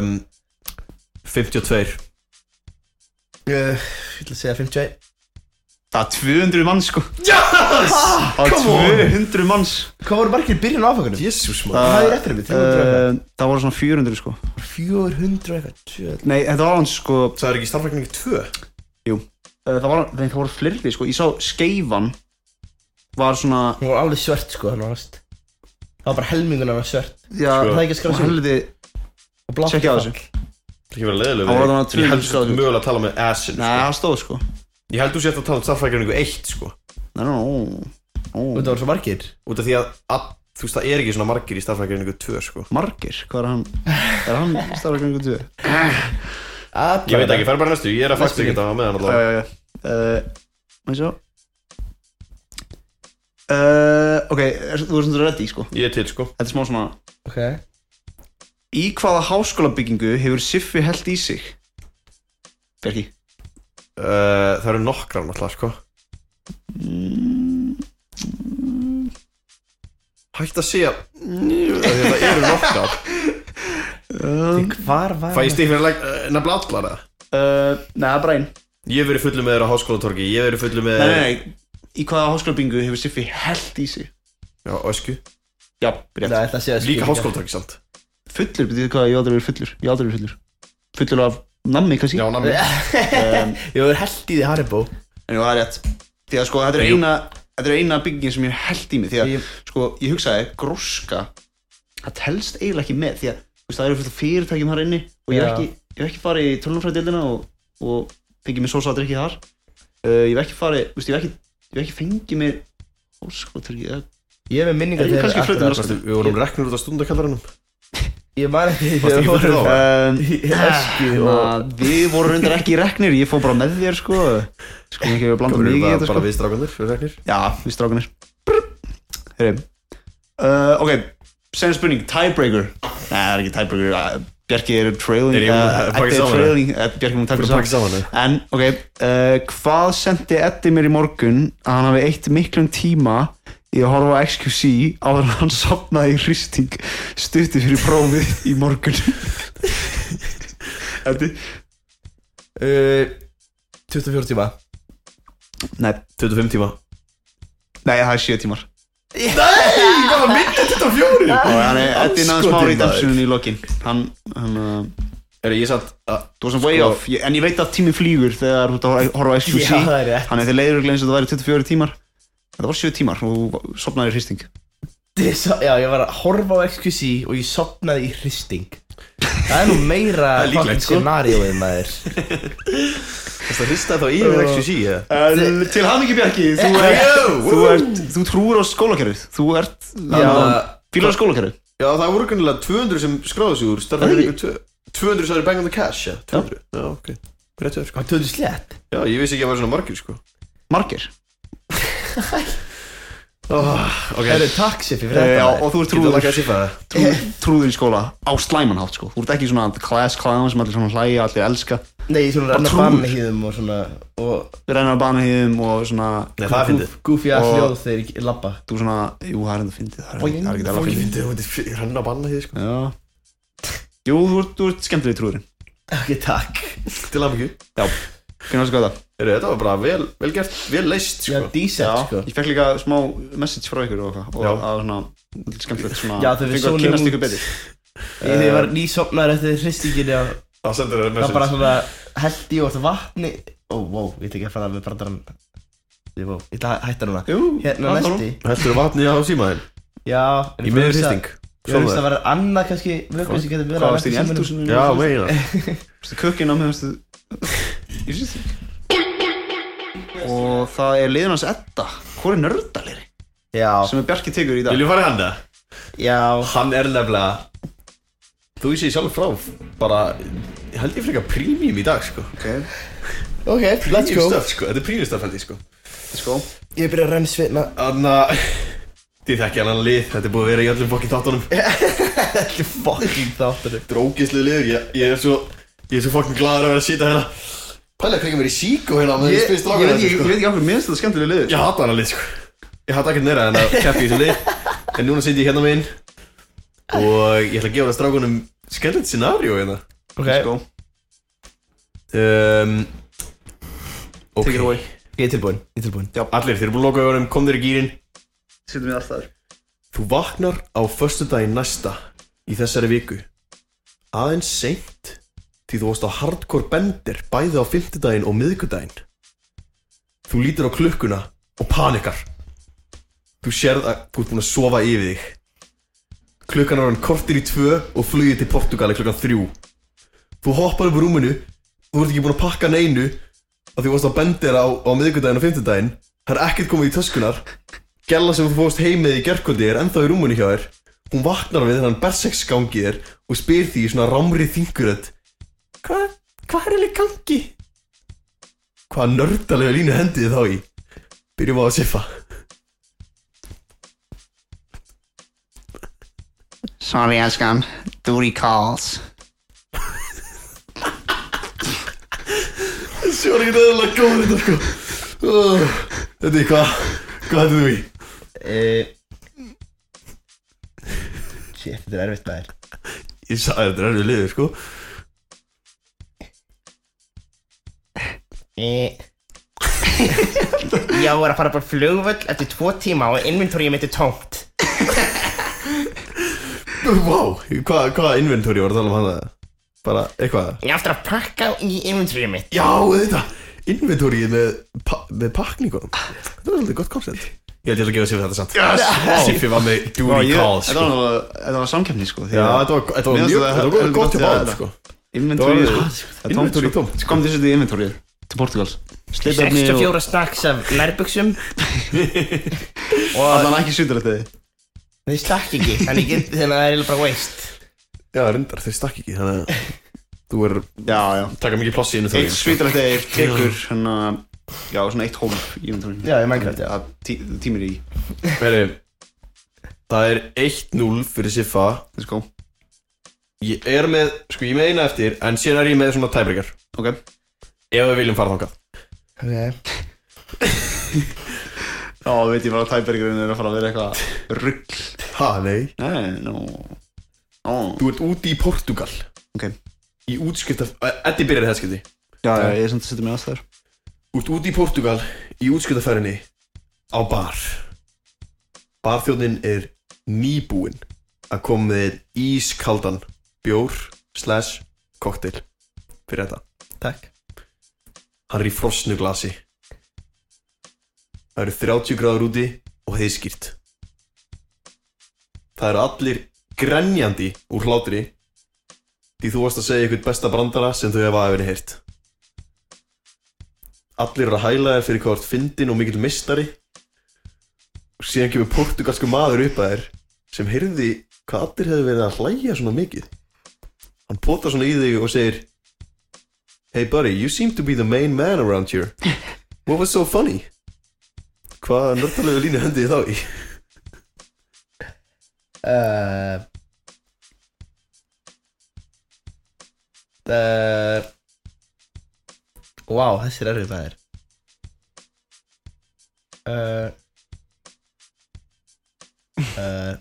[SPEAKER 2] um, 52
[SPEAKER 3] uh, Ég ætla að segja 51
[SPEAKER 1] Það er 200 manns sko
[SPEAKER 2] Yes!
[SPEAKER 1] Það
[SPEAKER 2] Come on!
[SPEAKER 1] er 200 manns
[SPEAKER 3] Hvað voru margir í byrjun á áfangunum?
[SPEAKER 2] Jesus, man
[SPEAKER 3] Það er rétt fyrir mig, 300 eitthvað.
[SPEAKER 1] Eh, Það voru svona 400 sko
[SPEAKER 3] 400 eitthvað tjöld.
[SPEAKER 1] Nei, þetta var hans sko
[SPEAKER 2] Það er ekki starfregningu 2
[SPEAKER 1] eh, Það, var, nei, það voru fleiri sko Ég sá skeifan Var svona
[SPEAKER 3] Hún var alveg svört sko hann varst Það var bara helmingun hann var svört
[SPEAKER 1] Já,
[SPEAKER 2] Sko,
[SPEAKER 3] Það er ekki að skrá
[SPEAKER 1] og
[SPEAKER 3] sig
[SPEAKER 1] helði
[SPEAKER 3] Og blátt
[SPEAKER 1] Tjekkið á
[SPEAKER 3] fall.
[SPEAKER 1] þessu.
[SPEAKER 2] Það er ekki verið leðilega
[SPEAKER 1] Það voru þarna
[SPEAKER 2] Ég
[SPEAKER 1] 200
[SPEAKER 2] held þú
[SPEAKER 1] skráðir.
[SPEAKER 2] mögulega að tala með assin
[SPEAKER 1] Nei, það stóð sko
[SPEAKER 2] Ég held þú sért að tala um starffrækjarningu 1 sko
[SPEAKER 1] Nei, no, no,
[SPEAKER 3] Og það
[SPEAKER 1] no.
[SPEAKER 3] var svo margir
[SPEAKER 2] Út af því að, að þú veist það er ekki svona margir í starffrækjarningu 2 sko
[SPEAKER 1] Margir, hvað er hann Er hann starfgöngu 2?
[SPEAKER 3] Alla
[SPEAKER 2] Ég veit ekki, fer bara næstu, ég er að
[SPEAKER 3] Næstu
[SPEAKER 2] fakta ekki þetta með
[SPEAKER 1] Já,
[SPEAKER 2] hann allavega
[SPEAKER 1] já, já Það er svo Uh, ok, er, þú er svona ready sko
[SPEAKER 2] Ég er til sko
[SPEAKER 1] Þetta er smá svona
[SPEAKER 3] Ok
[SPEAKER 1] Í hvaða háskólabyggingu hefur Siffi held í sig? Bjarki
[SPEAKER 2] uh, Það eru nokkrar náttúrulega sko Hægt að segja Það eru nokkrar
[SPEAKER 1] um,
[SPEAKER 3] Því Hvar var
[SPEAKER 2] Fæ ég stík fyrir að legg- eh, nefna allar það
[SPEAKER 1] uh, Nei, það er bara einn nei,
[SPEAKER 2] Ég hef verið fullu með þér á háskólatorgi Ég hef verið fullu með
[SPEAKER 1] nei, nei, í hvaða háskólabyggingu hefur Siffi held í sig?
[SPEAKER 2] Já, ösku
[SPEAKER 1] Já,
[SPEAKER 3] Nei,
[SPEAKER 1] rétt
[SPEAKER 3] það sé að
[SPEAKER 2] Líka háskólatorgi samt
[SPEAKER 1] Fullur, betur hvað, ég hef aldrei verið fullur Ég hef aldrei verið fullur Fullur af nammi, kannski
[SPEAKER 2] Já, nammi
[SPEAKER 1] um,
[SPEAKER 3] Ég var held í því Haribo
[SPEAKER 1] En jú, það er rétt Því að sko, þetta er
[SPEAKER 2] Jú.
[SPEAKER 1] eina Þetta er eina byggingin sem ég hef held í mig Því að,
[SPEAKER 3] Ég-
[SPEAKER 1] sko, ég hugsaði, gróska Það telst eiginlega ekki með Því að, þú veist, það eru fullt af fyrirtækjum þar inni Og ég hef
[SPEAKER 3] Já.
[SPEAKER 1] ekki, ég hef ekki farið í tölunumfræðdildina Og, og fengið mér sósa að drikki þar uh, Ég hef ekki farið, þú veist, ég hef ekki Ég hef ekki fengið mér Óskotyrki,
[SPEAKER 3] Ég er með minningar
[SPEAKER 1] Ég er kannski
[SPEAKER 3] akkurat-
[SPEAKER 1] flautum
[SPEAKER 2] Varstu- Við vorum reknur út af stundakallaranum
[SPEAKER 3] Ég man ekki
[SPEAKER 2] Varstu ekki fullur þá?
[SPEAKER 1] um,
[SPEAKER 3] Öskju og
[SPEAKER 1] Na, hérna, við vorum reyndar ekki í reknir, ég fór bara með þér sko Sko ekki við blanda
[SPEAKER 2] Við
[SPEAKER 1] mikið í
[SPEAKER 2] erum
[SPEAKER 1] þetta
[SPEAKER 2] bara
[SPEAKER 1] sko
[SPEAKER 2] við strákandur, við reknir
[SPEAKER 1] Já, við strákunir Heyri uh, Ok, sem spurning, tiebreaker Nei, það er ekki tiebreaker uh, Bjarki er trailing
[SPEAKER 2] Er ég búinn að
[SPEAKER 1] eh, Eddi
[SPEAKER 2] pakka
[SPEAKER 1] er
[SPEAKER 2] saman,
[SPEAKER 1] trailing eh, Bjarki er múin að
[SPEAKER 2] Fyrir að
[SPEAKER 1] taka
[SPEAKER 2] pakka saman, eh?
[SPEAKER 1] En ok, uh, hvað sendi Eddi mér í morgun að hann hafi eitt miklum tíma í að horfa á XQC áður en hann sopnaði í hristing stutti fyrir prófið í morgun Eddi
[SPEAKER 3] uh,
[SPEAKER 2] Eh,
[SPEAKER 3] 24 tíma
[SPEAKER 1] Nei,
[SPEAKER 2] 25 tíma
[SPEAKER 1] nei, það er 7 tímar
[SPEAKER 2] Nei, það var myndið 24
[SPEAKER 1] Og hann er Eddi náðu smá
[SPEAKER 2] Andskotinn,
[SPEAKER 1] redemptionun í lokin Hann, hann uh,
[SPEAKER 2] Er ég satt að
[SPEAKER 1] Þú var sem way off, ég, en ég veit að tími flýgur þegar þú ert að horfa á SQC
[SPEAKER 3] Já, það er rétt.
[SPEAKER 1] Þannig að þeir leiður eins og það væri 24 tímar Þetta var 7 tímar og þú sopnaði í hristing
[SPEAKER 3] Disa, já, ég var að horfa á XQC og ég sopnaði í hristing Það er nú meira
[SPEAKER 2] Það er líklegt,
[SPEAKER 3] fucking
[SPEAKER 2] sko.
[SPEAKER 3] scenarióið maður
[SPEAKER 2] Það hristaði þá í við XQC eða?
[SPEAKER 1] uh, Til hann ekki Bjarki, þú,
[SPEAKER 2] Eh,
[SPEAKER 1] er,
[SPEAKER 2] jú,
[SPEAKER 1] þú,
[SPEAKER 2] wú.
[SPEAKER 1] ert, þú trúir á skólakerfið Þú ert, fílar á skólakerfið
[SPEAKER 2] Já, það voru kannilega 200 sem skráðu sig úr
[SPEAKER 1] Það
[SPEAKER 2] Starfæði
[SPEAKER 1] er
[SPEAKER 2] ykkur 200 sem eru bang on the cash, já 200, já, ok Réttu þér, sko
[SPEAKER 3] Hvað töðu slett?
[SPEAKER 2] Já, ég vissi ekki að það var svona margir, sko
[SPEAKER 1] Margir
[SPEAKER 2] Ok
[SPEAKER 3] Það eru takk sér fyrir
[SPEAKER 1] Já,
[SPEAKER 3] þetta maður.
[SPEAKER 1] og þú ert
[SPEAKER 2] Getur þú
[SPEAKER 1] trúður,
[SPEAKER 2] lakað að siffa það?
[SPEAKER 1] trú, trúður í skóla á slæmanhátt sko. Þú ert ekki svona class clown sem allir svona hlæja, allir elska
[SPEAKER 3] Nei, svona
[SPEAKER 1] og
[SPEAKER 3] rannar
[SPEAKER 1] trúður.
[SPEAKER 3] banna hýðum og svona og
[SPEAKER 1] Við reynar að bana hýðum og svona
[SPEAKER 2] Nei, það er fyndið
[SPEAKER 3] goofy að
[SPEAKER 1] Og-
[SPEAKER 3] hljóð þegar ég labba
[SPEAKER 1] Þú svona, jú, það er enda fyndið Það er ekki- það er ekki alveg
[SPEAKER 2] Fólk
[SPEAKER 1] fyndið
[SPEAKER 2] fyndið, þú veitir, ég rann að banna því, sko
[SPEAKER 1] Já Jú, þú ert, þú ert skemmtileg trúðurinn
[SPEAKER 3] Ok, takk
[SPEAKER 2] Til að mikið
[SPEAKER 1] Já Hvernig varstu góða?
[SPEAKER 2] Eru, þetta var bara vel, vel gert, vel leist,
[SPEAKER 3] Já,
[SPEAKER 2] sko
[SPEAKER 3] decent, sko
[SPEAKER 1] Ég fekk líka smá message frá ykkur og eitthvað
[SPEAKER 2] Já.
[SPEAKER 1] Og að svona Þetta er skemmtilegt svona
[SPEAKER 3] Já, þegar við
[SPEAKER 1] fengu að
[SPEAKER 3] sónum
[SPEAKER 1] kynnast
[SPEAKER 3] út.
[SPEAKER 1] ykkur betur
[SPEAKER 3] Þegar ég var nýsopnaður eftir hristinginu og
[SPEAKER 2] Það sendur þér
[SPEAKER 3] það bara
[SPEAKER 2] message
[SPEAKER 3] svona held ég úr það vatni Ó, wow, ég ætla ekki að fara með brandarann Ég, wow, ég ætla að hætta núna
[SPEAKER 1] Jú,
[SPEAKER 3] Hérna
[SPEAKER 1] það var
[SPEAKER 3] næsti
[SPEAKER 2] Heldur vatni á símaðinn
[SPEAKER 3] Já
[SPEAKER 2] Í miður hristing
[SPEAKER 3] Ég veist að það var annað kannski vökkur sem getur
[SPEAKER 1] Hvað
[SPEAKER 3] verið að
[SPEAKER 1] varst þín í
[SPEAKER 3] verka
[SPEAKER 1] eldhúsinu?
[SPEAKER 2] Já, meina
[SPEAKER 1] Varstu kökkin á mig, varstu Ég syns þig Og það er liðin hans Edda Hvor er nördalegri?
[SPEAKER 3] Já,
[SPEAKER 1] Sem er Bjarki tegur í dag
[SPEAKER 2] Viljum fara í hann það?
[SPEAKER 3] já
[SPEAKER 2] Hann er nefnilega Þú vísi sjálf frá Bara Ég held ég frekar premium í dag sko
[SPEAKER 1] Ok,
[SPEAKER 3] Ok, let's
[SPEAKER 2] Premium
[SPEAKER 3] go
[SPEAKER 2] stuff sko Þetta er premium stuff held ég sko
[SPEAKER 1] let's go
[SPEAKER 3] Ég byrja að renn svitna
[SPEAKER 2] Þannig að Þið þekki annan lið Þetta er búið að vera í öllum fokkin þáttunum Þetta
[SPEAKER 3] Þetta er fucking þáttur
[SPEAKER 2] er ógeðslega liður ég, ég er svo Ég er svo fokkin gladur að vera að sita hérna Pælega hvernig mér í síku hérna Með
[SPEAKER 3] Ég-
[SPEAKER 2] þessi
[SPEAKER 1] Ég
[SPEAKER 2] strákar
[SPEAKER 1] veit ekki,
[SPEAKER 2] hérna
[SPEAKER 1] ég
[SPEAKER 2] sko
[SPEAKER 1] veit ekki af hverju minnst þetta skemmtilega liður
[SPEAKER 2] Ég hata annan lið sko Ég hata ekkert meira en að keppi í þessu lið En núna sit ég hérna minn Og ég ætla að gefa það strákunum Skellett scenario hérna
[SPEAKER 1] Let's go
[SPEAKER 2] um,
[SPEAKER 3] Ok,
[SPEAKER 1] Take it
[SPEAKER 2] Ok
[SPEAKER 1] away
[SPEAKER 3] ég er tilbúinn Ég er tilbúinn
[SPEAKER 2] Allir, þeir eru búin að loka augunum, kom þér í gýrin
[SPEAKER 1] Sýttum við alltaf þar
[SPEAKER 2] Þú vaknar á föstudaginn næsta í þessari viku aðeins seint því þú varst á hardcore bender bæði á fimmtudaginn og miðgudaginn Þú lítir á klukkuna og panikar Þú sérð að þú ert búin að sofa yfir þig Klukkan er hann kortir í tvö og flugið til Portugali klukkan þrjú Þú hoppar upp úr rúminu Þú ert ekki búin að pakka neinu að því varst á bender á, á miðgudaginn og fimmtudaginn Það er ekkert komið í töskunar Gella sem þú fórst heim með í gerkvöldi er ennþá í rúmunni hjá þér Hún vaknar við þennan berserksgangi þér og spyr því í svona rámri þingurödd Hvað, hvað er alveg gangi? Hvað nördalega línu hendið þið þá í? Byrjum á að siffa
[SPEAKER 1] Sorry, elskan. Duty calls.
[SPEAKER 2] Þessi var ekkert eðalega góð þetta sko Ugh, Þetta er hvað, hvað hættu þú í?
[SPEAKER 3] Eh, Shit, þetta er erfitt maður
[SPEAKER 2] Ég sagði þetta er erfið liður sko
[SPEAKER 3] Eh. Já, ég er að fara bara flugvöll eftir tvo tíma og inventoryið mitt er tómt
[SPEAKER 2] Vá, wow, hvað, hvað inventory var að tala um hann það? Bara eitthvað
[SPEAKER 3] Ég er aftur að pakka í inventoryið mitt
[SPEAKER 2] Já, þetta Inventorið með, pa með pakningunum Þetta var svolítið gott koncept Ég held ég ætla að gefa Siffi þetta samt yes. Siffi var með duty calls
[SPEAKER 1] Þetta
[SPEAKER 2] sko.
[SPEAKER 1] var, nú- þetta var samkeppni, sko. því
[SPEAKER 2] Já,
[SPEAKER 1] að-
[SPEAKER 2] þetta var, þetta var
[SPEAKER 1] Mér
[SPEAKER 2] mjög
[SPEAKER 1] finnst
[SPEAKER 2] Þetta
[SPEAKER 1] það-
[SPEAKER 2] var gott-
[SPEAKER 1] þetta
[SPEAKER 2] gott hjá
[SPEAKER 1] var-
[SPEAKER 2] báðum sko.
[SPEAKER 1] Inventory.
[SPEAKER 2] þetta var-
[SPEAKER 1] Það er tómt
[SPEAKER 2] inventory
[SPEAKER 1] úr-
[SPEAKER 2] tómt, sko.
[SPEAKER 1] Kom þessu til inventorið til Portugals. Slitarni og...
[SPEAKER 3] 64 snacks af nærbuksum
[SPEAKER 1] Allan ekki sýtur þetta þið.
[SPEAKER 3] Þau stakk ekki, þannig get, þannig að það er eiginlega bara waste
[SPEAKER 2] Já, reyndar, þeir stakk ekki Þannig að þú er
[SPEAKER 1] Já, já.
[SPEAKER 2] taka mikið plassi inn
[SPEAKER 1] Eitt sýtur þetta þið tekur hérna... Já, svona eitt hólf í inventorið.
[SPEAKER 3] Já, í Minecraft, já.
[SPEAKER 1] Það tí- tímir í.
[SPEAKER 2] Veri, Það er 1-0 fyrir Siffa
[SPEAKER 1] Let's go.
[SPEAKER 2] Ég er með, sko ég er með eina eftir En síðan er ég með svona tæbrikar
[SPEAKER 1] Ok,
[SPEAKER 2] Ef við viljum fara þangað
[SPEAKER 3] Ok
[SPEAKER 1] þá veit ég bara að tæbergurinn er að fara að vera eitthvað rugg
[SPEAKER 2] Ha, nei
[SPEAKER 1] Nei, nú Ó,
[SPEAKER 2] Þú ert úti í Portugal
[SPEAKER 1] ok
[SPEAKER 2] Í útskipta Eddi byrjar í þesskipti
[SPEAKER 1] Já, já, ég er sem þetta setja mig aðstæður
[SPEAKER 2] Þú ert úti í Portugal Í útskiptaferðinni Á bar Barþjóðnin er nýbúinn Að koma með einn ískaldan Bjór slash koktel Fyrir þetta
[SPEAKER 3] Takk
[SPEAKER 2] Hann er í frosnu glasi Það eru 30 gráður úti og heiðskýrt Það eru allir grenjandi úr hlátri Því þú varst að segja eitthvað besta brandara sem þau hefa að verið heyrt Allir eru að hæla þér fyrir hvað þú ert fyndin og mikill mistari Og síðan kemur portugalsku maður upp að þér sem heyrði hvað allir hefðu verið að hlæja svona mikið Hann potar svona í þig og segir Hey buddy, you seem to be the main man around here What was so funny? Hvaða nördalega línu hendi þið þá í?
[SPEAKER 3] uh, uh, Wow, þessi er erfið maður uh, uh,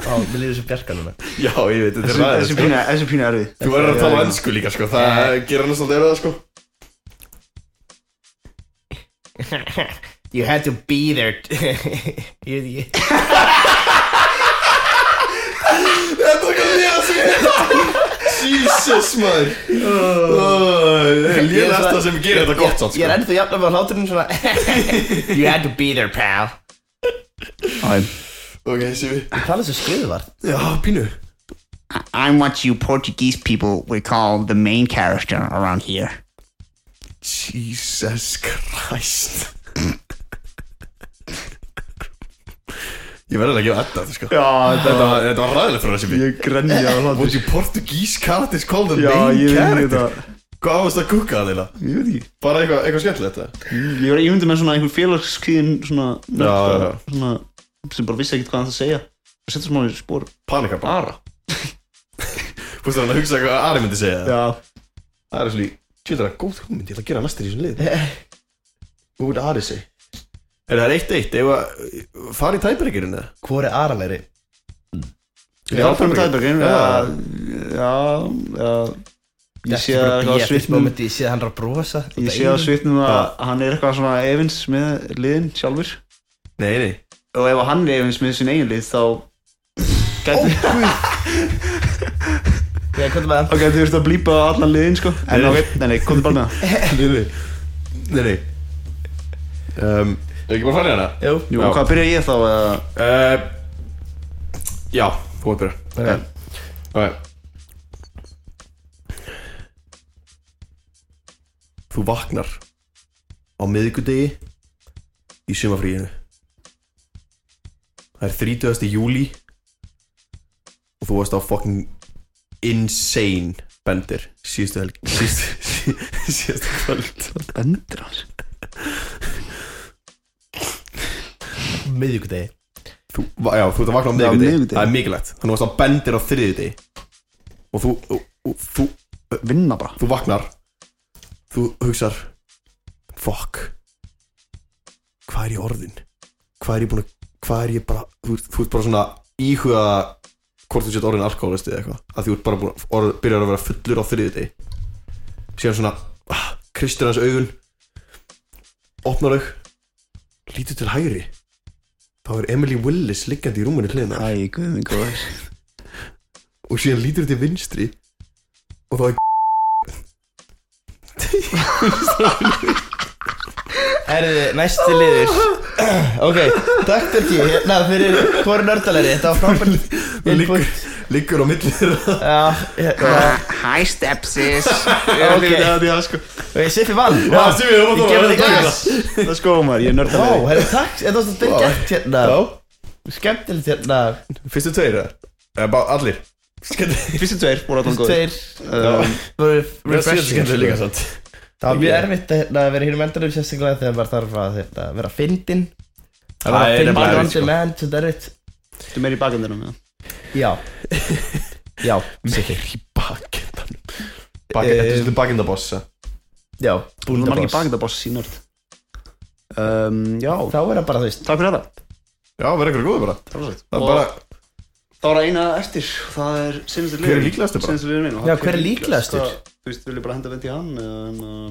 [SPEAKER 3] Á, mér líður sem bjarka núna
[SPEAKER 2] Já, ég veit, þetta er
[SPEAKER 1] Þessi þessi
[SPEAKER 2] ræðið sko.
[SPEAKER 1] pínu þessi pínu er erfið
[SPEAKER 2] Þú verður að tala ennsku líka sko, það gerir hann svolítið erfiða sko
[SPEAKER 3] You had to be there you, you,
[SPEAKER 2] Þetta er ekki að segja Jesus maður Það er lélæst það sem gerir þetta gott samt
[SPEAKER 3] Ég er
[SPEAKER 2] sko
[SPEAKER 3] ennþá jafn að vera hláturinn svona You had to be there pal
[SPEAKER 1] I'm,
[SPEAKER 2] Ok, séu við
[SPEAKER 3] Ég tala þessu skriðvart
[SPEAKER 2] Já, pínu
[SPEAKER 4] I'm what you Portuguese people would call the main character around here.
[SPEAKER 2] Jesus Christ Ég verður að gefa þetta sko
[SPEAKER 1] Já,
[SPEAKER 2] Þetta var- þetta var ræðilegt frá þessi
[SPEAKER 1] ég grenja á hlátur
[SPEAKER 2] Would you Portuguese characters call the
[SPEAKER 1] Já,
[SPEAKER 2] main
[SPEAKER 1] ég veit
[SPEAKER 2] character?
[SPEAKER 1] þetta
[SPEAKER 2] Hvað varst að kúka það þeirra?
[SPEAKER 1] Ég veit ekki
[SPEAKER 2] Bara eitthvað, eitthvað skemmtilegt það?
[SPEAKER 1] Ég var ímyndið með svona einhver félagskvíðin svona,
[SPEAKER 2] Já, já, já.
[SPEAKER 1] svona sem bara vissi ekkert hvað hann það segja og setja svona í spór
[SPEAKER 2] Panika bara
[SPEAKER 1] bara
[SPEAKER 2] Þú veist hann að hugsa hvað Ari myndi segja það
[SPEAKER 1] Já,
[SPEAKER 2] Það er svona, tjóðar að góð hugmynd, ég ætla að gera næstir í þessum lið Hvað voru Ari segi? Er það eitt eitt, ef að fara í Hmm. tæbreykirinn eða?
[SPEAKER 3] Hvor er aralegri?
[SPEAKER 1] ég er áfram tæðbergin Já,
[SPEAKER 2] Já.
[SPEAKER 1] já, já Ég sé að eitthvað á svipnum
[SPEAKER 3] moment, Ég sé að hann er að brosa
[SPEAKER 1] Ég sé á svipnum að hann er eitthvað svona efins með liðin sjálfur
[SPEAKER 2] Nei, nei
[SPEAKER 1] og ef hann er efins með sín eigin lið þá gæti
[SPEAKER 3] Já, hvað er
[SPEAKER 1] þá
[SPEAKER 3] það?
[SPEAKER 1] gæti þú veist að blípa allan liðin sko en
[SPEAKER 2] Nei.
[SPEAKER 1] ok, nei, nei, komðu bara með það
[SPEAKER 2] Nei, nei Nei, nei um, Er ekki bara að fara í hana?
[SPEAKER 3] Jú
[SPEAKER 1] Jú,
[SPEAKER 2] Já.
[SPEAKER 1] og hvað byrja ég þá eða
[SPEAKER 2] Uh, já, þú ert byrja
[SPEAKER 3] Ok.
[SPEAKER 2] Ok Þú vaknar á miðvikudegi í sumafríinu Það er 30. júli og þú varst á fucking insane bendir síðustu helg síðustu, síðustu kvöld
[SPEAKER 1] Bendur hans
[SPEAKER 3] Miðvíkudegi
[SPEAKER 2] þú, va- já, þú ert að vakna á
[SPEAKER 1] Já,
[SPEAKER 2] miðvikudegi
[SPEAKER 1] miðvikudegi.
[SPEAKER 2] það er mikilvægt þannig varst á bendir á þriðjudegi og þú, og, og, þú
[SPEAKER 1] vinna bara
[SPEAKER 2] þú vaknar þú hugsar fuck hvað er ég orðin hvað er ég búin að hvað er ég bara þú, ert- þú ert bara svona íhuga hvort þú sett orðin alkoholist eða eitthvað að þú ert bara búin að orð, byrjar að vera fullur á þriðið deg síðan svona ah, kristir hans augun opnar auk lítur til hægri þá er Emily Willis liggjandi í rúminu hliðina
[SPEAKER 1] Æ, guð minn góður
[SPEAKER 2] og síðan lítur til vinstri og þá er
[SPEAKER 3] Herðu, næsti liður Ok, takk Birgi Hérna fyrir hvori nördalegri Þetta var frábært
[SPEAKER 2] liggur, liggur á milli þeirra
[SPEAKER 3] Já, hérna
[SPEAKER 4] Uh, Hi, stepsis.
[SPEAKER 3] Ok,
[SPEAKER 1] Það er sko
[SPEAKER 3] og ég siffi vann Vá,
[SPEAKER 2] Já, Siffi, þú mátt að
[SPEAKER 3] Ég gef
[SPEAKER 2] vera
[SPEAKER 3] þetta
[SPEAKER 2] að
[SPEAKER 3] glas
[SPEAKER 1] Það sko maður, ég er
[SPEAKER 3] Vá,
[SPEAKER 1] nördalegri
[SPEAKER 3] herðu, takk Þetta var svolítið
[SPEAKER 2] Já.
[SPEAKER 3] gert hérna Skemmtilegt hérna
[SPEAKER 2] Fyrstu tveir eða? Eða bara allir Skemmtilega
[SPEAKER 1] Fyrstu tveir voru allan
[SPEAKER 3] Þessi
[SPEAKER 1] góður
[SPEAKER 3] tveir uh,
[SPEAKER 1] Um,
[SPEAKER 3] voru refreshing
[SPEAKER 2] Skemmtilega líka
[SPEAKER 3] sko.
[SPEAKER 2] sant
[SPEAKER 3] Það var mjög erfitt að hérna, vera hínum endanum sérstaklega þegar maður þarf að hérna, vera fyndinn Það var
[SPEAKER 2] Það er
[SPEAKER 3] að
[SPEAKER 2] nefnilega
[SPEAKER 3] fyndin on
[SPEAKER 2] erfitt, sko.
[SPEAKER 3] demand, þetta er erfitt
[SPEAKER 1] Þú meir í bakendunum, já
[SPEAKER 3] Já Já, City
[SPEAKER 2] Meir í bakendan Bak, Þetta er svolítið bakendaboss eh?
[SPEAKER 3] Já,
[SPEAKER 1] Það er margir
[SPEAKER 3] Búldaboss
[SPEAKER 1] bakendaboss í nörd um, Já,
[SPEAKER 3] Þá er það bara, þú veist
[SPEAKER 1] takk fyrir þetta
[SPEAKER 2] Já, verða ykkur góður bara
[SPEAKER 1] Það var sætt.
[SPEAKER 2] Það er
[SPEAKER 1] Og
[SPEAKER 2] bara,
[SPEAKER 1] þá er eina eftir og Það er sinnstur liðin
[SPEAKER 2] Hver er líklegastur bara?
[SPEAKER 1] Sinnstur liðin
[SPEAKER 3] Já, hver er líklegastur?
[SPEAKER 1] Sko, Þú veist, vil ég bara henda vend í hann eða, en, uh,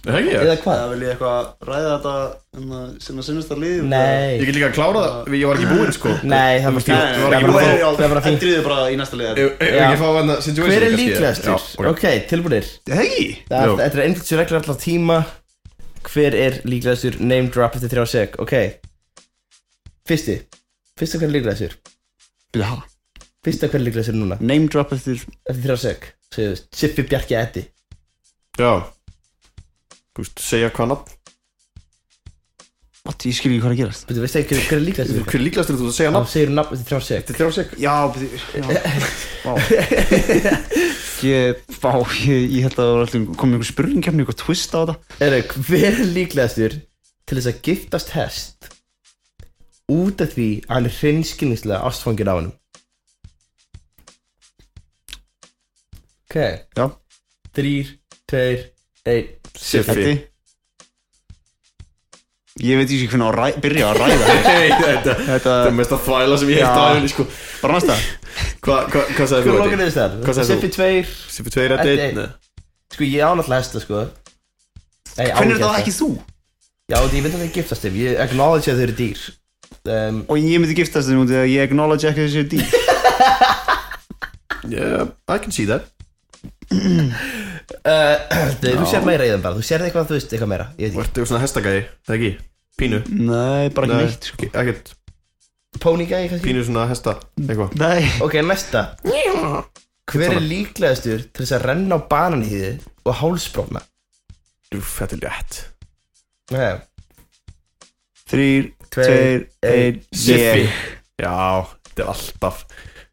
[SPEAKER 2] hegi ég
[SPEAKER 3] Eða hvað?
[SPEAKER 1] eða vil ég eitthvað ræða þetta en, uh, sinna sinnstur lið
[SPEAKER 2] Ég
[SPEAKER 3] Nei
[SPEAKER 2] get líka að klára það, ég var ekki búinn sko
[SPEAKER 3] Nei, það var
[SPEAKER 1] Nei,
[SPEAKER 3] fínt
[SPEAKER 1] nei,
[SPEAKER 2] Þú
[SPEAKER 1] nei, nei,
[SPEAKER 2] var ekki
[SPEAKER 1] nú
[SPEAKER 2] búin
[SPEAKER 1] er
[SPEAKER 2] að fá-
[SPEAKER 1] ég
[SPEAKER 3] Það var
[SPEAKER 1] alveg-
[SPEAKER 3] fínt.
[SPEAKER 1] Endriðu bara í næsta lið
[SPEAKER 2] Ef ef ekki fá hann að situation
[SPEAKER 3] Hver er
[SPEAKER 2] kannski?
[SPEAKER 3] líklegastur?
[SPEAKER 2] Já, ok.
[SPEAKER 3] Ok, tilbúinir
[SPEAKER 1] Hegi
[SPEAKER 3] Það-
[SPEAKER 2] Jú.
[SPEAKER 3] Þetta er einflýtsu reglur allar tíma Hver er líklegastur? Name drop eftir þrjá seg Ok Fyrsti Fyrsta hver er líklegastur?
[SPEAKER 1] Býða,
[SPEAKER 3] Fyrsta hver er líklegastur núna?
[SPEAKER 1] name drop eftir
[SPEAKER 3] Eftir þrjá seg Segðu þú Sippi Bjarki Eddi
[SPEAKER 2] Já Þú veist, segja hvað nafn
[SPEAKER 1] What, ég skil ekki hvað er að gerast
[SPEAKER 3] Þú veist ekki hver- hver er líklegastur?
[SPEAKER 2] Hver er líklegastur þú ert að segja
[SPEAKER 3] Þá
[SPEAKER 2] nafn?
[SPEAKER 3] segir þú nafn eftir þrjá seg
[SPEAKER 2] Þetta er þrjá sek
[SPEAKER 1] Já, býðu, já Vá Ég, vá, ég, ég held að það var alltaf komið einhver spurning kemni, einhver twist á þetta
[SPEAKER 3] Eru, hver er líklegastur til þess að giftast hest út af því að hann er hreinskilningslega ástfangin á hann Ok,
[SPEAKER 1] Já,
[SPEAKER 3] þrýr, tveir, einn
[SPEAKER 2] Siffi
[SPEAKER 1] Eddi Ég veit ekki hvernig á að ræ, byrja að ræða þetta.
[SPEAKER 2] Hey, Þetta
[SPEAKER 1] Þetta
[SPEAKER 2] þetta er mesta þvæla sem ég heilt
[SPEAKER 1] Já.
[SPEAKER 2] á henni sko
[SPEAKER 1] Bara næsta
[SPEAKER 2] Hvað hva, hva sagði
[SPEAKER 3] Hvað
[SPEAKER 2] þú?
[SPEAKER 3] lókar
[SPEAKER 2] Eddi?
[SPEAKER 3] þess
[SPEAKER 2] Hvað
[SPEAKER 3] þar?
[SPEAKER 2] sagðir þú?
[SPEAKER 3] Siffi tveir
[SPEAKER 2] Siffi 2 er
[SPEAKER 3] Eddi,
[SPEAKER 2] 1
[SPEAKER 3] einn. Sko ég ánáttúrulega hesta sko Nei, ég á
[SPEAKER 1] Hvernig er það
[SPEAKER 3] hesta.
[SPEAKER 1] ekki þú?
[SPEAKER 3] Já, því ég veit að það er giftast þeim Ég acknowledge að þau eru dýr um,
[SPEAKER 1] Og ég myndi giftast þeim út í að ég acknowledge ekki þessi dýr
[SPEAKER 2] Yeah, I can see that
[SPEAKER 3] uh, Nei, þú sér meira í þeim bara Þú sér eitthvað, þú veist, eitthvað meira Ég veit
[SPEAKER 2] Þú ert eitthvað svona hestagæði, það ekki? Pínu
[SPEAKER 1] Nei, bara ekki
[SPEAKER 2] Nei,
[SPEAKER 1] neitt sko.
[SPEAKER 2] ekki- Ekkert,
[SPEAKER 3] ekki Póningæði kannski
[SPEAKER 2] pínu svona hesta Eitthvað
[SPEAKER 1] Nei
[SPEAKER 3] Ok, næsta Hver er líklegastur til þess að renna á bananhýði og hálsbrotna?
[SPEAKER 2] Úff, Þetta er létt
[SPEAKER 3] Nei,
[SPEAKER 1] Þrýr,
[SPEAKER 3] Tveir,
[SPEAKER 1] tveir, einn
[SPEAKER 2] Siffi
[SPEAKER 1] ég.
[SPEAKER 2] Já, þetta er alltaf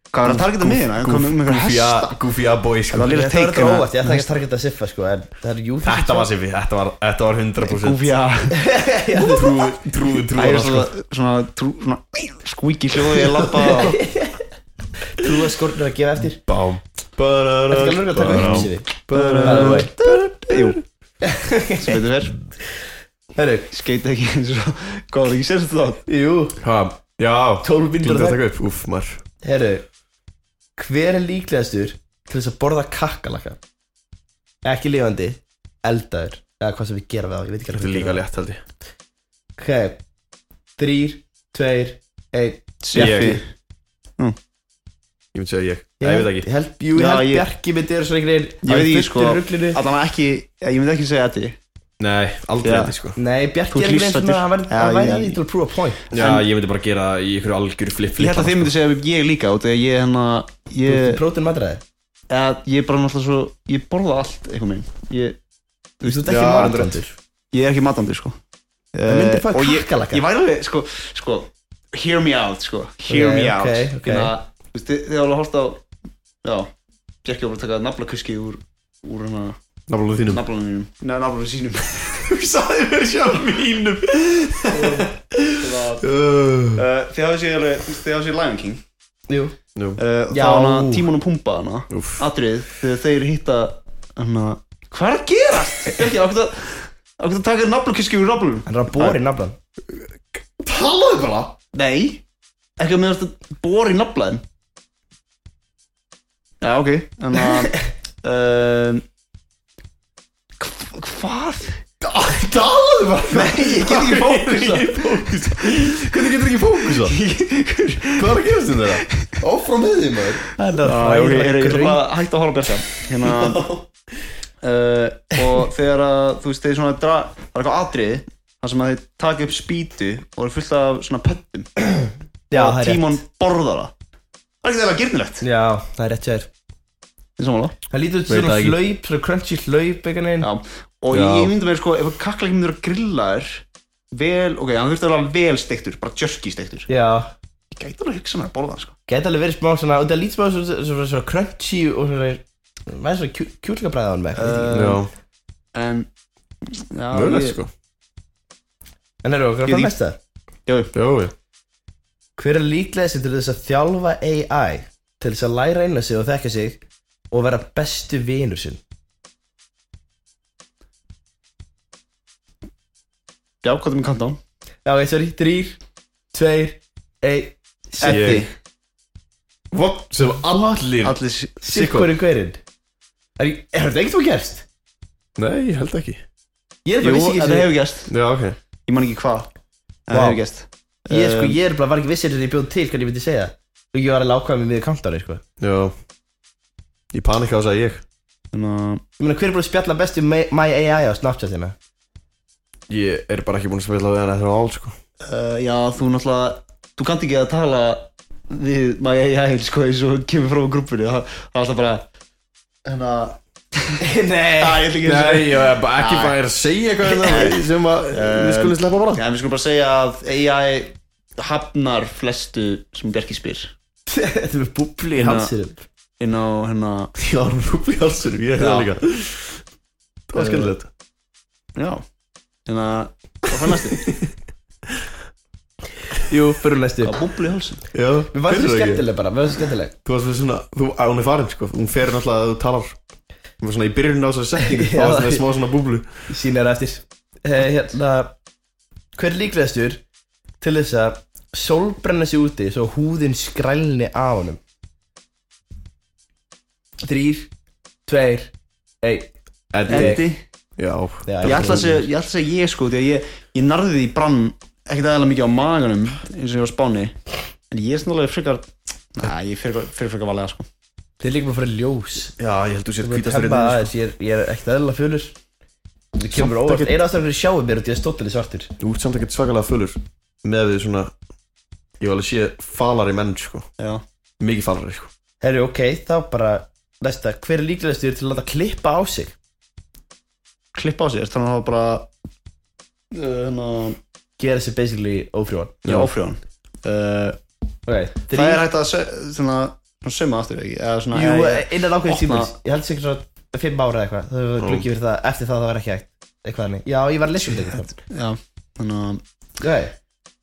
[SPEAKER 1] Hvað er að targeta mig hérna? Ég kom um einhver
[SPEAKER 2] Goofy
[SPEAKER 1] hesta
[SPEAKER 2] a- Goofy a boy
[SPEAKER 1] Það var
[SPEAKER 2] sko
[SPEAKER 1] lilla
[SPEAKER 3] það var
[SPEAKER 1] teik
[SPEAKER 3] þetta óvart, ég ætla ekki að targeta að siffa sko en það er jú
[SPEAKER 2] Þetta var Siffi, þetta var, þetta var 100%
[SPEAKER 1] Goofy að
[SPEAKER 2] Trúðu, trúðu,
[SPEAKER 1] Það
[SPEAKER 2] trúðu
[SPEAKER 1] er svona, svona, trú, svona squeaky hljóði ég lappa og
[SPEAKER 3] Þú að skórnir að gefa eftir
[SPEAKER 2] Bám
[SPEAKER 3] Þetta er alveg að taka upp sér
[SPEAKER 2] Bara-
[SPEAKER 3] því
[SPEAKER 1] Jú Sem betur fyrr
[SPEAKER 3] Herru,
[SPEAKER 1] Skeit ekki eins og Góður ekki sérst þátt
[SPEAKER 3] jú
[SPEAKER 2] Ha, Já,
[SPEAKER 3] 12
[SPEAKER 2] gildið
[SPEAKER 3] bindur
[SPEAKER 2] að
[SPEAKER 3] það
[SPEAKER 2] taka upp Úff, maður
[SPEAKER 3] Herru, hver er líklegastur til þess að borða kakkalaka? Ekki lifandi, eldaður eða hvað sem við gerum við á, ég veit ekki
[SPEAKER 2] Þetta er
[SPEAKER 3] alveg
[SPEAKER 2] líka létt held ég
[SPEAKER 3] Ok, þrýr, tveir, einn
[SPEAKER 1] Sjeffi
[SPEAKER 2] Ég. Ég myndi segja ég Nei, ég veit
[SPEAKER 3] Ég
[SPEAKER 2] ekki
[SPEAKER 3] held, jú, ég
[SPEAKER 1] Já,
[SPEAKER 3] held
[SPEAKER 1] ég-
[SPEAKER 3] Bjarki myndi vera svona einhvern
[SPEAKER 1] Ég
[SPEAKER 3] veginn
[SPEAKER 1] veit
[SPEAKER 3] hann
[SPEAKER 1] ekki
[SPEAKER 3] er
[SPEAKER 1] sko
[SPEAKER 3] fullur ruglinu.
[SPEAKER 1] Allan ekki Ég myndi ekki segja þetta
[SPEAKER 2] Nei, aldrei
[SPEAKER 1] Já.
[SPEAKER 2] þetta sko
[SPEAKER 3] Nei,
[SPEAKER 1] Þú ert
[SPEAKER 3] Bjarki er einhvern veginn
[SPEAKER 1] lífshættur.
[SPEAKER 3] svona hann væri-
[SPEAKER 1] Já,
[SPEAKER 3] hann væri
[SPEAKER 1] ég-
[SPEAKER 3] að því til að prúa point
[SPEAKER 2] Já, ég myndi bara gera í ykkur algjör flip-flip
[SPEAKER 1] Ég held að þið myndi segja ég líka út af því að Ég hérna Ég
[SPEAKER 3] Prótin matræði
[SPEAKER 1] eða Ég er bara náttúrulega svo Ég borða allt einhvern veginn Ég
[SPEAKER 3] Þú veist, þú ert
[SPEAKER 2] Já,
[SPEAKER 3] ekki
[SPEAKER 2] reyndar
[SPEAKER 3] matrandur
[SPEAKER 1] Ég er ekki matandi sko
[SPEAKER 3] Það myndi fá
[SPEAKER 1] Eh, og ég-
[SPEAKER 3] kakkalakka.
[SPEAKER 1] Ég væri alveg sko, sko Hear me out sko Hear
[SPEAKER 3] Ok,
[SPEAKER 1] me
[SPEAKER 3] ok,
[SPEAKER 1] out
[SPEAKER 3] ok.
[SPEAKER 1] Þannig að þú veist, þið þið hafa alveg hort á Já Bjarki var bara að taka nafla kuski úr Úr hana
[SPEAKER 2] Náfnum þínum
[SPEAKER 1] naflanum mínum Nei naflanum sínum
[SPEAKER 2] Hugsaði mér sjálf mínum
[SPEAKER 1] Þannig að,
[SPEAKER 2] Uh,
[SPEAKER 1] eh, Þið hafa séð alveg þú veist, Þið hafa séð Lion King
[SPEAKER 3] Jú
[SPEAKER 2] Nú,
[SPEAKER 1] uh,
[SPEAKER 3] Já.
[SPEAKER 1] Þá hana Tímon og Pumba hana
[SPEAKER 2] úff
[SPEAKER 1] Atrið Þegar þeir hitta Hana Hvað er að gerast? Bjarki ákveð að Ákveð að taka nafla kuski úr naflanum
[SPEAKER 3] Hann er að bóri nafnan
[SPEAKER 2] Talaðu bara
[SPEAKER 1] Nei Ekki að miðast að bóra í naflaðin Já, ok En að um, hv- Hvað?
[SPEAKER 2] Talaðu bara
[SPEAKER 1] Nei, ég get ekki fókusa
[SPEAKER 2] fókusa Hvernig getur ekki fókusa? Hvað er að gerast hérna? þér þetta? Áfram með því maður
[SPEAKER 3] Hann er
[SPEAKER 1] Já, ok, ég er
[SPEAKER 3] hræra
[SPEAKER 1] bara
[SPEAKER 3] grunn
[SPEAKER 1] að hætta að horfa björsa Hérna uh, Og þegar að, þú veist, þeir svona dra Það er eitthvað atriði þar sem að þeir taka upp spýtu og er fullt af svona pöttum
[SPEAKER 3] Já, það
[SPEAKER 1] og
[SPEAKER 3] er rétt
[SPEAKER 1] tímon borðar það Það er ekki þeirra girnilegt
[SPEAKER 3] Já, það er rétt sér
[SPEAKER 1] Þið sammála?
[SPEAKER 3] Það lítur út
[SPEAKER 2] Veit
[SPEAKER 3] svona
[SPEAKER 2] það ekki.
[SPEAKER 3] hlaup, svona crunchy hlaup einhvern veginn
[SPEAKER 1] Já, og
[SPEAKER 2] Já.
[SPEAKER 1] ég myndi mér sko, ef kakla ekki myndur að grilla þér vel, ok, hann þurfti að vera vel steiktur, bara jerky steiktur
[SPEAKER 3] Já
[SPEAKER 1] ég gæti alveg að hugsa mér að borða það sko
[SPEAKER 3] Gæti alveg verið smá svona og Það lítur smá svona- svona svona crunchy og svona Hvað er svona kjúlgabræða á
[SPEAKER 2] Já,
[SPEAKER 3] hann með? eitthvað, ég veit
[SPEAKER 1] en, já,
[SPEAKER 2] mögulegt
[SPEAKER 1] ég-
[SPEAKER 2] sko
[SPEAKER 3] ekki. En erum við okkur
[SPEAKER 1] Ég
[SPEAKER 3] að
[SPEAKER 1] því-
[SPEAKER 3] mesta?
[SPEAKER 1] já,
[SPEAKER 2] Já, já
[SPEAKER 3] Hver er líklegast til þess að þjálfa AI? til þess að læra inn sig og þekka sig og vera bestu vinur sinn
[SPEAKER 1] Já, hvað er minn countdown?
[SPEAKER 3] Já, ok, sorry, þrýr, tveir, einn
[SPEAKER 1] Eddi,
[SPEAKER 2] What? Sem allir
[SPEAKER 1] allir sí-
[SPEAKER 3] Sikkurinn hverinn Er er þetta ekkert þú gerst?
[SPEAKER 2] Nei, ég held ekki
[SPEAKER 3] Ég er
[SPEAKER 1] Jú,
[SPEAKER 3] bara
[SPEAKER 1] en
[SPEAKER 3] vissi ekki
[SPEAKER 1] það
[SPEAKER 3] þessu
[SPEAKER 1] hefur gæst
[SPEAKER 2] Já, ok
[SPEAKER 1] Ég man ekki hvað En
[SPEAKER 3] Vá.
[SPEAKER 1] það hefur um, gæst
[SPEAKER 3] Ég sko, ég er bara var ekki vissir þegar ég bjóð til hvernig ég myndi segja Og ég var alveg ákvæða með miður kantari, sko
[SPEAKER 2] Já Ég panika á þess að ég
[SPEAKER 1] Þannig að
[SPEAKER 3] Ég meina, hver er búin að spjalla best um My- My AI á Snapchatina?
[SPEAKER 2] Ég er bara ekki búin að spila við hann eftir á ál, sko
[SPEAKER 1] uh, Já, þú náttúrulega Þú kannt ekki að tala Við maður ég heil sko eins og kemur frá grúppinu Það það er alltaf bara Þannig að
[SPEAKER 3] Nei
[SPEAKER 1] Æ, ég ætla ekki að segja
[SPEAKER 2] Nei, ég er bara ekki bara að segja eitthvað hérna sem að við skulum sleppa bara
[SPEAKER 1] Já, en við skulum bara segja að AI hafnar flestu sem Bjarki spyr
[SPEAKER 3] Þetta er með
[SPEAKER 1] Hérna,
[SPEAKER 3] búbli í halsinum
[SPEAKER 1] inn á hérna
[SPEAKER 2] Já, hún rúpi halsunum, ég er
[SPEAKER 1] Já.
[SPEAKER 2] það líka Eh. Það var skemmtilegt
[SPEAKER 1] Já, hérna Hvað fann næstu?
[SPEAKER 3] Jú, fyrir næstu
[SPEAKER 1] Að búbli í hálsum
[SPEAKER 2] Já,
[SPEAKER 3] Við
[SPEAKER 2] finnur
[SPEAKER 3] varum svo
[SPEAKER 2] þú ekki?
[SPEAKER 3] skemmtileg bara, við varum svo skemmtileg
[SPEAKER 2] Þú varst með svona, þú, að hún er farin, sko Hún fer náttúrulega að þú talar Hún var svona í byrjunum á þessari setningu
[SPEAKER 3] Já.
[SPEAKER 2] Það var svona smá svona búblu
[SPEAKER 3] Sýnir það eftir Eh, Hérna Hver er líklegastur til þess að sólbrenna sig úti svo húðin skrælni af honum Þrýr Tveir Einn
[SPEAKER 1] Endi
[SPEAKER 2] Já
[SPEAKER 3] Já,
[SPEAKER 1] Ég ætla að segja, ég ætla að segja ég sko Því að ég, ég narði því brann ekkert aðeins mikið á maganum eins og ég var á spáni En ég er snarlega frekar Næ, ég fyrir fyrir frekar valega sko
[SPEAKER 3] Þið er líka bara fyrir ljós
[SPEAKER 2] Já, ég held þú sér
[SPEAKER 3] Þú ert
[SPEAKER 2] hvítastur
[SPEAKER 3] hemmað aðeins, ég er, ég er ekkert aðeinslega fjölur Það kemur óvart
[SPEAKER 2] ekkert-
[SPEAKER 3] Einn ástæðan fyrir sjáum mér út í að stóttileg svartur
[SPEAKER 2] Þú ert samt ekkert svakalega fullur með við svona ég var alveg sé falari menn sko
[SPEAKER 1] Já
[SPEAKER 2] mikið falari sko
[SPEAKER 3] Herri, ok, þá bara Næsta, hver er líklegastur til að láta klippa á sig?
[SPEAKER 1] Klippa á sér, þannig að það var bara uh, Hérna
[SPEAKER 3] Gera sig basically ófrjóan
[SPEAKER 1] Já, áfrjóðan uh,
[SPEAKER 3] Ok,
[SPEAKER 1] Það er hægt að se- svona svona Suma aftur ekki Eða svona
[SPEAKER 3] Jú, eh,
[SPEAKER 1] eða-
[SPEAKER 3] innan ákveðin
[SPEAKER 1] opna-
[SPEAKER 3] tíma Ég held sér svona fimm ára eða eitthvað Það var glukki fyrir það, eftir það það var ekki hægt Eitthvað þannig Já, ég var að lesa um þetta eitthvað.
[SPEAKER 1] Já, þannig að
[SPEAKER 3] Ok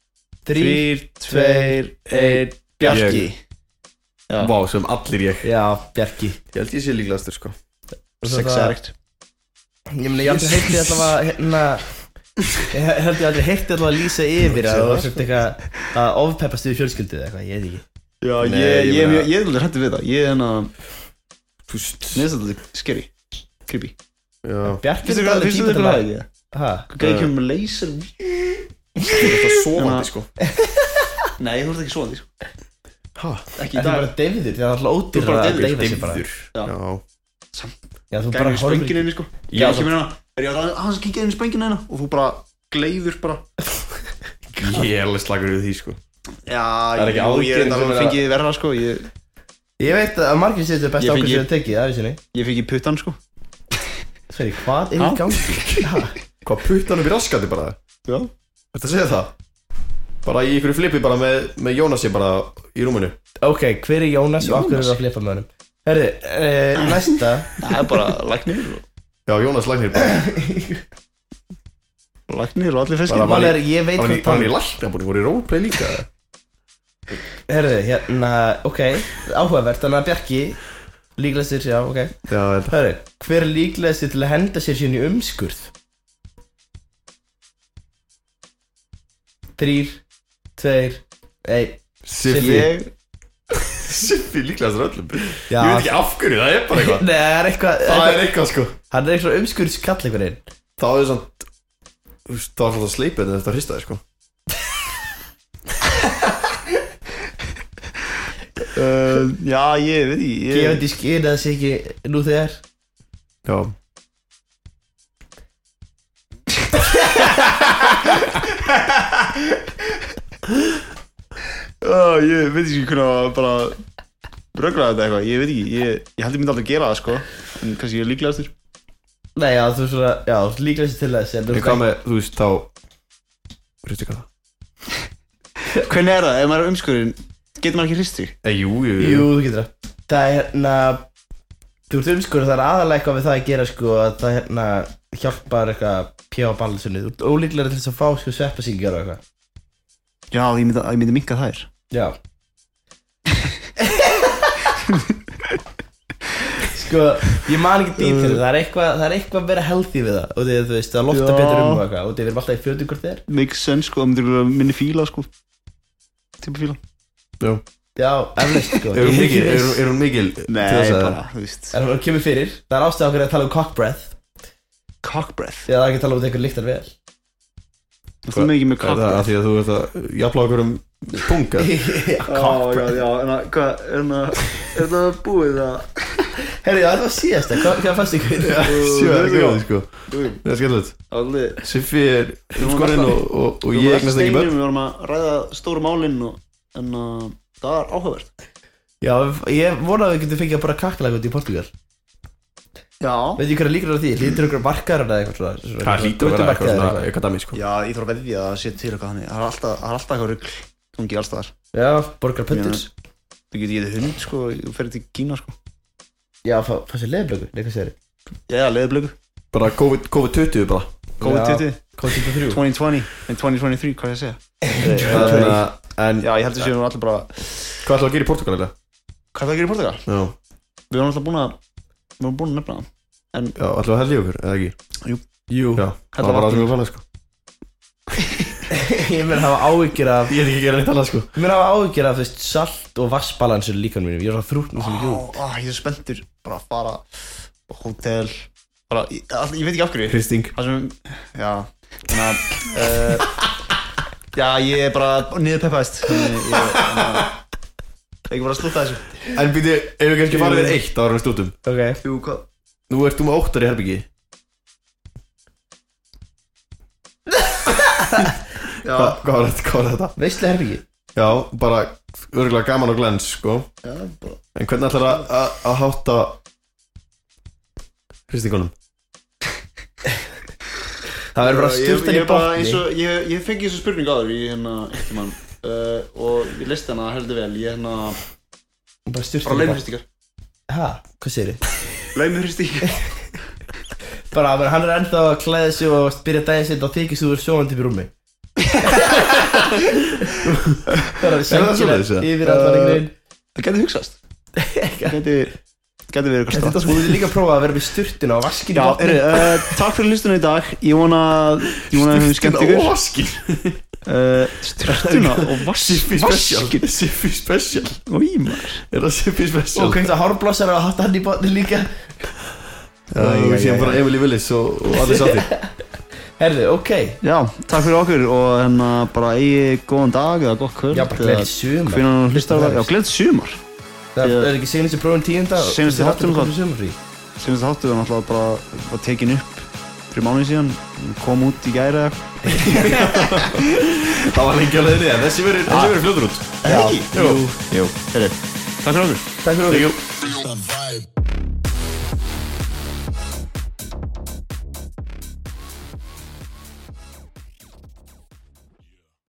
[SPEAKER 3] Þrý
[SPEAKER 1] Þrýr, tveir, einn, Bjarki Já.
[SPEAKER 2] Vá, sem allir ég
[SPEAKER 3] Já, Bjarki
[SPEAKER 2] Ég held ég sé líklegastur sko
[SPEAKER 1] Sex erkt
[SPEAKER 3] Ég meni, ég aldrei heyrti allavega hérna Ég held ég aldrei heyrti allavega að lýsa yfir að það var svona eitthvað að ofpeppast yfir fjölskyldið eða eitthvað, ég veit ekki
[SPEAKER 1] Já,
[SPEAKER 2] Nei,
[SPEAKER 1] ég,
[SPEAKER 2] ég
[SPEAKER 1] ég,
[SPEAKER 2] meina-
[SPEAKER 1] ég, ég er alveg hættið við það Ég er hérna,
[SPEAKER 2] Þú veist
[SPEAKER 1] mér finnst þetta scary Creepy
[SPEAKER 2] Já
[SPEAKER 3] Bjarki
[SPEAKER 1] Finnst
[SPEAKER 3] er
[SPEAKER 1] þér
[SPEAKER 3] bara
[SPEAKER 1] hvað-
[SPEAKER 3] alveg
[SPEAKER 1] finnst
[SPEAKER 3] típa
[SPEAKER 1] þér
[SPEAKER 3] til
[SPEAKER 1] hvað
[SPEAKER 3] að
[SPEAKER 1] það er?
[SPEAKER 3] Hæ?
[SPEAKER 1] Gæði kemur með laser
[SPEAKER 2] Þú ert
[SPEAKER 1] Þannig
[SPEAKER 2] alltaf
[SPEAKER 1] að-
[SPEAKER 2] sofandi sko
[SPEAKER 1] Nei, þú ert ekki svona því sko.
[SPEAKER 2] Hæ?
[SPEAKER 1] Ekki í
[SPEAKER 3] Þetta er
[SPEAKER 1] dag
[SPEAKER 3] bara deyfður, það er alltaf ódýr
[SPEAKER 1] bara
[SPEAKER 3] að
[SPEAKER 1] deyfður,
[SPEAKER 3] deyfa sig bara
[SPEAKER 1] Já.
[SPEAKER 2] Já
[SPEAKER 3] Já, þú
[SPEAKER 1] Gæði
[SPEAKER 3] bara
[SPEAKER 1] við
[SPEAKER 3] horfir
[SPEAKER 1] spöngin
[SPEAKER 3] ekki-
[SPEAKER 1] einni sko
[SPEAKER 2] Ég
[SPEAKER 1] Gæði
[SPEAKER 2] var
[SPEAKER 1] kemur hérna Er ég að hans kíkja inn í spöngin einna Og þú bara gleiður bara
[SPEAKER 2] Ég er alveg slagur við því sko
[SPEAKER 1] Já,
[SPEAKER 2] Það er ekki
[SPEAKER 1] jú, ég er
[SPEAKER 2] ágirnd
[SPEAKER 1] þetta
[SPEAKER 2] sem
[SPEAKER 1] alveg
[SPEAKER 2] er að-
[SPEAKER 1] fengið verra sko Ég,
[SPEAKER 3] Ég veit að margir séu þetta best
[SPEAKER 1] Ég
[SPEAKER 3] ákveð
[SPEAKER 1] fengi-
[SPEAKER 3] sem þau tekið, það er í sinni
[SPEAKER 1] ég fengi puttan sko
[SPEAKER 3] Sveri, hvað er í
[SPEAKER 1] Ha?
[SPEAKER 3] gangi? Ha?
[SPEAKER 2] Hvað puttan upp í raskandi bara
[SPEAKER 1] Já
[SPEAKER 2] Þetta segja það Bara í ykkur flipi bara með, með Jónasi bara í rúminu
[SPEAKER 3] Ok, hver er Jónas, og okkur er
[SPEAKER 1] Jónas?
[SPEAKER 3] að flipa með honum? Herri, uh, næsta
[SPEAKER 1] Það er bara lagnir
[SPEAKER 2] Já, Jónas Lagnir bara
[SPEAKER 1] Lagnir og allir
[SPEAKER 2] Bara
[SPEAKER 1] feskir
[SPEAKER 2] var-
[SPEAKER 3] Mál er, ég veit
[SPEAKER 2] Var hann í-
[SPEAKER 3] hvað
[SPEAKER 2] var hann í
[SPEAKER 3] tala-
[SPEAKER 2] læknabúning, voru í roleplay líka eða?
[SPEAKER 3] Herri, hérna, ok, áhugavert Þannig að Bjarki, líklegastir, já, ok
[SPEAKER 2] Já, ég held að-
[SPEAKER 3] Herri, hver er líklegastir til að henda sér sín í umskurð? Þrýr, tveir, einn
[SPEAKER 2] Siffi
[SPEAKER 1] Ég
[SPEAKER 2] Siffi líklegast er öllum
[SPEAKER 3] Já.
[SPEAKER 2] Ég veit ekki af hverju, það er bara eitthvað
[SPEAKER 3] Nei, það er eitthvað,
[SPEAKER 2] Það er
[SPEAKER 3] eitthvað
[SPEAKER 2] eitthvað sko
[SPEAKER 3] Hann er eitthvað umskurðskall einhvern veginn
[SPEAKER 2] Þá er samt þú veist, Það var svona sleipið en þetta hristaði sko
[SPEAKER 1] Uh, já, ég veit ekki ég,
[SPEAKER 3] Gefandi skýr að það sé ekki nú þegar
[SPEAKER 2] Já
[SPEAKER 1] uh, ég veit ekki hvernig að bara rögla þetta eitthvað, ég veit ekki ég, ég held ég myndi aldrei gera það sko en kannski ég er líklegastur
[SPEAKER 3] Nei, já, þú svona, já, líklegast til þess en þú
[SPEAKER 2] Ég
[SPEAKER 3] veist
[SPEAKER 2] hvað með, þú veist, þá Hristi hvað það?
[SPEAKER 1] Hvernig er það, ef maður er umskurinn getur maður ekki hristi?
[SPEAKER 2] Eh, jú, jú,
[SPEAKER 3] ekki- Jú, þú getur það Það er hérna Þú ert umskurð, það er aðalega eitthvað við það að gera sko að það hérna hjálpar eitthvað pjá á balansunni Þú ert ólíklega til þess að fá sko sveppasíkjar og eitthvað
[SPEAKER 1] Já, ég myndi, ég myndi minka þær
[SPEAKER 3] Já Sko, ég man ekki dýr
[SPEAKER 1] Uh.
[SPEAKER 3] fyrir það er eitthvað, það er eitthvað að vera healthy við það og því að þú veist, það lofta
[SPEAKER 1] Já.
[SPEAKER 3] betur um og eitthvað og því við erum alltaf í fjötu hvort þið er
[SPEAKER 1] Makes sense sko, það myndir vera minni fíla sko Typa fíla
[SPEAKER 3] Já, eflaust sko
[SPEAKER 2] Er hún
[SPEAKER 3] Ég-
[SPEAKER 2] mikil? Er, hún- er hún mikil? til
[SPEAKER 1] Nei,
[SPEAKER 2] þess að-
[SPEAKER 1] bara, þú veist
[SPEAKER 3] En hún kemur fyrir, það er ástæða okkur að tala um cock breath
[SPEAKER 1] Cock breath
[SPEAKER 3] því að það er ekki að tala um einhver lyktar vel
[SPEAKER 1] Þú með ekki með
[SPEAKER 2] Er
[SPEAKER 1] cock
[SPEAKER 2] það
[SPEAKER 1] breath
[SPEAKER 2] af því að þú ert að jafnla okkur um punga?
[SPEAKER 1] Já, já, já, en að, hvað, er það, er það búið að
[SPEAKER 3] Herri, já, þetta var síðasta, hvað hvað fannst ykkur?
[SPEAKER 2] Sjö, það er skemmtilegt sko Það er skemmtilegt
[SPEAKER 1] Allir
[SPEAKER 2] Siffi er skorinn og, og, og
[SPEAKER 1] Við
[SPEAKER 2] ég
[SPEAKER 1] vorum
[SPEAKER 2] eignast ekki
[SPEAKER 1] steinum,
[SPEAKER 2] börn
[SPEAKER 1] Við vorum að ræða stóru málinn og, en uh, það var áhugavert
[SPEAKER 3] Já, ég vona að við getum fengið að bara kakla út í Portugal
[SPEAKER 1] Já
[SPEAKER 3] Veit ég hverja líkur á því, lítur okkur markaður eða eitthvað svona- svona
[SPEAKER 2] Það hlýtur að vera eitthvað
[SPEAKER 3] guttumarkaður
[SPEAKER 2] svona eitthvað dæmi sko
[SPEAKER 1] Já, ég þarf að veðja að það sé til eitthvað þannig Það er alltaf, það er alltaf eitthvað rugl gangi alls staðar
[SPEAKER 3] Já, borgar pöndur
[SPEAKER 1] Þú getur getið hund sko, þú ferði til Kína sko
[SPEAKER 3] Já, fá fá sér leifblöku, leika sér
[SPEAKER 1] Já, leðublöku,
[SPEAKER 2] Bara COVID- COVID-20 bara
[SPEAKER 1] COVID-20
[SPEAKER 3] COVID-23
[SPEAKER 1] 2020 and 2023, hvað er ég að segja?
[SPEAKER 2] Það er svona En
[SPEAKER 1] Já, ég held að séum allir bara
[SPEAKER 2] hvað ætlaðu að gera í Portugal eða?
[SPEAKER 1] Hvað er það að gera í Portugal?
[SPEAKER 2] Já,
[SPEAKER 1] Við varum alltaf búin að Við varum búin að nefna það
[SPEAKER 2] já ætlaðu að hella í okkur eða ekki?
[SPEAKER 1] Jú.
[SPEAKER 2] Jú Já, það var bara það sem við fannum sko
[SPEAKER 3] Ég mun hafa áhyggjur af
[SPEAKER 2] Ég get ekki að gera neitt annað sko
[SPEAKER 3] Ég mun hafa áhyggjur af þú veist, salt og vassbalansur líkan mínum Ég er svona þrútnum sem
[SPEAKER 1] Ó,
[SPEAKER 3] ekki út
[SPEAKER 1] ó, Ég er spenntur bara að fara á hótel bara, ég, all, ég veit ekki af hverju
[SPEAKER 2] Hristing
[SPEAKER 1] Það sem, já Þannig að uh, Já, ég er bara niður peppaðist Þannig ég þannig að- Ekki bara að slúta þessu
[SPEAKER 2] En býti, ef við kannski farið við eitt ára við stútum
[SPEAKER 3] Ok
[SPEAKER 1] Jú, hvað?
[SPEAKER 2] Nú ert þú með óttar í herbyggi
[SPEAKER 1] Já,
[SPEAKER 2] Hva, hvað, var þetta, hvað var þetta?
[SPEAKER 3] Veistlega herbyggi
[SPEAKER 2] Já, bara örgulega gaman og glens sko
[SPEAKER 1] já bara,
[SPEAKER 2] En hvernig ætlar að, að, að hátta Hristingunum?
[SPEAKER 3] Það verður bara
[SPEAKER 1] ég,
[SPEAKER 3] styrtan í
[SPEAKER 1] ég, bara eins
[SPEAKER 3] botni
[SPEAKER 1] og, ég, ég fengi þessu spurning á þér í hérna eftir mann uh, og ég listi hana heldur vel ég hérna
[SPEAKER 3] Bara
[SPEAKER 1] bara
[SPEAKER 3] styrtan í botni
[SPEAKER 1] laumuhristingar
[SPEAKER 3] Hæ, hvað segir þið?
[SPEAKER 1] laumuhristingar
[SPEAKER 3] Bara, bara hann er ennþá að klæða sig og byrja daginn sitt og þykist þú verður sjóandi upp í rúmi Bara sængina
[SPEAKER 2] svoleiðis, eða?
[SPEAKER 3] yfir allan einhvern
[SPEAKER 1] það geti hugsast
[SPEAKER 3] veginn
[SPEAKER 1] geti geti verið eitthvað
[SPEAKER 3] Uh, Þetta sko,
[SPEAKER 1] stort
[SPEAKER 3] þú hefur líka prófað að vera með styrtina og vaskin í
[SPEAKER 1] Já,
[SPEAKER 3] botni
[SPEAKER 1] eru, uh, takk fyrir hlustuna í dag Ég vona að ég vona að við höfum skemmt ykkur
[SPEAKER 2] Vaskir
[SPEAKER 1] uh, Styrtuna og
[SPEAKER 2] Siffi special
[SPEAKER 1] vaskin
[SPEAKER 2] Siffi special
[SPEAKER 1] Ímar
[SPEAKER 2] Er það Siffi special?
[SPEAKER 3] Og kveikt að hárblósar og hatt hann í botni líka
[SPEAKER 2] Já, og síðan bara Emily Willis og, og allir sátti
[SPEAKER 3] Herðu, ok
[SPEAKER 1] Já, takk fyrir okkur og hérna bara eigi góðan dag eða gott kvöld
[SPEAKER 3] Já, bara gleðið sumar
[SPEAKER 1] Hvernig hann hlustar það? Já, gleðið sumar
[SPEAKER 3] Það er ekki senustu prófum tíunda og
[SPEAKER 1] Seinustu
[SPEAKER 3] þessi þáttur
[SPEAKER 1] þátturinn
[SPEAKER 3] kom í sumarfrí.
[SPEAKER 1] Sem þetta þáttu var náttúrulega bara var tekin upp fyrir mánuði síðan kom út í gæri eða eitthvað.
[SPEAKER 2] Það var lengi á leiðinni en þessi verið fljóður út
[SPEAKER 1] Jú, jú, heyrðu, Takk fyrir okkur
[SPEAKER 3] Takk fyrir okkur
[SPEAKER 2] Jú
[SPEAKER 5] Thank you.